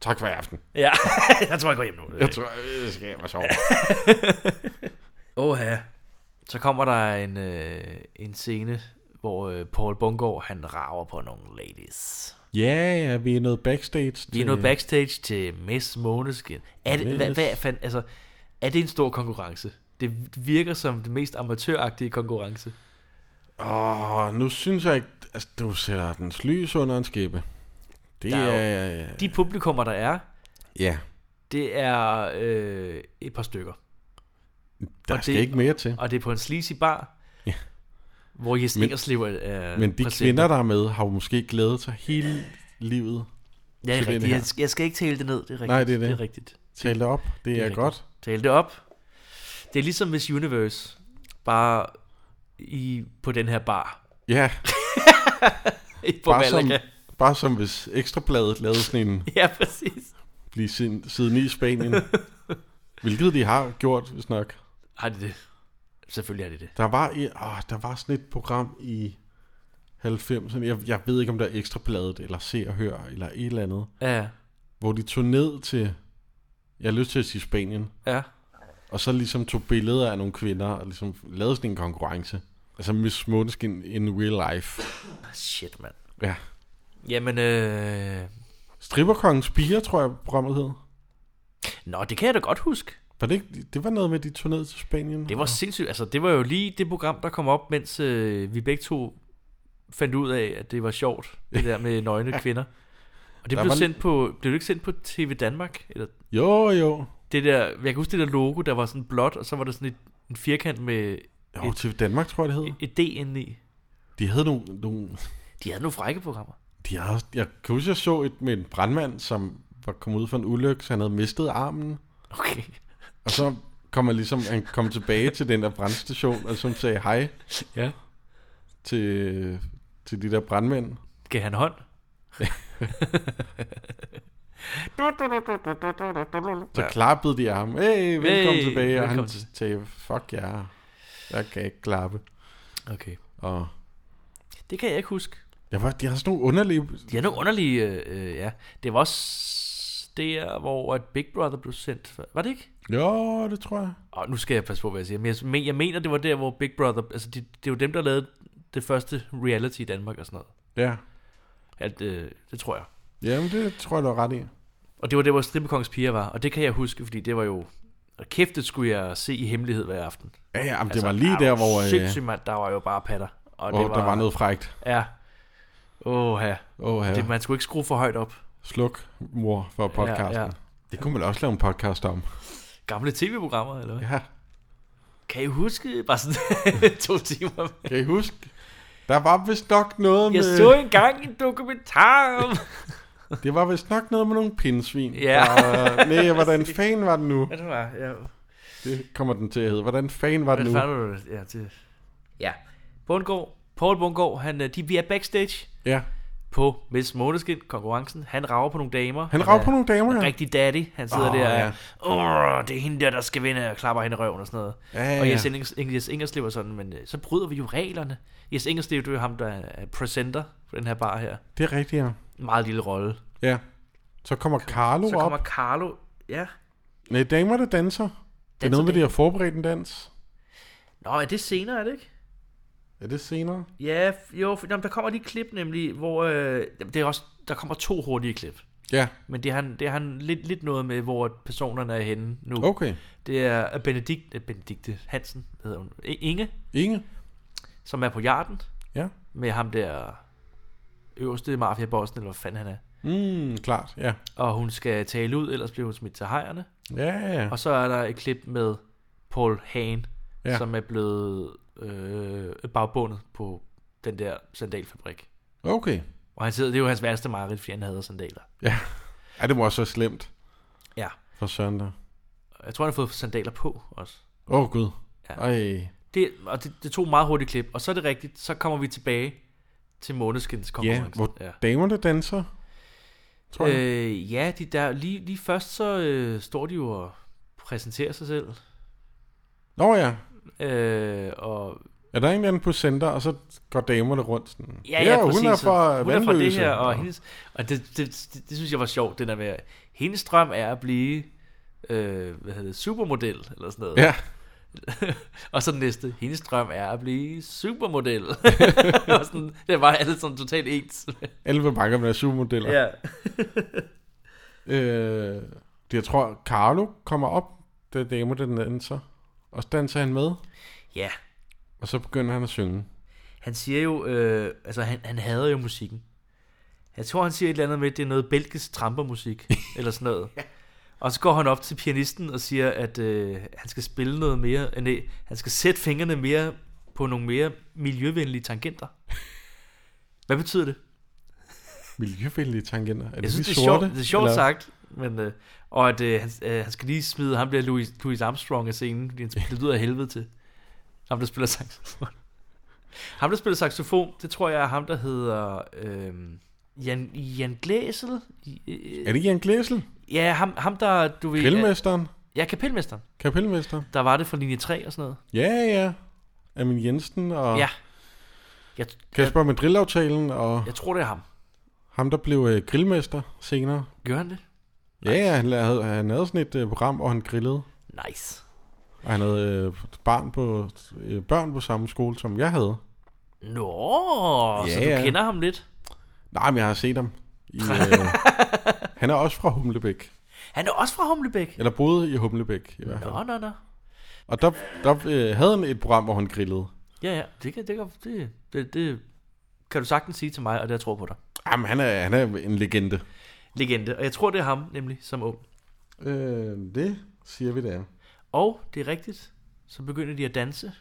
Speaker 2: Tak for i aften.
Speaker 3: Ja, [laughs] jeg tror, jeg går hjem nu.
Speaker 2: Jeg tror, jeg skal hjem og sove.
Speaker 3: Åh ja. Så kommer der en, øh, en scene, hvor øh, Paul Bungård, han rager på nogle ladies.
Speaker 2: Ja, ja, vi er noget backstage.
Speaker 3: Vi er noget backstage til Miss Måneskin. Er det, hvad, hvad fanden, altså, er det en stor konkurrence? Det virker som den mest amatøragtige konkurrence.
Speaker 2: Åh, nu synes jeg ikke... Altså, du sætter dens lys under en skæbe. Det
Speaker 3: Der
Speaker 2: er...
Speaker 3: er
Speaker 2: er
Speaker 3: De publikummer, der er,
Speaker 2: ja,
Speaker 3: det er øh, et par stykker.
Speaker 2: der
Speaker 3: Og
Speaker 2: skal
Speaker 3: det-
Speaker 2: ikke mere til.
Speaker 3: Og det er på en sleazy bar,
Speaker 2: Ja.
Speaker 3: hvor Jes
Speaker 2: Men-
Speaker 3: Ingerslev er
Speaker 2: Men de
Speaker 3: præsent.
Speaker 2: kvinder, der er med, har jo måske glædet sig hele livet.
Speaker 3: Ja, det er
Speaker 2: til den
Speaker 3: rigtigt.
Speaker 2: her.
Speaker 3: Jeg skal, jeg skal ikke tale det ned. Det er rigtigt.
Speaker 2: Nej, det er det.
Speaker 3: Det er rigtigt.
Speaker 2: Tal det op. Det, er,
Speaker 3: rigtigt.
Speaker 2: godt.
Speaker 3: Tal det op. Det er ligesom Miss Universe, bare i, på den her
Speaker 2: [laughs]
Speaker 3: bar. [laughs]
Speaker 2: Ja.
Speaker 3: på
Speaker 2: bare, som,
Speaker 3: Malaga.
Speaker 2: bare som hvis Ekstrabladet lavede sådan en...
Speaker 3: [laughs] Ja, præcis.
Speaker 2: Blive [laughs] siden, siden i Spanien. Hvilket de har gjort, hvis nok.
Speaker 3: Har de det? Selvfølgelig er det det.
Speaker 2: Der var, i, åh, der var sådan et program i 90'erne. Jeg, jeg ved ikke, om der er ekstrabladet, eller se og hør, eller et eller andet.
Speaker 3: Ja.
Speaker 2: Hvor de tog ned til, jeg har lyst til at sige Spanien.
Speaker 3: Ja.
Speaker 2: Og så ligesom tog billeder af nogle kvinder, og ligesom lavede sådan en konkurrence. Altså Miss Måneskin in real life.
Speaker 3: Shit, mand.
Speaker 2: Ja.
Speaker 3: Jamen, øh...
Speaker 2: Stripperkongens piger, tror jeg, programmet hed.
Speaker 3: Nå, det kan jeg da godt huske.
Speaker 2: Var det, ikke, det var noget med, at de tog ned til Spanien?
Speaker 3: Det var sindssygt. Altså, det var jo lige det program, der kom op, mens øh, vi begge to fandt ud af, at det var sjovt, [laughs] det der med nøgne kvinder. Og det
Speaker 2: Der
Speaker 3: blev,
Speaker 2: var-
Speaker 3: sendt på, blev det ikke sendt på TV Danmark? Eller
Speaker 2: Jo, jo.
Speaker 3: det der, jeg kan huske det der logo, der var sådan blåt, og så var der sådan et, en firkant med
Speaker 2: Jo, TV Danmark, tror jeg, det hed.
Speaker 3: et, et D indeni.
Speaker 2: De havde nogle... nogle
Speaker 3: De havde nogle frække programmer.
Speaker 2: de havde, jeg kan huske, jeg så et med en brandmand, som var kommet ud for en ulykke, så han havde mistet armen.
Speaker 3: Okay.
Speaker 2: Og så kom han ligesom han kom tilbage til den der brandstation, og som sagde hej
Speaker 3: ja.
Speaker 2: til, til de der brandmænd.
Speaker 3: Gav han hånd?
Speaker 2: så klappede de ham. Hey, velkommen
Speaker 3: Hey,
Speaker 2: hey, tilbage. Og
Speaker 3: velkommen
Speaker 2: han
Speaker 3: til-
Speaker 2: sagde, fuck jer. Yeah. Jeg kan ikke klappe.
Speaker 3: Okay.
Speaker 2: Og
Speaker 3: Det kan jeg ikke huske.
Speaker 2: jeg var, de har sådan nogle underlige...
Speaker 3: De havde nogle underlige, øh, øh, ja. Det var også der, hvor at Big Brother blev sendt. før. Var det ikke?
Speaker 2: Jo, det tror jeg.
Speaker 3: Og nu skal jeg passe på, hvad jeg siger. Men jeg, men jeg mener, det var der, hvor Big Brother... Altså, de, det var dem, der lavede det første reality i Danmark og sådan noget.
Speaker 2: Ja.
Speaker 3: Alt, øh, det tror jeg.
Speaker 2: Jamen, det tror jeg, du har ret i.
Speaker 3: Og det var der, hvor Strippekongens piger var. Og det kan jeg huske, fordi det var jo... Og kæft, det skulle jeg se i hemmelighed hver aften.
Speaker 2: Ja, ja, men
Speaker 3: Altså,
Speaker 2: det var lige der, hvor, øh,
Speaker 3: Sindssygt, mand. Der var jo bare patter. Og
Speaker 2: hvor der var noget frækt.
Speaker 3: Ja. Åh, ja.
Speaker 2: Åh, ja.
Speaker 3: Det, man skulle ikke skrue for højt op.
Speaker 2: Sluk, mor, for podcasten.
Speaker 3: Ja,
Speaker 2: Ja,
Speaker 3: ja.
Speaker 2: ja. Det kunne man også lave en podcast om.
Speaker 3: Gamle tv-programmer, eller hvad?
Speaker 2: [laughs] Ja.
Speaker 3: Kan I huske? Bare sådan [laughs] to
Speaker 2: [laughs]
Speaker 3: timer.
Speaker 2: Kan I huske? Der var vist nok noget
Speaker 3: Jeg
Speaker 2: med...
Speaker 3: så engang en dokumentar
Speaker 2: [laughs]
Speaker 3: om...
Speaker 2: Det var vist nok noget med nogle pindsvin.
Speaker 3: Ja.
Speaker 2: Der,
Speaker 3: [laughs]
Speaker 2: nej, hvordan fanden var den nu?
Speaker 3: Ja, det var, ja.
Speaker 2: Det kommer den til at hedde. Hvordan fanden var den nu?
Speaker 3: Hvordan fanden var det? Ja, det... Ja. Bundgaard, Paul Bundgaard, han, øh, de, vi er backstage
Speaker 2: Ja.
Speaker 3: på Miss Måneskin, konkurrencen. Han rager på nogle damer.
Speaker 2: Han rager
Speaker 3: er
Speaker 2: på nogle damer,
Speaker 3: en
Speaker 2: ja.
Speaker 3: Rigtig daddy. Han sidder
Speaker 2: Åh,
Speaker 3: oh, der,
Speaker 2: ja.
Speaker 3: ja. det er hende der, der skal vinde, og klapper hende i røven og sådan noget.
Speaker 2: Ja, ja,
Speaker 3: og
Speaker 2: ja.
Speaker 3: Jes, Engers, Jes Ingerslev er sådan, men øh, så bryder vi jo reglerne. Jes Ingerslev, det er jo ham, der er presenter på den her bar her.
Speaker 2: Det er rigtigt, ja.
Speaker 3: En meget lille rolle.
Speaker 2: Ja. Så kommer Carlo
Speaker 3: Så kommer
Speaker 2: op.
Speaker 3: Carlo, ja.
Speaker 2: Nej, damer, der danser. Det er noget med, de har forberedt en dans.
Speaker 3: Nå, er det senere, er det ikke?
Speaker 2: Er det senere?
Speaker 3: Ja, f- jo, for, jamen, der kommer lige et klip nemlig, hvor øh, det er også, der kommer to hurtige klip.
Speaker 2: Ja.
Speaker 3: Men det har han, det har han lidt, lidt noget med, hvor personerne er henne nu.
Speaker 2: Okay.
Speaker 3: Det er Benedikt, eh, Benedikte Hansen, hvad hedder hun, I- Inge.
Speaker 2: Inge.
Speaker 3: Som er på jarden.
Speaker 2: Ja.
Speaker 3: Med ham der øverste mafiabossen, eller hvad fanden han er.
Speaker 2: Mm, klart, ja.
Speaker 3: Og hun skal tale ud, ellers bliver hun smidt til hejerne.
Speaker 2: Ja, ja.
Speaker 3: Og så er der et klip med Paul Hane, ja.
Speaker 2: Ja.
Speaker 3: som er blevet øh, bagbundet på den der sandalfabrik.
Speaker 2: Okay.
Speaker 3: Og han sidder, det er jo hans værste mareridt, fordi han hader sandaler.
Speaker 2: Ja. Ja, det må også være slemt.
Speaker 3: Ja.
Speaker 2: For søren der.
Speaker 3: Jeg tror, han har fået sandaler på også.
Speaker 2: Åh, oh, Gud. Ja. Ej.
Speaker 3: Det, og det, det tog meget hurtigt klip. Og så er det rigtigt, så kommer vi tilbage til Måneskins
Speaker 2: Ja,
Speaker 3: konkurrence.
Speaker 2: hvor damerne danser. Tror jeg.
Speaker 3: øh, ja de der, lige, lige først så øh, står de jo og præsenterer sig selv.
Speaker 2: Nå ja.
Speaker 3: Øh, og
Speaker 2: Er der en eller anden på center, og så går damerne rundt sådan.
Speaker 3: Ja, ja, præcis.
Speaker 2: hun er
Speaker 3: Så
Speaker 2: fra
Speaker 3: hun er fra det
Speaker 2: Vandløse."
Speaker 3: her, og, hendes, og det, det, det, det, synes jeg var sjovt, det der med, hendes drøm er at blive, øh, hvad hedder det, supermodel, eller sådan noget.
Speaker 2: Ja.
Speaker 3: og så den næste, hendes drøm er at blive
Speaker 2: [laughs]
Speaker 3: supermodel. [laughs] og sådan, det var alle sådan totalt ens.
Speaker 2: Alle vil bakke med supermodeller.
Speaker 3: Ja.
Speaker 2: øh, det, jeg tror, Carlo kommer op, da damer den danser. Og så danser han med.
Speaker 3: Ja.
Speaker 2: Og så begynder han at synge.
Speaker 3: Han siger jo, øh, altså han, han hader jo musikken. Jeg tror, han siger et eller andet med, at det er noget belgisk trampermusik, eller sådan noget. Og så går han op til pianisten og siger, at øh, han skal spille noget mere, øh, nej, han skal sætte fingrene mere på nogle mere miljøvenlige tangenter. Hvad betyder det?
Speaker 2: Miljøvenlige tangenter. Er det
Speaker 3: Jeg synes,
Speaker 2: de
Speaker 3: det er
Speaker 2: sorte,
Speaker 3: sjovt, det er sjovt
Speaker 2: eller?
Speaker 3: sagt, men, øh, og at øh, han, øh, han skal lige smide, han bliver Louis, Louis Armstrong af scenen, fordi han spiller ud af helvede til. Ham, der spiller saxofon. ham, der spiller saxofon, det tror jeg er ham, der hedder øh, Jan, Jan Glæsel. øh,
Speaker 2: Er det Jan Glæsel?
Speaker 3: Ja, ham, ham der, du ved...
Speaker 2: Kapelmesteren?
Speaker 3: Ja, kapelmesteren.
Speaker 2: Kapelmester.
Speaker 3: Der var det fra linje 3 og sådan noget.
Speaker 2: Ja, ja. Amin Jensen og
Speaker 3: Ja. Jeg,
Speaker 2: Kasper med drillaftalen og
Speaker 3: jeg tror, det er ham.
Speaker 2: ham, der blev øh, grillmester senere.
Speaker 3: Gjorde han det?
Speaker 2: Ja, ja han, lavede, han havde sådan et øh, program, hvor han grillede.
Speaker 3: Nice.
Speaker 2: Og han havde øh, barn på, øh, børn på samme skole, som jeg havde.
Speaker 3: Nå, ja, så
Speaker 2: Ja,
Speaker 3: du
Speaker 2: ja.
Speaker 3: kender ham lidt.
Speaker 2: Nej, men jeg har set ham. I, øh, han er også fra Humlebæk.
Speaker 3: Han er også fra Humlebæk.
Speaker 2: Eller boede i Humlebæk i hvert fald.
Speaker 3: Nå, nå, nå.
Speaker 2: Og der, der øh, havde han et program, hvor han grillede.
Speaker 3: Ja, ja, det kan, det, kan, det, det, det kan du sagtens sige til mig, og det jeg tror på dig.
Speaker 2: Jamen, han er, han er en legende.
Speaker 3: Legende, og jeg tror, det er ham nemlig som ung.
Speaker 2: Øh, det siger vi, det er.
Speaker 3: Og det er rigtigt, så begynder de at danse.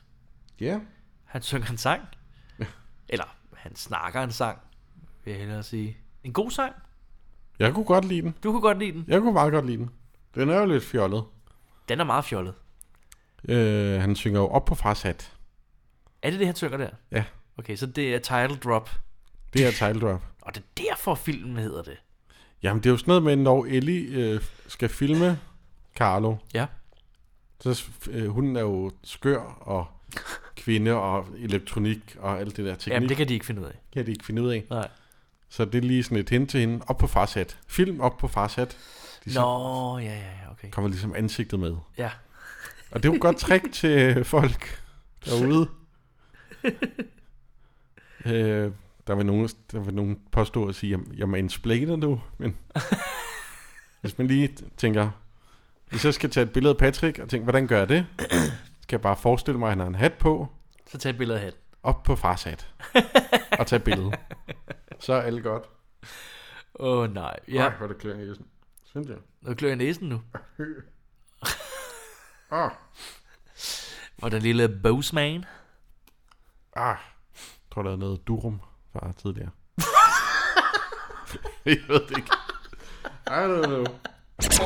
Speaker 2: Ja.
Speaker 3: Han synger en sang. Eller han snakker en sang, vil jeg hellere sige. En god sang.
Speaker 2: Jeg kunne godt lide den.
Speaker 3: Du kunne godt lide den?
Speaker 2: Jeg kunne meget godt lide den. Den er jo lidt fjollet.
Speaker 3: Den er meget fjollet.
Speaker 2: Øh, han synger jo op på fars hat.
Speaker 3: Er det det, han synger der?
Speaker 2: Ja.
Speaker 3: Okay, så det er title drop.
Speaker 2: Det
Speaker 3: [laughs]
Speaker 2: er title drop.
Speaker 3: Og det er derfor, filmen hedder det.
Speaker 2: Jamen, det er jo sådan noget med, når Ellie øh, skal filme Carlo.
Speaker 3: Ja.
Speaker 2: Så s- øh, hun er jo skør og kvinde og elektronik og alt det der teknik.
Speaker 3: Jamen, det kan de ikke finde ud af.
Speaker 2: Kan de ikke finde ud af.
Speaker 3: Nej.
Speaker 2: Så det er lige sådan et hint til hende. Op på fars hat. Film op på fars hat. De så
Speaker 3: Nå, ja, ja, ja, okay.
Speaker 2: kommer ligesom ansigtet med.
Speaker 3: Ja.
Speaker 2: Og det er jo et godt trick til øh, folk derude. øh, der vil nogen, der vil nogen påstå at sige, "Jamen, jeg mansplainer nu, men hvis man lige tænker, hvis jeg skal tage et billede af Patrick og tænke, hvordan gør jeg det? [clears throat] Skal jeg bare forestille mig, at han har en hat på,
Speaker 3: Så tag et billede af hatten.
Speaker 2: op på fars hat, og tage et billede. Så er alt godt.
Speaker 3: Åh, oh, nej. Ja.
Speaker 2: Ej, hvor er det klør i næsen. Synes jeg.
Speaker 3: Nu klør jeg næsen nu.
Speaker 2: Ah.
Speaker 3: Og den lille Boseman.
Speaker 2: Ah, jeg tror, der er noget durum fra tidligere. [laughs] jeg ved det ikke. I don't know.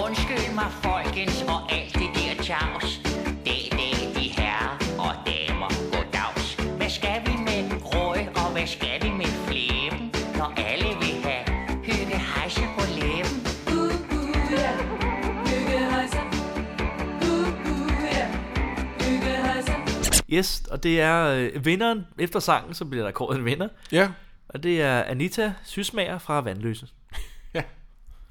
Speaker 15: Undskyld mig, folkens, og alt det der tjavs. Det er det, de herrer og damer. Goddags. Hvad skal vi med røg, og hvad skal vi med flæben, når alle vil have hygge hejse på læben?
Speaker 3: Yes, og det er øh, vinderen. Efter sangen, så bliver der kåret en vinder.
Speaker 2: Ja.
Speaker 3: Og det er Anita Sysmager fra Vandløse.
Speaker 2: [laughs] Ja.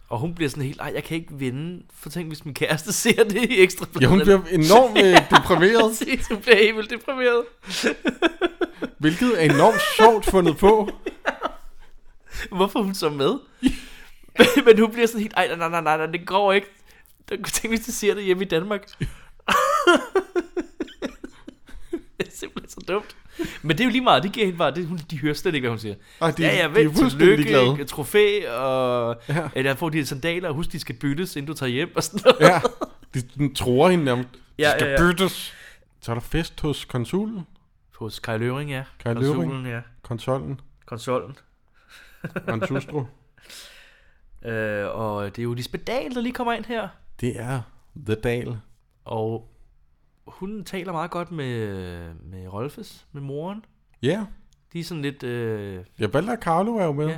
Speaker 3: Og hun bliver sådan helt, ej, jeg kan ikke vinde, for tænk, hvis min kæreste [laughs] ser det i ekstra
Speaker 2: Ja, hun bliver enormt, [laughs] øh, deprimeret.
Speaker 3: præcis, hun bliver helt vildt deprimeret.
Speaker 2: Hvilket er enormt sjovt fundet på.
Speaker 3: Hvorfor er hun så
Speaker 2: [laughs]
Speaker 3: med? Men- Men hun bliver sådan helt, ej, nej, nej, nej, nej, nej, det går ikke. Der kunne tænke, hvis de ser det hjemme i Danmark.
Speaker 2: [laughs]
Speaker 3: det er simpelthen så dumt. Men det er jo lige meget, det giver hende bare, det, hun- de hører slet ikke, hvad hun siger.
Speaker 2: Ej, de-
Speaker 3: ja, ja,
Speaker 2: de
Speaker 3: vel,
Speaker 2: er fuldstændig
Speaker 3: tillykke,
Speaker 2: ligeglade.
Speaker 3: ikke? trofæ, og ja.
Speaker 2: Ja.
Speaker 3: eller får de her sandaler, og husk, de skal byttes, inden du tager hjem, og sådan noget.
Speaker 2: Ja, de, den tror hende nærmest.
Speaker 3: Ja,
Speaker 2: Ja, skal
Speaker 3: ja,
Speaker 2: ja,
Speaker 3: ja.
Speaker 2: ja. byttes. Så er der fest hos konsulen.
Speaker 3: Hos Kai Løvring, ja.
Speaker 2: Kai
Speaker 3: Konsolen,
Speaker 2: Løvring.
Speaker 3: ja.
Speaker 2: Konsolen.
Speaker 3: Konsollen.
Speaker 2: Og en [laughs] hustru.
Speaker 3: øh, og det er jo Lisbeth Dahl, der lige kommer ind her.
Speaker 2: Det er The Dal.
Speaker 3: Og hun taler meget godt med, med Rolfes, med moren.
Speaker 2: Ja.
Speaker 3: De er sådan lidt... Øh,
Speaker 2: Ja, Valder og Carlo er jo med. Ja.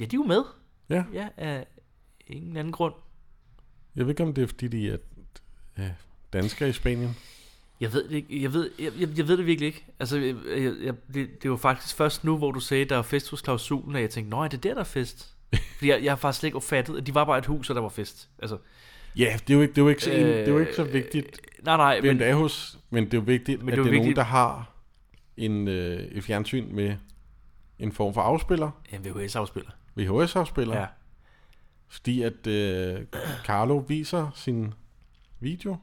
Speaker 3: ja, de er jo med.
Speaker 2: Ja.
Speaker 3: Ja, af ingen anden grund.
Speaker 2: Jeg ved ikke, om det er, fordi de er øh, danskere i Spanien.
Speaker 3: Jeg ved det ikke. Jeg ved, jeg, jeg, jeg ved det virkelig ikke. Altså, jeg, jeg, jeg, det, det var faktisk først nu, hvor du sagde, der er fest hos klausulen, og jeg tænkte, nej, det er der, der er fest.
Speaker 2: [laughs]
Speaker 3: Fordi jeg, jeg har faktisk slet ikke opfattet, at de var bare et hus, og der var fest. Altså,
Speaker 2: Ja, det er jo ikke, det er jo ikke, så, øh, det er jo ikke så vigtigt,
Speaker 3: nej, nej,
Speaker 2: hvem
Speaker 3: men-
Speaker 2: men, det er hos, men det er jo vigtigt,
Speaker 3: Men
Speaker 2: men det
Speaker 3: det er
Speaker 2: at
Speaker 3: jo
Speaker 2: det er nogen,
Speaker 3: vigtigt-
Speaker 2: der har en, øh, et fjernsyn med en form for afspiller.
Speaker 3: En VHS-afspiller.
Speaker 2: VHS-afspiller.
Speaker 3: Ja.
Speaker 2: Fordi at øh, Carlo viser sin video,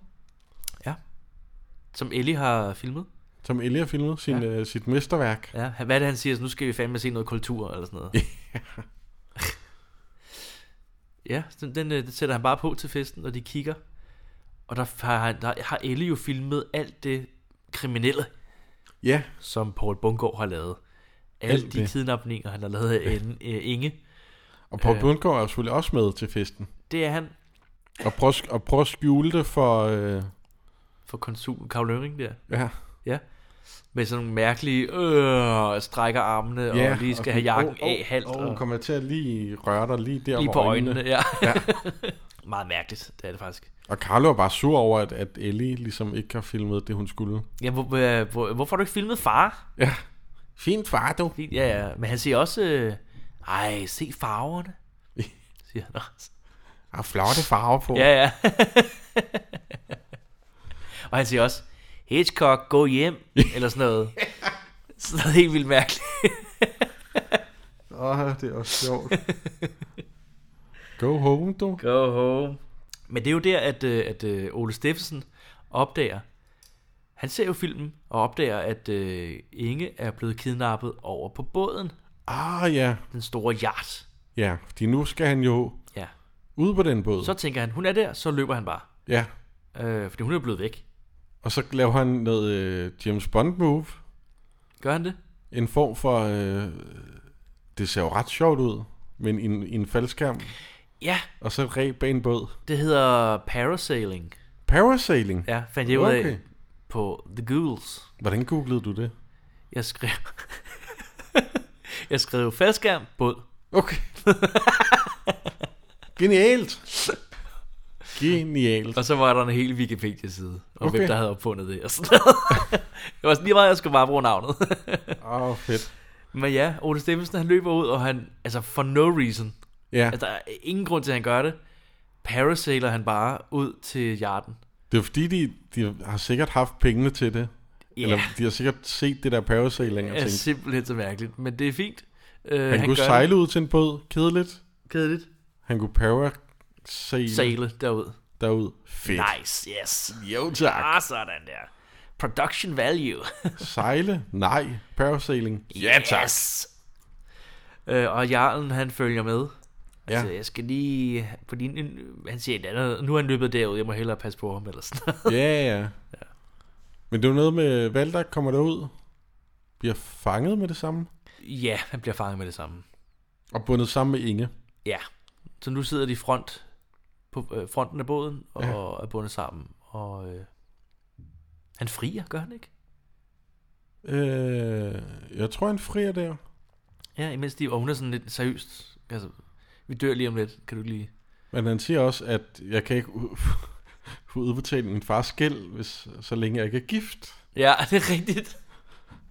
Speaker 3: Som Ellie har filmet.
Speaker 2: som Ellie har filmet, sin, ja. øh, sit mesterværk.
Speaker 3: Ja, han- hvad er det, han siger? Så nu skal vi fandme se noget kultur, eller sådan
Speaker 2: [laughs]
Speaker 3: noget. ja, så den, øh, den sætter han bare på til festen, og de kigger. Og der har, han- der har Elle jo filmet alt det kriminelle,
Speaker 2: Ja.
Speaker 3: som Paul Bungård har lavet. Alle
Speaker 2: Alt
Speaker 3: de
Speaker 2: det.
Speaker 3: kidnapninger, han har lavet af en, øh, Inge.
Speaker 2: Og Paul
Speaker 3: Øh.
Speaker 2: øh. Bundgaard er jo selvfølgelig også med til festen.
Speaker 3: Det er han.
Speaker 2: Og prøver, at sk- og prøver at skjule det for... Øh,
Speaker 3: For konsul Karl Løring der.
Speaker 2: Ja.
Speaker 3: Ja. Med sådan nogle mærkelige, øh, strækker armene, ja, og lige skal have jakken oh, af halvt.
Speaker 2: Og, og, og kommer jeg til at lige røre dig lige der
Speaker 3: Lige
Speaker 2: hvor
Speaker 3: på øjnene, ja.
Speaker 2: ja.
Speaker 3: [laughs] Meget mærkeligt, det er det faktisk.
Speaker 2: Og Carlo er bare sur over, at, at Ellie ligesom ikke har filmet det, hun skulle.
Speaker 3: Ja, hvor, hvor, hvor, hvorfor har du ikke filmet far?
Speaker 2: Ja. Fint far, du.
Speaker 3: Fint, ja, ja. Men han siger også, øh, ej, se [laughs] farverne, siger han også.
Speaker 2: Har flotte farver på.
Speaker 3: Ja, [laughs] ja. og han siger også, Hitchcock, gå hjem, eller sådan [laughs] noget. sådan noget helt vildt mærkeligt.
Speaker 2: Åh, det er også sjovt. [laughs] Go home, du.
Speaker 3: Go home. Men det er jo der, at, øh, at øh, Ole Steffensen opdager, han ser jo filmen og opdager, at øh, Inge er blevet kidnappet over på båden.
Speaker 2: Ah ja.
Speaker 3: Den store yacht.
Speaker 2: Ja, fordi nu skal han jo
Speaker 3: Ja.
Speaker 2: ud på den båd.
Speaker 3: Så tænker han, hun er der, så løber han bare.
Speaker 2: Ja.
Speaker 3: Øh, fordi hun er blevet væk.
Speaker 2: Og så laver han noget øh, James Bond move.
Speaker 3: Gør han det?
Speaker 2: En form for... Øh, det ser jo ret sjovt ud, men i en, i en faldskærm.
Speaker 3: Ja.
Speaker 2: Og så ræb bag en båd.
Speaker 3: Det hedder parasailing.
Speaker 2: Parasailing?
Speaker 3: Ja, fandt jeg ud af
Speaker 2: Okay.
Speaker 3: på The Ghouls.
Speaker 2: Hvordan googlede du det?
Speaker 3: Jeg skrev... [laughs] jeg skrev faldskærm, båd.
Speaker 2: Okay. [laughs] Genialt. Genialt.
Speaker 3: Og så var der en hel Wikipedia-side, og okay.
Speaker 2: Okay.
Speaker 3: hvem der havde opfundet det og sådan noget. [laughs] det var sådan lige meget, jeg skulle bare bruge navnet. [laughs]
Speaker 2: Åh, oh, fedt.
Speaker 3: Men ja, Ole Steffensen, han løber ud, og han, altså for no reason.
Speaker 2: Ja.
Speaker 3: Altså, der er ingen grund til, at han gør det. Parasailer han bare ud til jarden.
Speaker 2: Det er fordi, de, de har sikkert haft pengene til det.
Speaker 3: Ja.
Speaker 2: Eller de har sikkert set det der parasailing og
Speaker 3: Det [laughs] er
Speaker 2: tænkt,
Speaker 3: simpelthen så mærkeligt, men det er fint. Øh,
Speaker 2: han, han kunne
Speaker 3: gør det.
Speaker 2: sejle ud til en båd, kedeligt.
Speaker 3: Kedeligt.
Speaker 2: Han kunne parasail
Speaker 3: Sejle derud.
Speaker 2: derud. Fedt.
Speaker 3: Nice, yes.
Speaker 2: Jo tak.
Speaker 3: Ah, sådan der. Production value.
Speaker 2: Sejle? Nej. Parasailing?
Speaker 3: Ja, tak. Yes. Øh, og Jarlen, han følger med. Ja. Altså, jeg skal lige... Fordi en- han siger et andet. Nu er han løbet derud, jeg må hellere passe på ham eller sådan noget. [laughs]
Speaker 2: Ja, ja. Men det er jo noget med, Valder kommer derud, bliver fanget med det samme,
Speaker 3: Ja, han bliver fanget med det samme.
Speaker 2: og bundet sammen med Inge.
Speaker 3: Ja. Så nu sidder de i front på øh, fronten af båden og
Speaker 2: Ja.
Speaker 3: er bundet sammen. Og øh, han frier, gør han ikke?
Speaker 2: Øh, jeg tror, han frier der.
Speaker 3: Ja, imens de... Og hun er sådan lidt seriøst. Altså, vi dør lige om lidt. Kan du ikke lige...
Speaker 2: Men han siger også, at jeg kan ikke u- [laughs] få udbetalt min fars gæld, hvis, så længe jeg ikke er gift.
Speaker 3: Ja, [laughs] det er rigtigt.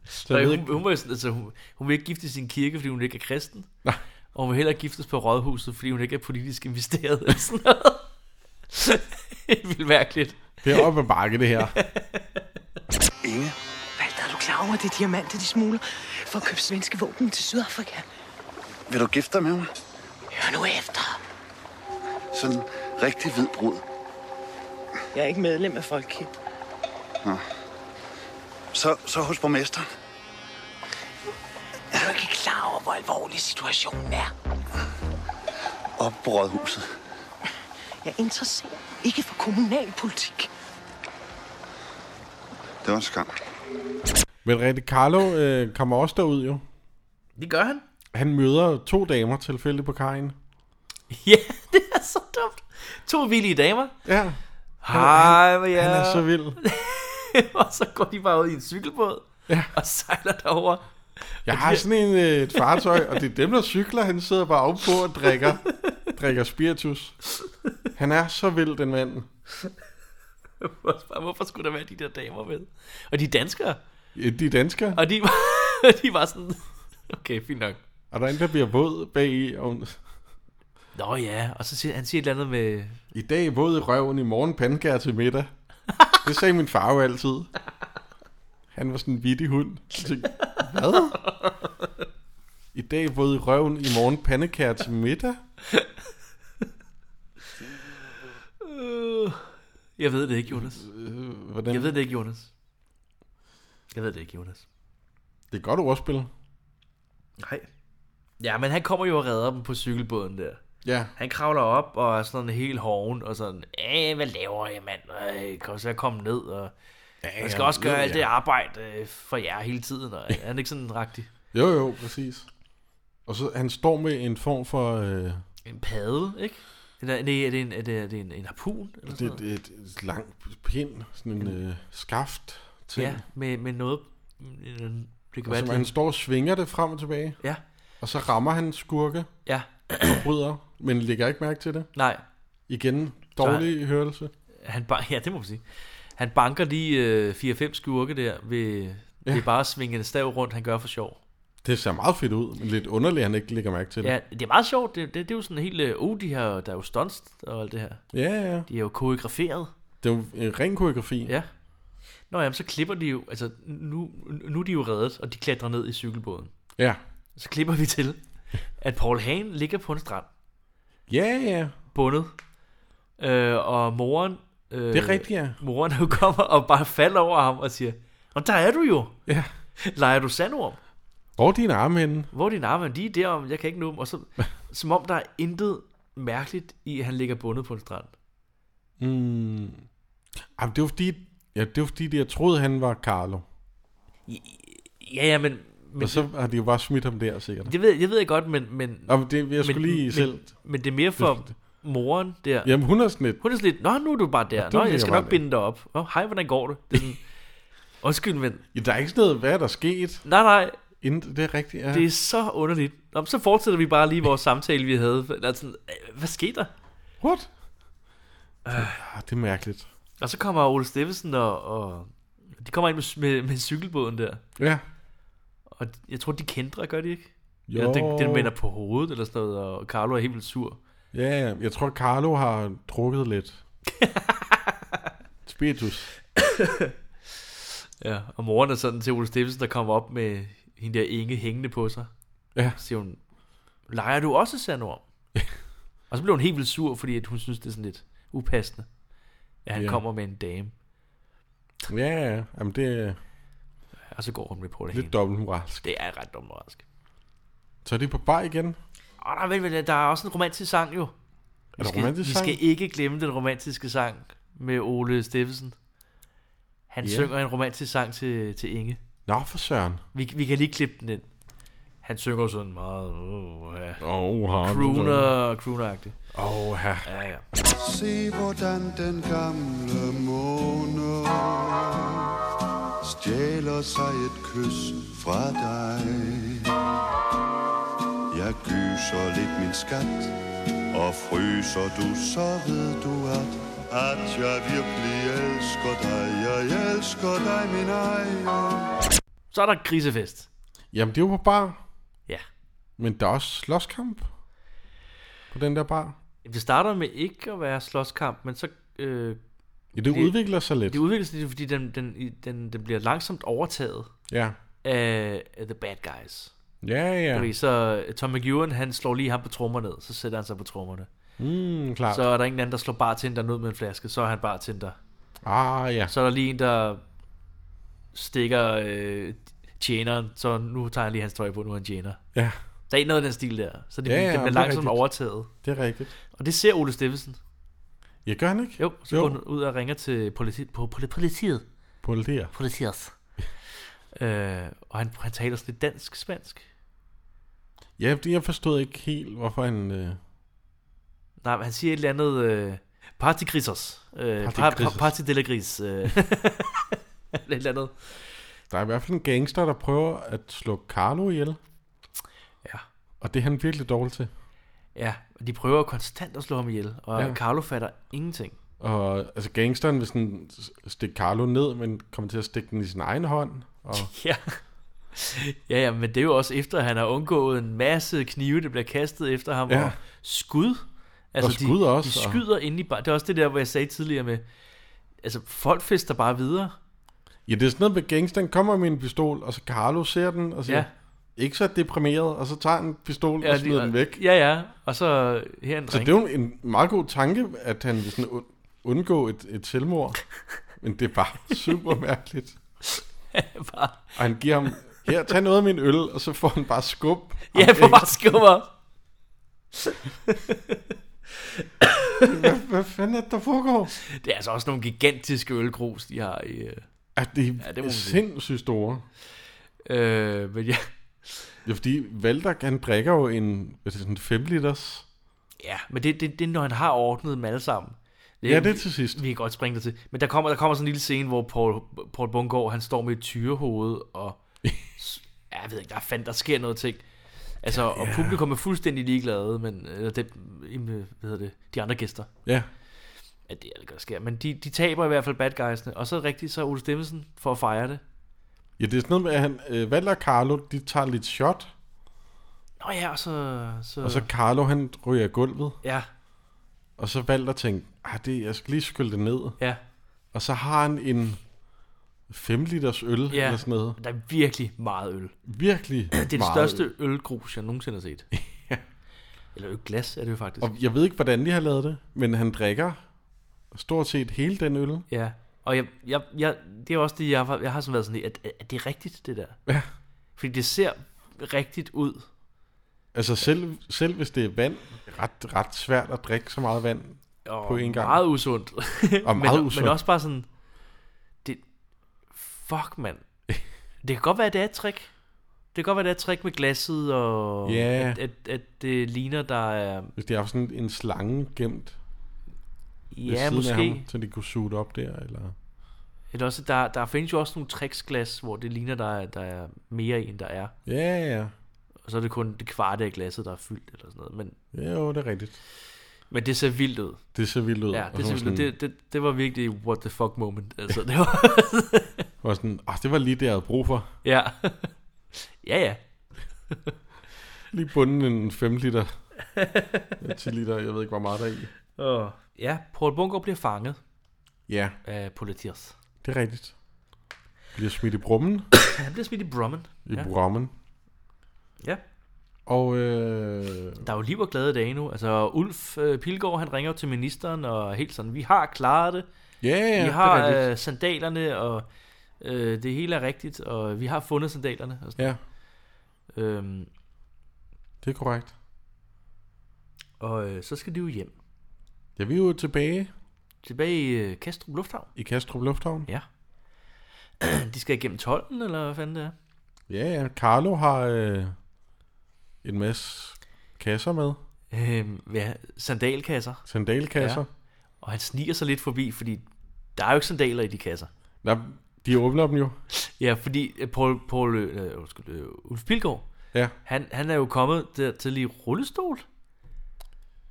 Speaker 2: jeg
Speaker 3: Nej,
Speaker 2: ved
Speaker 3: hun,
Speaker 2: ikke-
Speaker 3: hun, må, jo sådan- altså, hun, hun vil ikke gifte sin kirke, fordi hun ikke er kristen.
Speaker 2: Nej.
Speaker 3: Og hun vil heller ikke giftes på rådhuset, fordi hun ikke er politisk investeret. [laughs] Eller sådan noget. det er vildt mærkeligt.
Speaker 2: Det er op ad bakke, det
Speaker 3: [laughs]
Speaker 2: her.
Speaker 11: Inge? Walter, er du klar over det er diamanter, de smugler for at købe svenske våben til Sydafrika?
Speaker 5: Vil du gifte dig med mig?
Speaker 11: Hør nu efter.
Speaker 5: Sådan en rigtig hvid brud.
Speaker 11: Jeg er ikke medlem af Folkekirken.
Speaker 5: Nå. Så, så hos borgmesteren.
Speaker 11: Er du ikke klar over, hvor alvorlig situationen er?
Speaker 5: Op på rådhuset.
Speaker 11: Jeg interesserer mig ikke for kommunalpolitik.
Speaker 5: Det var en skam.
Speaker 2: Men rigtig Carlo øh, kommer også derud jo.
Speaker 3: Det gør han.
Speaker 2: Han møder to damer tilfældigt på kajen.
Speaker 3: [laughs] Ja, det er så dumt. To villige damer.
Speaker 2: Ja.
Speaker 3: Hej, hvor
Speaker 2: Han-
Speaker 3: jeg
Speaker 2: han er så vild.
Speaker 3: [laughs] og så går de bare ud i en cykelbåd ja. og sejler derover. [laughs]
Speaker 2: Jeg har sådan en, øh, et fartøj, og det er dem, der cykler. Han sidder bare ovenpå og drikker, drikker spiritus. Han er så vild, den mand.
Speaker 3: Hvorfor hvorfor skulle der være de der damer med? Og de er danskere.
Speaker 2: Ja, de er danskere.
Speaker 3: Og de, de var [laughs] sådan... Okay, fint nok.
Speaker 2: Og der er en, der bliver våd bag i. Og...
Speaker 3: Nå ja, og så siger han siger et eller andet med...
Speaker 2: I dag våd i røven, i morgen pandekager til middag. Det sagde min far jo altid. Han var sådan en vittig hund. Jeg tænkte, Hvad? I dag våd i røven, i morgen pandekager til middag.
Speaker 3: Øh, jeg ved det ikke, Jonas.
Speaker 2: hvordan?
Speaker 3: Jeg ved det ikke, Jonas. Jeg ved det ikke, Jonas.
Speaker 2: Det er godt ordspil.
Speaker 3: Nej. Ja, men han kommer jo og redder dem på cykelbåden der.
Speaker 2: Ja.
Speaker 3: Han kravler op og er sådan helt hoven og sådan, Æh, hvad laver jeg, mand? Øh, Kom så komme ned, og jeg skal
Speaker 2: ja,
Speaker 3: også gøre
Speaker 2: ved
Speaker 3: alt
Speaker 2: jeg."
Speaker 3: det arbejde øh, for jer hele tiden. Og er han ikke sådan rigtig?
Speaker 2: Jo, jo, præcis. Og så han står med en form for... Øh,
Speaker 3: En padde, ikke? Eller, nej, er det en, er det, er det en, en harpun? Eller
Speaker 2: det,
Speaker 3: sådan noget?
Speaker 2: det, et, et langt pind, sådan en øh, skaft ting.
Speaker 3: Ja, med, med noget... Det kan
Speaker 2: Og
Speaker 3: være,
Speaker 2: så
Speaker 3: det-
Speaker 2: han står og svinger det frem og tilbage.
Speaker 3: Ja.
Speaker 2: Og så rammer han skurke.
Speaker 3: Ja.
Speaker 2: Forbryder, men lægger ikke mærke til det.
Speaker 3: Nej.
Speaker 2: Igen,
Speaker 3: Så han-
Speaker 2: dårlig hørelse.
Speaker 3: Han ba- [laughs] ja, det må man sige. Han banker lige øh, 4-5 skurke der ved, ja. ved bare at svinge en stav rundt, han gør for sjov.
Speaker 2: Det ser meget fedt ud, men lidt underligt, at han ikke lægger mærke til det.
Speaker 3: Ja, det er meget sjovt. Det, det, det er jo sådan helt, øh, oh, de her, der er jo stunts og alt det her.
Speaker 2: Ja, ja.
Speaker 3: De er jo koreograferet.
Speaker 2: Det er jo en ren koreografi.
Speaker 3: Ja. Nå jamen, så klipper de jo, altså nu, nu er de jo reddet, og de klatrer ned i cykelbåden.
Speaker 2: Ja.
Speaker 3: Så klipper vi til, at Paul Hagen ligger på en strand.
Speaker 2: Ja, ja.
Speaker 3: Bundet. Øh, og moren... Øh,
Speaker 2: Det er rigtigt, ja.
Speaker 3: Moren jo kommer og bare falder over ham og siger, og der er du jo.
Speaker 2: Ja.
Speaker 3: Leger du sandorm?
Speaker 2: Hvor er dine arme henne?
Speaker 3: Hvor er dine arme? henne? De er derom, jeg kan ikke nå dem. Og så, som om der er intet mærkeligt i, at han ligger bundet på en strand.
Speaker 2: Mm. Jamen, det var fordi, ja, det var fordi, jeg troede, han var Carlo.
Speaker 3: Ja, ja, men... men
Speaker 2: og så har de jo bare smidt ham der, sikkert.
Speaker 3: Det ved, jeg ved jeg godt, men... men
Speaker 2: Nå, men det- jeg skulle lige
Speaker 3: men,
Speaker 2: selv-
Speaker 3: Men, men det er mere for moren der.
Speaker 2: Jamen, hun er sådan lidt...
Speaker 3: Hun er sådan lidt, nå, nu er du bare
Speaker 2: Ja,
Speaker 3: der.
Speaker 2: du
Speaker 3: Nå,
Speaker 2: ligger
Speaker 3: jeg skal
Speaker 2: bare
Speaker 3: nok
Speaker 2: der."
Speaker 3: binde dig op. Nå, hej, hvordan går det? det er sådan, Undskyld, men...
Speaker 2: Ja, der er ikke sådan noget, hvad er der sket?
Speaker 3: Nej, nej.
Speaker 2: Inden, det er rigtigt, ja.
Speaker 3: Det er så underligt. Nå, så fortsætter vi bare lige vores samtale, vi havde. Altså, sådan, "Øh, hvad skete der?
Speaker 2: What?
Speaker 3: Øh.
Speaker 2: Ah, det er mærkeligt.
Speaker 3: Og så kommer Ole Steffensen og, og de kommer ind med, med, med cykelbåden der.
Speaker 2: Ja.
Speaker 3: Og jeg tror, de kendte gør de ikke?
Speaker 2: Jo.
Speaker 3: Eller den, den vender på hovedet eller sådan noget, og Carlo er helt vildt sur.
Speaker 2: Ja, ja, jeg tror, Carlo har drukket lidt. Spiritus.
Speaker 3: Ja, og moren er sådan til Ole Steffensen, der kommer op med hende der Inge hængende på sig.
Speaker 2: Ja.
Speaker 3: Så siger hun, leger du også
Speaker 2: [laughs]
Speaker 3: sandorm? og så blev hun helt vildt sur, fordi at hun synes, det er sådan lidt upassende, at han
Speaker 2: Ja.
Speaker 3: kommer med en dame.
Speaker 2: Ja, ja, jamen det
Speaker 3: Og så går hun med på det
Speaker 2: Lidt dobbeltmoralsk.
Speaker 3: Det er ret dobbeltmoralsk.
Speaker 2: Så er de på bar igen?
Speaker 3: Og der er, vel, vel, der er også en romantisk sang jo.
Speaker 2: der
Speaker 3: vi skal,
Speaker 2: romantisk
Speaker 3: vi
Speaker 2: sang?
Speaker 3: skal ikke glemme den romantiske sang med Ole Steffensen. Han
Speaker 2: Ja.
Speaker 3: synger en romantisk sang til, til Inge.
Speaker 2: Nå, for søren.
Speaker 3: Vi, vi kan lige klippe den ind. Han synger sådan meget... Oh, ja.
Speaker 2: Åh, har du
Speaker 3: crooner, crooner-agtigt.
Speaker 2: Åh, ja.
Speaker 3: ja, ja.
Speaker 16: Se hvordan den gamle måne stjæler sig et kys fra dig. Jeg gyser lidt min skat, og fryser du, så ved du at, at jeg virkelig elsker dig. Jeg elsker dig, min egen.
Speaker 3: Så er der grisefest.
Speaker 2: Jamen, det er jo på bar.
Speaker 3: Ja.
Speaker 2: Men der er også slåskamp på den der bar.
Speaker 3: Det starter med ikke at være slåskamp, men så... Øh,
Speaker 2: Ja, det udvikler sig lidt.
Speaker 3: Det udvikler sig lidt, fordi den, den, i- den, den bliver langsomt overtaget
Speaker 2: Ja.
Speaker 3: af, af the bad guys.
Speaker 2: Ja, ja.
Speaker 3: Du ved, så øh, Tom McEwan, han slår lige ham på trommerne, ned, så sætter han sig på trommerne.
Speaker 2: Mm, klart.
Speaker 3: Så er der ingen anden, der slår bartender ned med en flaske, så er han bartender.
Speaker 2: Ah, ja.
Speaker 3: Så er der lige en, der stikker øh, tjeneren, så nu tager han lige hans tøj på, nu er han tjener.
Speaker 2: Ja.
Speaker 3: Der er ikke noget af den stil der, så det,
Speaker 2: Ja,
Speaker 3: ja,
Speaker 2: ja,
Speaker 3: ja, det
Speaker 2: det er
Speaker 3: bliver langsomt
Speaker 2: rigtigt.
Speaker 3: overtaget.
Speaker 2: Det er rigtigt.
Speaker 3: Og det ser Ole Steffensen.
Speaker 2: Ja, gør han ikke?
Speaker 3: Jo, så jo. går han ud og ringer til politi- på, på, politiet.
Speaker 2: Politiet.
Speaker 3: Politiet. øh, og han, han taler sådan lidt dansk-spansk.
Speaker 2: Ja, fordi jeg forstod ikke helt, hvorfor han... Øh...
Speaker 3: Nej, men han siger et eller andet... Øh, Partigrisers. Øh,
Speaker 2: Partigrisers.
Speaker 3: par, par, parti de la gris. Øh. [laughs] et eller andet.
Speaker 2: Der er i hvert fald en gangster, der prøver at slå Carlo ihjel.
Speaker 3: Ja.
Speaker 2: Og det er han virkelig dårlig til.
Speaker 3: Ja, og de prøver konstant at slå ham ihjel, og
Speaker 2: Ja.
Speaker 3: ja. Carlo fatter ingenting.
Speaker 2: Og altså gangsteren vil sådan s- stikke Carlo ned, men kommer til at stikke den i sin egen hånd. Og
Speaker 3: [laughs] Ja. ja, ja, men det er jo også efter, at han har undgået en masse knive, der bliver kastet efter ham,
Speaker 2: Ja.
Speaker 3: og skud. Altså,
Speaker 2: Og skud
Speaker 3: de,
Speaker 2: også,
Speaker 3: De
Speaker 2: og-
Speaker 3: skyder ind i bare. Det er også det der, hvor jeg sagde tidligere med, altså folk fester bare videre.
Speaker 2: ja, det er sådan noget med gangsteren kommer med en pistol, og så Carlo ser den og siger, ja.
Speaker 3: Ja.
Speaker 2: ikke så deprimeret, og så tager han pistolen ja,
Speaker 3: Ja,
Speaker 2: og smider
Speaker 3: de-
Speaker 2: den væk.
Speaker 3: Ja, ja, og så her er en
Speaker 2: Så det
Speaker 3: [laughs] drink.
Speaker 2: er jo en meget god tanke, at han vil sådan und- undgå et, et selvmord. Men det er bare super mærkeligt. Og han giver ham, her, tag noget af min øl, og så får han bare skub.
Speaker 3: Ja, for bare skubber.
Speaker 2: hvad, hvad fanden er det, der foregår?
Speaker 3: Det er altså også nogle gigantiske ølgrus, de har i... Øh,
Speaker 2: Ja, det er
Speaker 3: ja,
Speaker 2: ja,
Speaker 3: det må man sige.
Speaker 2: sindssygt store.
Speaker 3: Øh, men ja.
Speaker 2: Ja, fordi Valder, han drikker jo en, hvad er det, sådan 5 liters.
Speaker 3: Ja, men det, det, det er, når han har ordnet dem alle sammen.
Speaker 2: Ja, det er til sidst.
Speaker 3: Vi kan godt springe det til. Men der kommer, der kommer sådan en lille scene, hvor Paul, Paul
Speaker 2: [laughs]
Speaker 3: Bungård, han står med et tyrehoved, og s- ja, jeg ved ikke, der, fandt, der sker noget ting. Altså, og publikum er fuldstændig ligeglade, men eller det, im- hvad hedder det, de andre gæster.
Speaker 2: Ja.
Speaker 3: Ja, det er det godt sker. Men de, de taber i hvert fald bad guysene. Og så rigtigt, så er Ole Stemmelsen for at fejre det.
Speaker 2: Ja, det er sådan noget med, at han, øh, Valder og Carlo, de tager lidt shot,
Speaker 3: Nå ja, og så... så...
Speaker 2: og så Carlo, han ryger i gulvet.
Speaker 3: Ja.
Speaker 2: Og så Valder tænkte, ah, det, jeg skal lige skylle det ned.
Speaker 3: Ja.
Speaker 2: Og så har han en 5 liters øl,
Speaker 3: Ja,
Speaker 2: eller sådan noget.
Speaker 3: der er virkelig meget øl.
Speaker 2: Virkelig
Speaker 3: [clears throat] Det er det
Speaker 2: meget
Speaker 3: største
Speaker 2: øl.
Speaker 3: ølgrus, jeg nogensinde har
Speaker 2: [laughs]
Speaker 3: set. Eller ølglas er det jo faktisk.
Speaker 2: Og jeg ved ikke, hvordan de har lavet det, men han drikker stort set hele den øl.
Speaker 3: Ja, og jeg, jeg, jeg, det er også det, jeg har, jeg har sådan været sådan lidt, at, at det er rigtigt, det der.
Speaker 2: Ja.
Speaker 3: Fordi det ser rigtigt ud.
Speaker 2: Altså selv, selv hvis det er vand, ret, ret svært at drikke så meget vand
Speaker 3: Og
Speaker 2: på en gang.
Speaker 3: meget usundt. [laughs]
Speaker 2: og meget
Speaker 3: men,
Speaker 2: usundt.
Speaker 3: men også bare sådan, det,
Speaker 2: [laughs]
Speaker 3: fuck mand. Det kan godt være, det er et trick. Det kan godt være, det er et trick med glasset, og
Speaker 2: Ja.
Speaker 3: at, at, at det ligner, der er...
Speaker 2: Hvis de har haft sådan en slange gemt ved
Speaker 3: Ja,
Speaker 2: siden af
Speaker 3: måske.
Speaker 2: ham, så de kunne suge det op der, eller...
Speaker 3: Eller også, der, der findes jo også nogle tricksglas, hvor det ligner, der er, der er mere i, end der er.
Speaker 2: Ja, ja.
Speaker 3: Og så er det kun det kvarte af glasset, der er fyldt, eller sådan noget. Men
Speaker 2: Ja, jo, det er rigtigt.
Speaker 3: Men det ser vildt ud.
Speaker 2: Det ser vildt ud.
Speaker 3: Ja,
Speaker 2: Og
Speaker 3: det,
Speaker 2: så
Speaker 3: ser
Speaker 2: var
Speaker 3: vildt ud.
Speaker 2: sådan-
Speaker 3: det, det, det var virkelig what the fuck moment. Altså, det var... [laughs]
Speaker 2: Var sådan, oh, det var lige det, jeg havde brug for.
Speaker 3: ja. ja, ja.
Speaker 2: Lige bunden en 5
Speaker 3: [laughs]
Speaker 2: liter, 10 liter, jeg ved ikke, hvor meget der er i.
Speaker 3: Og, ja, Paul Bunker bliver fanget
Speaker 2: Ja,
Speaker 3: af politiet.
Speaker 2: det er rigtigt. Bliver smidt i brummen.
Speaker 3: Han bliver smidt i Brummen.
Speaker 2: I
Speaker 3: Ja.
Speaker 2: brummen.
Speaker 3: Ja.
Speaker 2: Og øh...
Speaker 3: Der er jo liv og glade dage nu. Altså, Ulf øh, Pilgaard, han ringer jo til ministeren og er helt sådan, vi har klaret det.
Speaker 2: Ja, ja, det
Speaker 3: Vi
Speaker 2: er
Speaker 3: har
Speaker 2: rigtigt.
Speaker 3: øh, sandalerne, og øh, det hele er rigtigt, og vi har fundet sandalerne. Og sådan. Ja. Øhm,
Speaker 2: Det er korrekt.
Speaker 3: og øh, så skal de jo hjem.
Speaker 2: Ja, vi er jo tilbage
Speaker 3: Tilbage i øh, Kastrup Lufthavn.
Speaker 2: i Kastrup Lufthavn.
Speaker 3: Ja. [clears throat] De skal igennem tolden, eller hvad fanden det er?
Speaker 2: Ja, ja. Carlo har øh, en masse kasser med.
Speaker 3: Øhm, ja, sandalkasser.
Speaker 2: Sandalkasser.
Speaker 3: Ja. Og han sniger sig lidt forbi, fordi der er jo ikke sandaler i de kasser.
Speaker 2: Nej, de åbner dem jo.
Speaker 3: Ja, fordi øh, Paul, Paul øh, undskyld, øh, Ulf Pilgaard,
Speaker 2: Ja.
Speaker 3: han, han er jo kommet dertil i rullestol.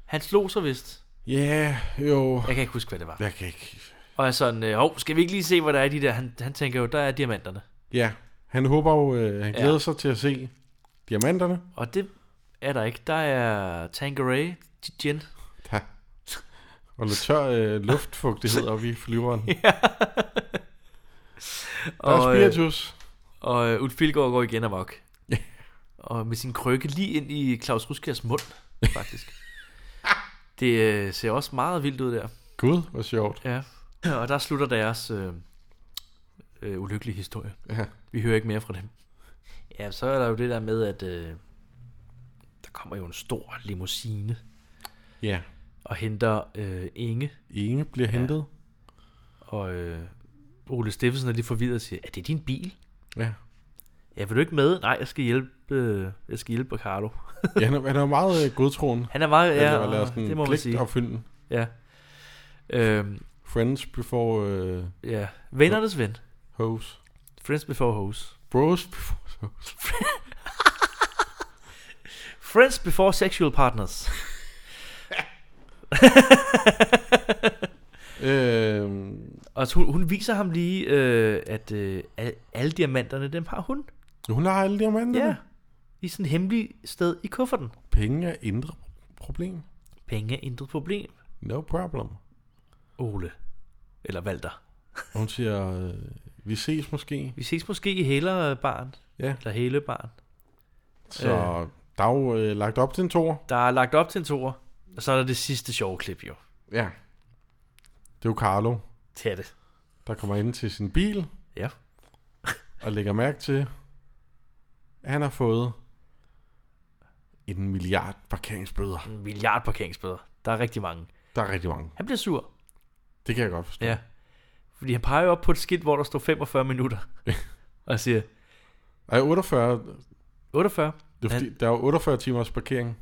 Speaker 3: Han slog sig vist.
Speaker 2: Ja, jo.
Speaker 3: Jeg kan ikke huske, hvad det var.
Speaker 2: Jeg kan ikke.
Speaker 3: Og er sådan, øh, hov, skal vi ikke lige se, hvad der er i de der? Han, han tænker jo, der er diamanterne.
Speaker 2: Ja, han håber jo, øh, han
Speaker 3: Ja.
Speaker 2: glæder ja. sig til at se diamanterne.
Speaker 3: Og det er der ikke. Der er Tangeray gin.
Speaker 2: Ja. Og lidt tør øh, luftfugtighed oppe i flyveren.
Speaker 3: [laughs] ja.
Speaker 2: Der er spiritus.
Speaker 3: Øh, og øh, Ulf Pilgaard går igen amok. [laughs] og med sin krykke lige ind i Claus Ruskærs mund,
Speaker 2: [laughs]
Speaker 3: faktisk. det øh, ser også meget vildt ud der.
Speaker 2: Gud, hvor sjovt.
Speaker 3: Ja. [laughs] Og der slutter deres øh, øh, ulykkelige historie.
Speaker 2: Ja.
Speaker 3: Vi hører ikke mere fra dem. Ja, så er der jo det der med, at øh, der kommer jo en stor limousine.
Speaker 2: Ja.
Speaker 3: Og henter øh, Inge.
Speaker 2: Inge bliver
Speaker 3: ja.
Speaker 2: hentet.
Speaker 3: Og øh, Ole Steffensen er lidt forvirret og siger, er det din bil?
Speaker 2: Ja.
Speaker 3: Ja, vil du ikke med? Nej, jeg skal hjælpe, øh, jeg skal hjælpe Carlo.
Speaker 2: Ja, han er, han er jo meget øh, godtroen.
Speaker 3: Han er meget, ja,
Speaker 2: og laver sådan
Speaker 3: det må man sige.
Speaker 2: pligtopfylden.
Speaker 3: Ja. Øhm,
Speaker 2: Friends before... Øh,
Speaker 3: ja, vennernes ven.
Speaker 2: Hose.
Speaker 3: Friends before hoes.
Speaker 2: Bros before
Speaker 3: [laughs]
Speaker 2: hoes.
Speaker 3: Friends before sexual partners.
Speaker 2: øhm.
Speaker 3: Altså, hun, hun viser ham lige, øh, at øh, al- alle diamanterne, dem har hun.
Speaker 2: Hun har alle diamanterne?
Speaker 3: Ja, i sådan et hemmeligt sted i kufferten.
Speaker 2: Penge er indre problem.
Speaker 3: Penge er intet problem,
Speaker 2: No problem.
Speaker 3: Ole. Eller Valter.
Speaker 2: Og hun siger, øh, vi ses måske.
Speaker 3: Vi ses måske i Hælerbarn.
Speaker 2: Ja.
Speaker 3: Eller Hælebarn.
Speaker 2: Så
Speaker 3: Øh.
Speaker 2: der er jo øh, lagt op til en tor.
Speaker 3: Der er lagt op til en toer, og så er der det sidste sjove klip jo.
Speaker 2: Ja. Det er jo Carlo,
Speaker 3: Det er det.
Speaker 2: der kommer ind til sin bil.
Speaker 3: Ja.
Speaker 2: og lægger mærke til, at han har fået en milliard parkeringsbøder.
Speaker 3: En milliard parkeringsbøder. Der er rigtig mange.
Speaker 2: Der er rigtig mange.
Speaker 3: Han bliver sur.
Speaker 2: Det kan jeg godt forstå.
Speaker 3: Ja. Fordi han peger jo op på et skilt, hvor der står 45 minutter. og siger,
Speaker 2: Ej, 48.
Speaker 3: 48.
Speaker 2: Det er fordi, der er jo 48 timers parkering.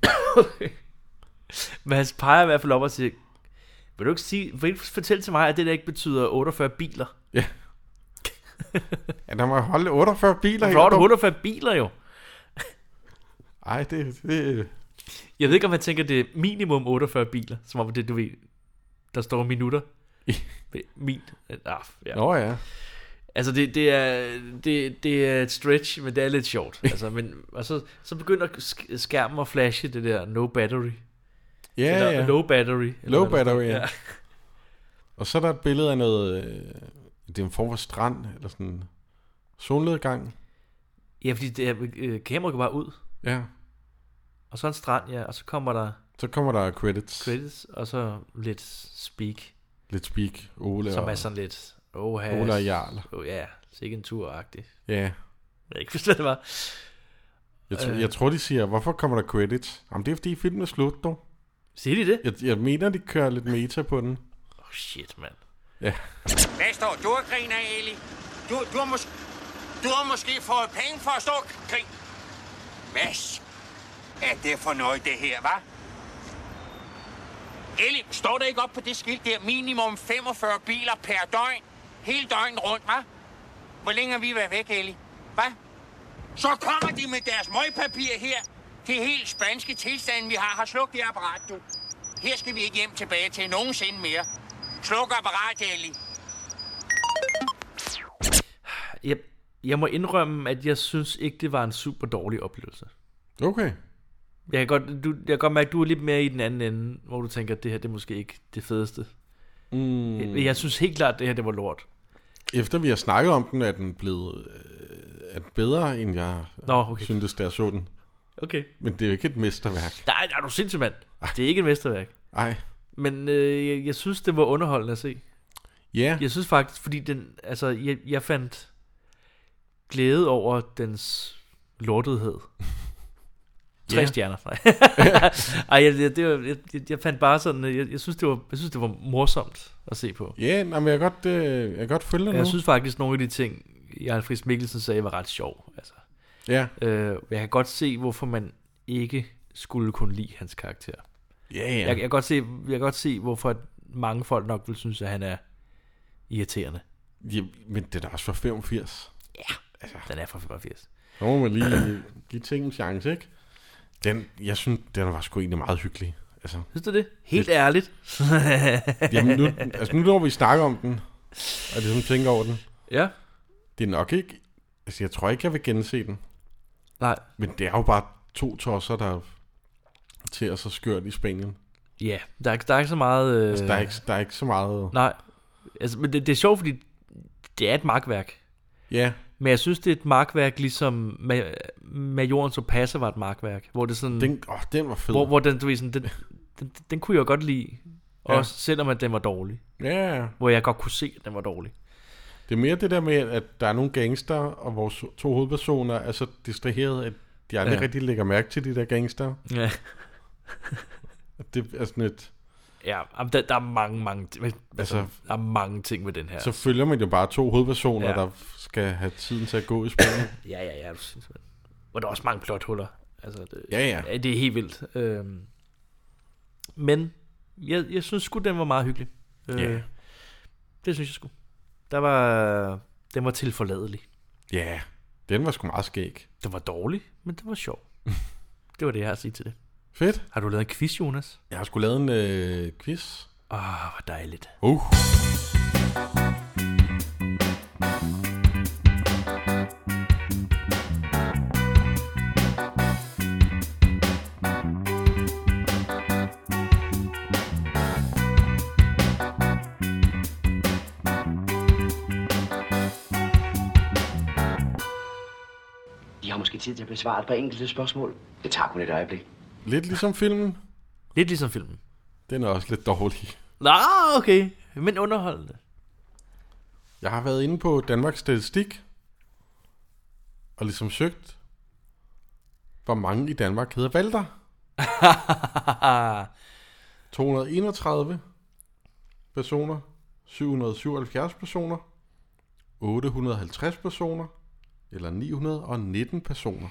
Speaker 3: Men han peger i hvert fald op og siger, vil du ikke, sige, vil du ikke fortælle til mig, at det der ikke betyder 48 biler?
Speaker 2: Ja. ja, der må holde 48 biler.
Speaker 3: Hvor er der
Speaker 2: Jacob.
Speaker 3: 48 biler jo?
Speaker 2: Ej, det, det...
Speaker 3: Jeg ved ikke, om han tænker, det er minimum 48 biler, som om det, du ved, der
Speaker 2: [laughs]
Speaker 3: står minutter. Min. Ah, ja.
Speaker 2: Nå ja.
Speaker 3: Altså, det, det, er, det, det er et stretch, men det er lidt sjovt.
Speaker 2: [laughs]
Speaker 3: Altså, men, og så, så begynder sk- skærmen at flashe det der no battery.
Speaker 2: Ja,
Speaker 3: eller
Speaker 2: ja.
Speaker 3: low battery. Eller
Speaker 2: Low
Speaker 3: hvad der står.
Speaker 2: battery, ja. Og så er der et billede af noget... øh, Det er en form for strand, eller sådan... Solnedgang.
Speaker 3: Ja, fordi det, er- øh, kameraet går bare ud.
Speaker 2: Ja.
Speaker 3: Og så en strand, ja, og så kommer der
Speaker 2: Så kommer der credits.
Speaker 3: credits, og så lidt speak,
Speaker 2: Lidt speak. Ole
Speaker 3: som
Speaker 2: og-
Speaker 3: er sådan lidt, oh,
Speaker 2: Ole og Jarl.
Speaker 3: Oh, ja, sikke en tur-agtig.
Speaker 2: Ja.
Speaker 3: Jeg ved ikke, [laughs] hvis det var.
Speaker 2: Jeg, tr-
Speaker 3: Øh.
Speaker 2: øh. jeg tror, de siger, hvorfor kommer der credits? Jamen, det er, fordi filmen er slut, dog.
Speaker 3: Siger de det?
Speaker 2: Jeg, jeg mener, de kører lidt meta på den.
Speaker 3: Oh, shit, mand.
Speaker 2: Ja.
Speaker 12: Hvad står du og griner, af, Eli? Du, du, har mås- du har måske fået penge for at stå og grin. Hvad er det for noget, det her, hva'? Eli, står der ikke op på det skilt der minimum 45 biler per døgn? Hele døgnet rundt, hva'? Hvor længe har vi været væk, Eli? Hva? Så kommer de med deres møgpapir her. Det er helt spanske tilstand, vi har. Har slukket det apparat, du. Her skal vi ikke hjem tilbage til nogensinde mere. Sluk apparatet, Eli.
Speaker 3: Jeg, jeg må indrømme, at jeg synes ikke, det var en super dårlig oplevelse.
Speaker 2: Okay.
Speaker 3: Jeg kan godt, du, jeg kan godt mærke, at du er lidt mere i den anden ende, hvor du tænker, at det her det er måske ikke det fedeste.
Speaker 2: Mm.
Speaker 3: Jeg, jeg synes helt klart, at det her det var lort.
Speaker 2: Efter vi har snakket om den, er den blevet øh, er den bedre, end jeg
Speaker 3: Nå, okay.
Speaker 2: syntes, da jeg så den.
Speaker 3: Okay.
Speaker 2: Men det er jo ikke et mesterværk.
Speaker 3: Nej, nej, du er sindssyg, mand. Det er ikke et mesterværk.
Speaker 2: Nej.
Speaker 3: Men øh, jeg, jeg synes, det var underholdende at se.
Speaker 2: Ja.
Speaker 3: Jeg synes faktisk, fordi den, altså, jeg, jeg fandt glæde over dens
Speaker 2: [laughs]
Speaker 3: lortethed. Tre
Speaker 2: Ja.
Speaker 3: stjerner. Nej, [laughs] Ej, jeg, jeg, det var, jeg, jeg fandt bare sådan, øh, jeg, jeg, synes, det var, jeg synes, det var morsomt at se på.
Speaker 2: Ja, nej, men jeg kan godt, øh, jeg kan godt følge dig
Speaker 3: Jeg
Speaker 2: nu.
Speaker 3: synes faktisk, nogle af de ting, Jarl Friis Mikkelsen sagde, var ret sjov. Altså.
Speaker 2: Ja.
Speaker 3: Øh, jeg kan godt se, hvorfor man ikke skulle kunne lide hans karakter.
Speaker 2: Ja, ja.
Speaker 3: Jeg, jeg, kan godt se, jeg kan godt se, hvorfor mange folk nok vil synes, at han er irriterende.
Speaker 2: Ja, men det er da også fra 85.
Speaker 3: Ja, altså. den er fra 85.
Speaker 2: Så må man lige [clears throat] give ting en chance, ikke? Den, jeg synes, den var sgu egentlig meget hyggelig. Altså,
Speaker 3: Synes du det? Helt ærligt.
Speaker 2: Jamen nu, altså nu når vi snakker om den, og ligesom tænker over den.
Speaker 3: Ja.
Speaker 2: Det er nok ikke, altså jeg tror ikke, jeg vil gense den.
Speaker 3: Nej.
Speaker 2: Men det er jo bare to tosser, der til så skørt i Spanien.
Speaker 3: Ja, der er, ikke- der er ikke så meget... Øh...
Speaker 2: Altså, der er ikke- der er ikke så meget...
Speaker 3: Nej, altså, men det, det er sjovt, fordi det er et markværk.
Speaker 2: Ja.
Speaker 3: Men jeg synes, det er et markværk, ligesom Ma- Majorens og Passer var et markværk. Hvor det sådan...
Speaker 2: Den, åh, den var fed.
Speaker 3: Mm. Hvor, hvor den, du ved, sådan, den, den, den kunne jeg godt lide.
Speaker 2: Ja.
Speaker 3: Også selvom at den var dårlig.
Speaker 2: Ja.
Speaker 3: Hvor jeg godt kunne se, at den var dårlig.
Speaker 2: Det er mere det der med, at der er nogle gangster, og vores to hovedpersoner er så distraheret, at de aldrig
Speaker 3: Ja.
Speaker 2: ja. rigtig lægger mærke til de der gangster.
Speaker 3: Ja.
Speaker 2: det er sådan et...
Speaker 3: Ja, jamen, der, der er mange, mange, men, altså,
Speaker 2: Altså-
Speaker 3: der er mange ting ved den her.
Speaker 2: Så følger man jo bare to hovedpersoner,
Speaker 3: Ja.
Speaker 2: ja. der skal have tiden til at gå i Spanien.
Speaker 3: Ja, ja, ja. du synes, man- Hvor der er også mange plothuller. Altså, det,
Speaker 2: Ja,
Speaker 3: ja. Det er helt vildt. Øhm, men jeg, jeg synes sgu, den var meget hyggelig. Øh,
Speaker 2: Ja.
Speaker 3: Det synes jeg sgu. Der var, den var tilforladelig.
Speaker 2: Ja, den var sgu meget skæg.
Speaker 3: Den var dårlig, men den var sjov. [laughs] det var det, jeg har at sige til det.
Speaker 2: Fedt.
Speaker 3: Har du lavet en quiz, Jonas?
Speaker 2: Jeg har sgu lavet en øh, quiz.
Speaker 3: Åh, oh, hvor dejligt.
Speaker 2: Uh.
Speaker 17: I har måske tid til at besvare et par enkelte spørgsmål. Det tager kun et øjeblik.
Speaker 2: Lidt ligesom filmen.
Speaker 3: Lidt ligesom filmen.
Speaker 2: Den er også lidt dårlig.
Speaker 3: Nå, okay. Men underholdende. [laughs]
Speaker 2: Jeg har været inde på Danmarks Statistik og ligesom søgt, hvor mange i Danmark hedder Valter. 231 personer, 777 personer, 850 personer, eller 919 personer.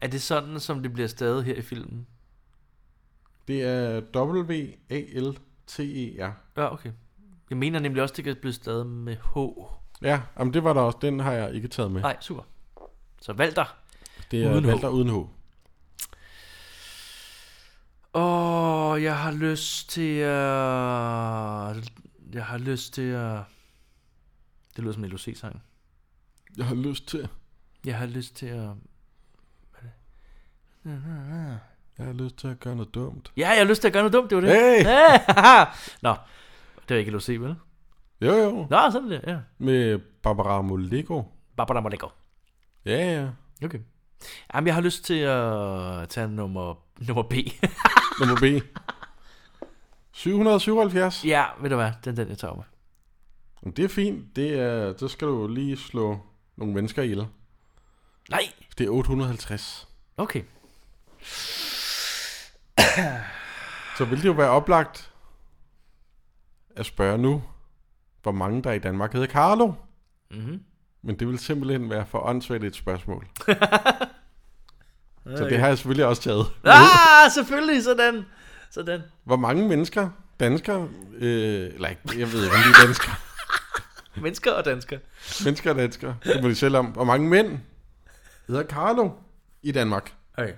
Speaker 3: Er det sådan, som det bliver stadig her i filmen?
Speaker 2: Det er W-A-L-T-E-R.
Speaker 3: Ja, okay. Jeg mener nemlig også, det kan blive stadig med H.
Speaker 2: Ja, jamen det var der også. Den har jeg ikke taget med.
Speaker 3: Nej, super. Så Valter.
Speaker 2: Det er
Speaker 3: Uden H.
Speaker 2: Walter uden H.
Speaker 3: Åh, jeg har lyst til at... Jeg har lyst til at... Det lyder som en LOC-sang.
Speaker 2: Jeg har lyst til.
Speaker 3: Jeg har lyst til at...
Speaker 2: Jeg har lyst til at gøre noget dumt.
Speaker 3: Ja, jeg har lyst til at gøre noget dumt, det var det.
Speaker 2: Hey!
Speaker 3: hey! haha. Nå, det var ikke LOC, vel?
Speaker 2: Jo, jo.
Speaker 3: Nå, sådan der, ja.
Speaker 2: Med Barbara Molego.
Speaker 3: Barbara Molego.
Speaker 2: Ja, ja.
Speaker 3: Okay. Jamen, jeg har lyst til at tage nummer, nummer B.
Speaker 2: nummer B. 777.
Speaker 3: Ja, ved du hvad, den den, jeg tager med.
Speaker 2: Men Det er fint. Det er, så skal du lige slå nogle mennesker ihjel.
Speaker 3: Nej!
Speaker 2: Det er 850.
Speaker 3: Okay.
Speaker 2: Så ville det jo være oplagt at spørge nu, hvor mange der i Danmark hedder Carlo.
Speaker 3: Mhm.
Speaker 2: Men det vil simpelthen være for åndssvagt et
Speaker 3: [laughs]
Speaker 2: spørgsmål. så
Speaker 3: Okay.
Speaker 2: det har jeg selvfølgelig også taget.
Speaker 3: Ah, selvfølgelig, sådan. Sådan.
Speaker 2: Hvor mange mennesker, danskere, øh, eller ikke, jeg ved ikke, om de er danskere,
Speaker 3: Mennesker og danskere.
Speaker 2: mennesker og danskere, det må de selv om. Hvor mange mænd hedder Carlo i Danmark?
Speaker 3: Okay.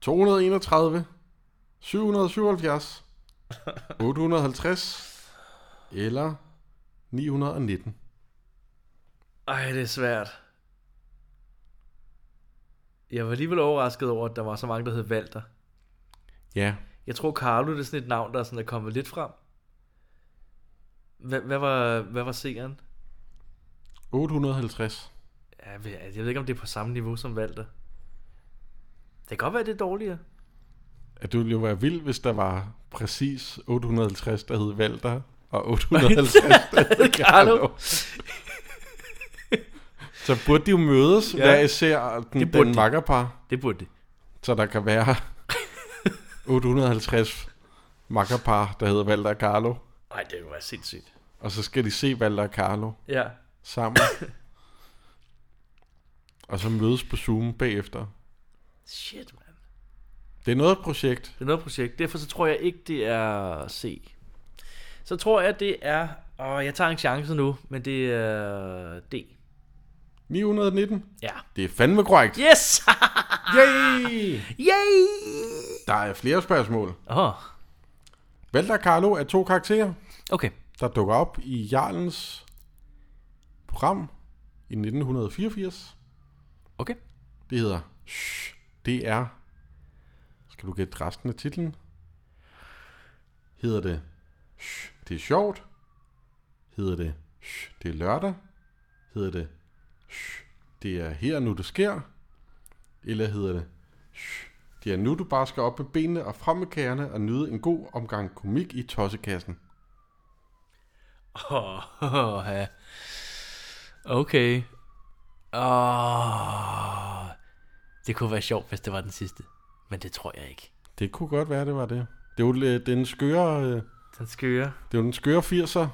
Speaker 2: 231, 777, 850 eller 919.
Speaker 3: Ej, det er svært. Jeg var alligevel overrasket over, at der var så mange, der hed Walter.
Speaker 2: Ja,
Speaker 3: Jeg tror, Carlo det er sådan et navn, der sådan er kommet lidt frem. Hvad, hvad var, hvad var seeren?
Speaker 2: 850.
Speaker 3: Ja, Jeg ved, jeg ved ikke, om det er på samme niveau som Walter. Det kan godt være, det er [laughs] dårligere.
Speaker 2: At det ville jo være vildt, hvis der var præcis 850, der hed Valter, og 850,
Speaker 3: [laughs]
Speaker 2: der hed Carlo. Så burde de jo mødes ja.
Speaker 3: Ja.
Speaker 2: hver især den,
Speaker 3: Det burde
Speaker 2: den
Speaker 3: de.
Speaker 2: makkerpar.
Speaker 3: Det burde de.
Speaker 2: Så der kan
Speaker 3: [laughs]
Speaker 2: være 850 makkerpar, der hedder Valter og Carlo.
Speaker 3: Nej, det kunne være sindssygt.
Speaker 2: Og så skal de se Valter og Carlo
Speaker 3: Ja.
Speaker 2: sammen. og så mødes på Zoom bagefter.
Speaker 3: Shit, man.
Speaker 2: Det er noget projekt.
Speaker 3: Det er noget projekt. Derfor så tror jeg ikke, det er C. Så tror jeg, det er... Og jeg tager en chance nu, men det er øh, D.
Speaker 2: 919.
Speaker 3: Ja.
Speaker 2: Det er fandme korrekt.
Speaker 3: Yes! [laughs]
Speaker 2: Yay!
Speaker 3: Yay!
Speaker 2: Der er flere spørgsmål.
Speaker 3: Åh.
Speaker 2: Valter Carlo er to karakterer.
Speaker 3: Okay.
Speaker 2: Der dukker op i Jarlens program i 1984.
Speaker 3: Okay.
Speaker 2: Det hedder Shh, det er... Skal du gætte resten af titlen? Hedder det Shh, det er sjovt? Hedder det Shh, det er lørdag? Hedder det Shh, det er her nu det sker? Eller hedder det det er nu, du bare skal op med benene og frem med kagerne og nyde en god omgang komik i tossekassen.
Speaker 3: Åh, oh, ja. Okay. Åh. Oh. Det kunne være sjovt, hvis det var den sidste. Men det tror jeg ikke.
Speaker 2: Det kunne godt være, det var det. Det er jo lidt- den skøre... øh,
Speaker 3: Den skøre.
Speaker 2: Det er jo den skøre 80'er.
Speaker 3: Det er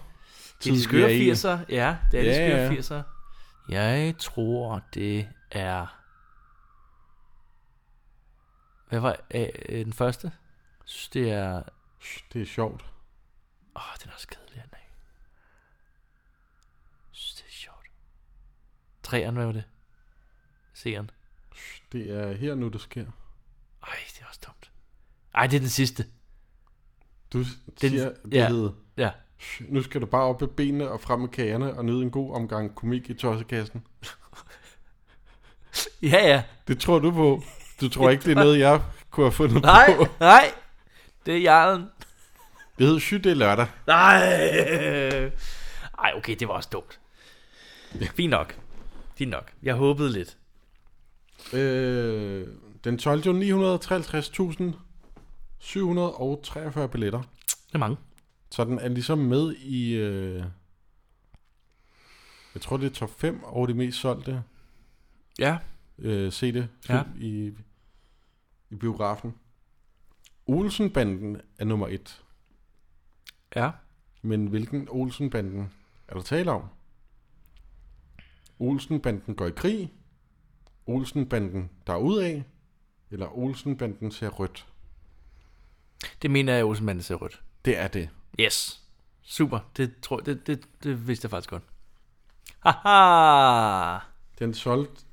Speaker 3: de
Speaker 2: tid,
Speaker 3: skøre
Speaker 2: vi i.
Speaker 3: 80'er. Ja, det er de skøre
Speaker 2: ja.
Speaker 3: 80'er. Jeg tror, det er... Hvad var øh, øh, den første? Jeg synes, det er...
Speaker 2: Det er sjovt.
Speaker 3: Åh, oh, den er også kedelig, den er. ikke? Jeg synes, det er sjovt. Træerne, hvad var det? Seeren.
Speaker 2: Det er her nu, det sker.
Speaker 3: Ej, det er også dumt. Ej, det er den sidste.
Speaker 2: Du
Speaker 3: Den-
Speaker 2: siger, det
Speaker 3: ja,
Speaker 2: hed,
Speaker 3: ja.
Speaker 2: "Shh, Nu skal du bare op med benene og frem med kagerne og nyde en god omgang komik i tossekassen.
Speaker 3: Ja, ja.
Speaker 2: Det tror du på. Du tror
Speaker 3: Det
Speaker 2: ikke, det er
Speaker 3: tror-
Speaker 2: noget, jeg kunne have fundet
Speaker 3: [laughs] Nej,
Speaker 2: på.
Speaker 3: nej. Det er jarlen.
Speaker 2: Det hedder Shy, det er lørdag.
Speaker 3: Nej. Ej, okay, det var også dumt. Fint nok. Fint nok. Jeg håbede lidt.
Speaker 2: Øh, den solgte jo 953.743 billetter.
Speaker 3: Det er mange.
Speaker 2: Så den er ligesom med i... Øh, jeg tror, det er top 5 over de mest solgte
Speaker 3: Ja.
Speaker 2: øh, CD
Speaker 3: Ja.
Speaker 2: film i, i biografen. Olsenbanden er nummer 1.
Speaker 3: Ja.
Speaker 2: Men hvilken Olsenbanden er der tale om? Olsenbanden går i krig. Olsenbanden der er ud af. Eller Olsenbanden ser rødt.
Speaker 3: Det mener jeg, Olsenmanden ser rødt.
Speaker 2: Det er det.
Speaker 3: Yes. Super. Det, tror, det, det, det vidste jeg faktisk godt. Haha.
Speaker 2: Den solgte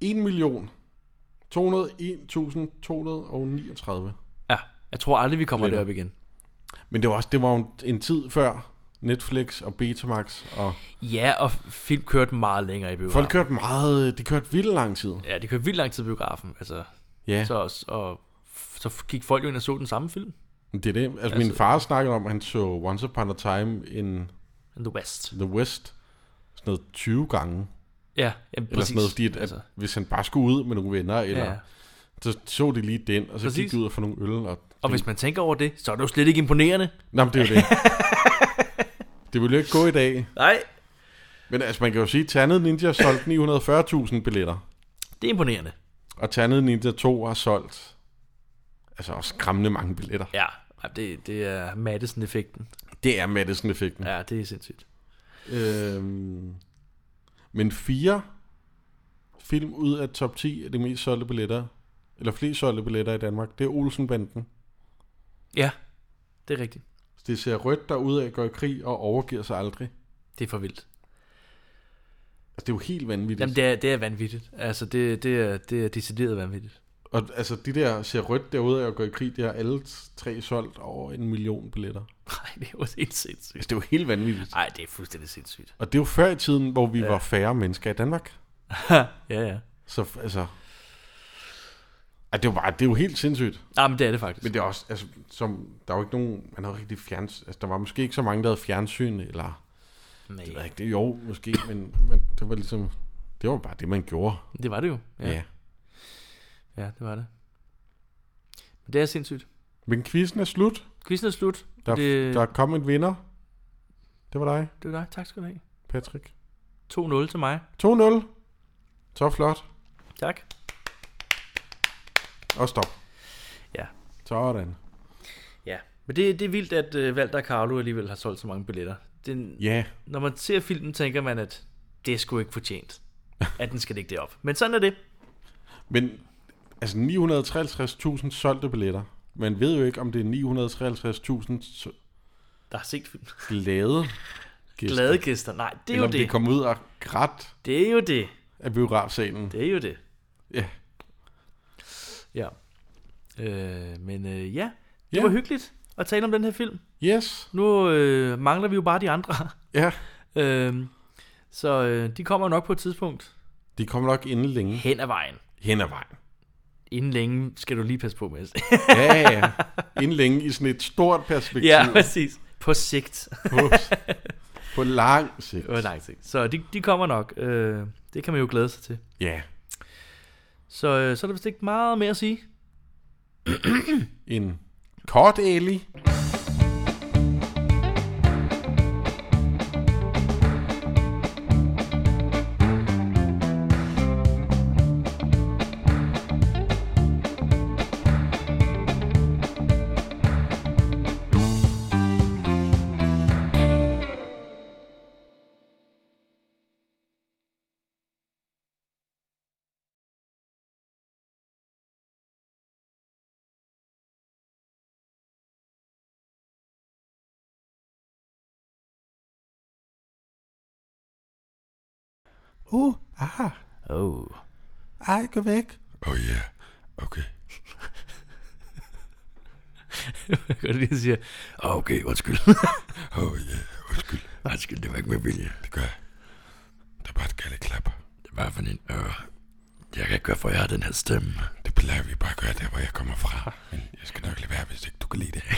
Speaker 2: 1 million 201.239.
Speaker 3: Ja, jeg tror aldrig, vi kommer
Speaker 2: Lidt.
Speaker 3: derop igen.
Speaker 2: Men det var også det var jo en- en tid før Netflix og Betamax og
Speaker 3: Ja, og film kørte meget længere i biografen.
Speaker 2: folk kørte meget, de kørte vildt lang tid.
Speaker 3: Ja, det kørte vildt lang tid i biografen. Altså,
Speaker 2: Ja.
Speaker 3: så, også- og så gik folk jo ind og så den samme film.
Speaker 2: Det er det. Altså, altså
Speaker 3: Altså-
Speaker 2: min far snakkede om, at han så Once Upon a Time in
Speaker 3: The West.
Speaker 2: The West sådan noget 20 gange.
Speaker 3: Ja, jamen,
Speaker 2: Eller sådan noget,
Speaker 3: præcis.
Speaker 2: fordi at, at altså.
Speaker 3: Altså.
Speaker 2: hvis han bare skulle ud med nogle venner, eller, ja.
Speaker 3: Ja.
Speaker 2: så så de lige den, og så præcis.
Speaker 3: Præcis.
Speaker 2: gik de ud og få nogle øl. Og,
Speaker 3: Og hvis man tænker over det, så er det jo slet ikke imponerende.
Speaker 2: Nå, men det er [laughs] jo det. det ville jo ikke gå i dag.
Speaker 3: Nej.
Speaker 2: Men altså, man kan jo sige, at Tandet Ninja har solgt 940.000 billetter.
Speaker 3: Det er imponerende.
Speaker 2: Og Tandet Ninja 2 har solgt altså også skræmmende mange billetter.
Speaker 3: Ja, ej, det, det er Madison-effekten.
Speaker 2: Det er Madison-effekten.
Speaker 3: Ja, det er sindssygt.
Speaker 2: Øhm, men fire film ud af top 10 af de mest solgte billetter, eller flest solgte billetter i Danmark, det er Olsenbanden. Altså,
Speaker 3: Ja, det er rigtigt.
Speaker 2: Det ser rødt derud af, går i krig og overgiver sig aldrig.
Speaker 3: Det er for vildt.
Speaker 2: Altså, det er jo helt vanvittigt.
Speaker 3: Jamen, det er, det er vanvittigt. Altså, det, det, er, det er decideret vanvittigt. [laughs]
Speaker 2: Og altså, de der ser rødt derude af og går i krig, de har alle tre solgt over en million billetter.
Speaker 3: Nej, det er jo helt sindssygt.
Speaker 2: Altså, det er jo helt vanvittigt.
Speaker 3: Nej, det er fuldstændig sindssygt.
Speaker 2: Og det er jo før i tiden, hvor vi ja.
Speaker 3: Ja.
Speaker 2: var færre mennesker i Danmark.
Speaker 3: Ja, ja.
Speaker 2: Så f- altså... Ej, det, er jo bare, det er jo helt sindssygt.
Speaker 3: Ja, Ah, men det er det faktisk.
Speaker 2: Men det er også, altså, som, der var ikke nogen, man havde rigtig fjerns, altså, der var måske ikke så mange, der havde fjernsyn, eller,
Speaker 3: Nej.
Speaker 2: det ved jeg ikke, det, jo,
Speaker 3: [coughs]
Speaker 2: måske, men, men, det var ligesom, det var bare det, man gjorde.
Speaker 3: Det var det jo.
Speaker 2: Ja. ja.
Speaker 3: Ja, det var det. Men det er sindssygt.
Speaker 2: Men quizzen er slut.
Speaker 3: Quizzen er slut.
Speaker 2: Der, det...
Speaker 3: Det-
Speaker 2: der er kommet en vinder. Det var dig,
Speaker 3: Det var dig. Tak skal du have.
Speaker 2: Patrick.
Speaker 3: 2-0 til mig.
Speaker 2: 2-0. Så flot.
Speaker 3: Tak.
Speaker 2: Og stop.
Speaker 3: Ja.
Speaker 2: Sådan.
Speaker 3: Ja. Men det, det er vildt, at uh, Valder Carlo alligevel har solgt så mange billetter. Den,
Speaker 2: Ja.
Speaker 3: Når man ser filmen, tænker man, at det er sgu ikke
Speaker 2: [laughs]
Speaker 3: fortjent. At den skal ligge det op. Men sådan er det.
Speaker 2: Men altså 953.000 solgte billetter. Man ved jo ikke, om det er 953.000 s-
Speaker 3: Der har set filmen.
Speaker 2: glade gæster.
Speaker 3: Glade gæster. Nej, det er
Speaker 2: Eller
Speaker 3: jo
Speaker 2: om de
Speaker 3: det.
Speaker 2: kom ud og grædt
Speaker 3: Det er jo det.
Speaker 2: af biografsalen.
Speaker 3: Det er jo det.
Speaker 2: Ja.
Speaker 3: Ja. Øh, men øh, ja, det
Speaker 2: Ja.
Speaker 3: var hyggeligt at tale om den her film.
Speaker 2: Yes.
Speaker 3: Nu øh, mangler vi jo bare de andre. [laughs]
Speaker 2: Ja.
Speaker 3: Øh, så øh, de kommer nok på et tidspunkt.
Speaker 2: De kom nok inden længe.
Speaker 3: Hen ad vejen.
Speaker 2: Hen ad vejen.
Speaker 3: Inden længe skal du lige passe på med.
Speaker 2: Ja, ja, ja. Inden længe i sådan et stort perspektiv.
Speaker 3: [laughs] ja, præcis. På sigt.
Speaker 2: På, på lang sigt.
Speaker 3: På lang sigt. Så de, de kommer nok. Øh, det kan man jo glæde sig til.
Speaker 2: Ja.
Speaker 3: Så, øh, så er der vist ikke meget mere at sige.
Speaker 2: En kort Eli. Uh, aha.
Speaker 3: [laughs] Oh.
Speaker 2: Ej, gå væk.
Speaker 18: Oh yeah, okay.
Speaker 3: Jeg kan godt lide, at jeg siger,
Speaker 18: Ah, Okay, [laughs] undskyld. oh yeah, undskyld. Undskyld, det var ikke med vilje. Det gør jeg. Det er bare et galt klap. Det var for en øre. Jeg kan ikke gøre for, at jeg har den her stemme. Det plejer vi bare at gøre der, hvor jeg kommer fra. Men jeg skal nok lade være, hvis ikke du kan lide det.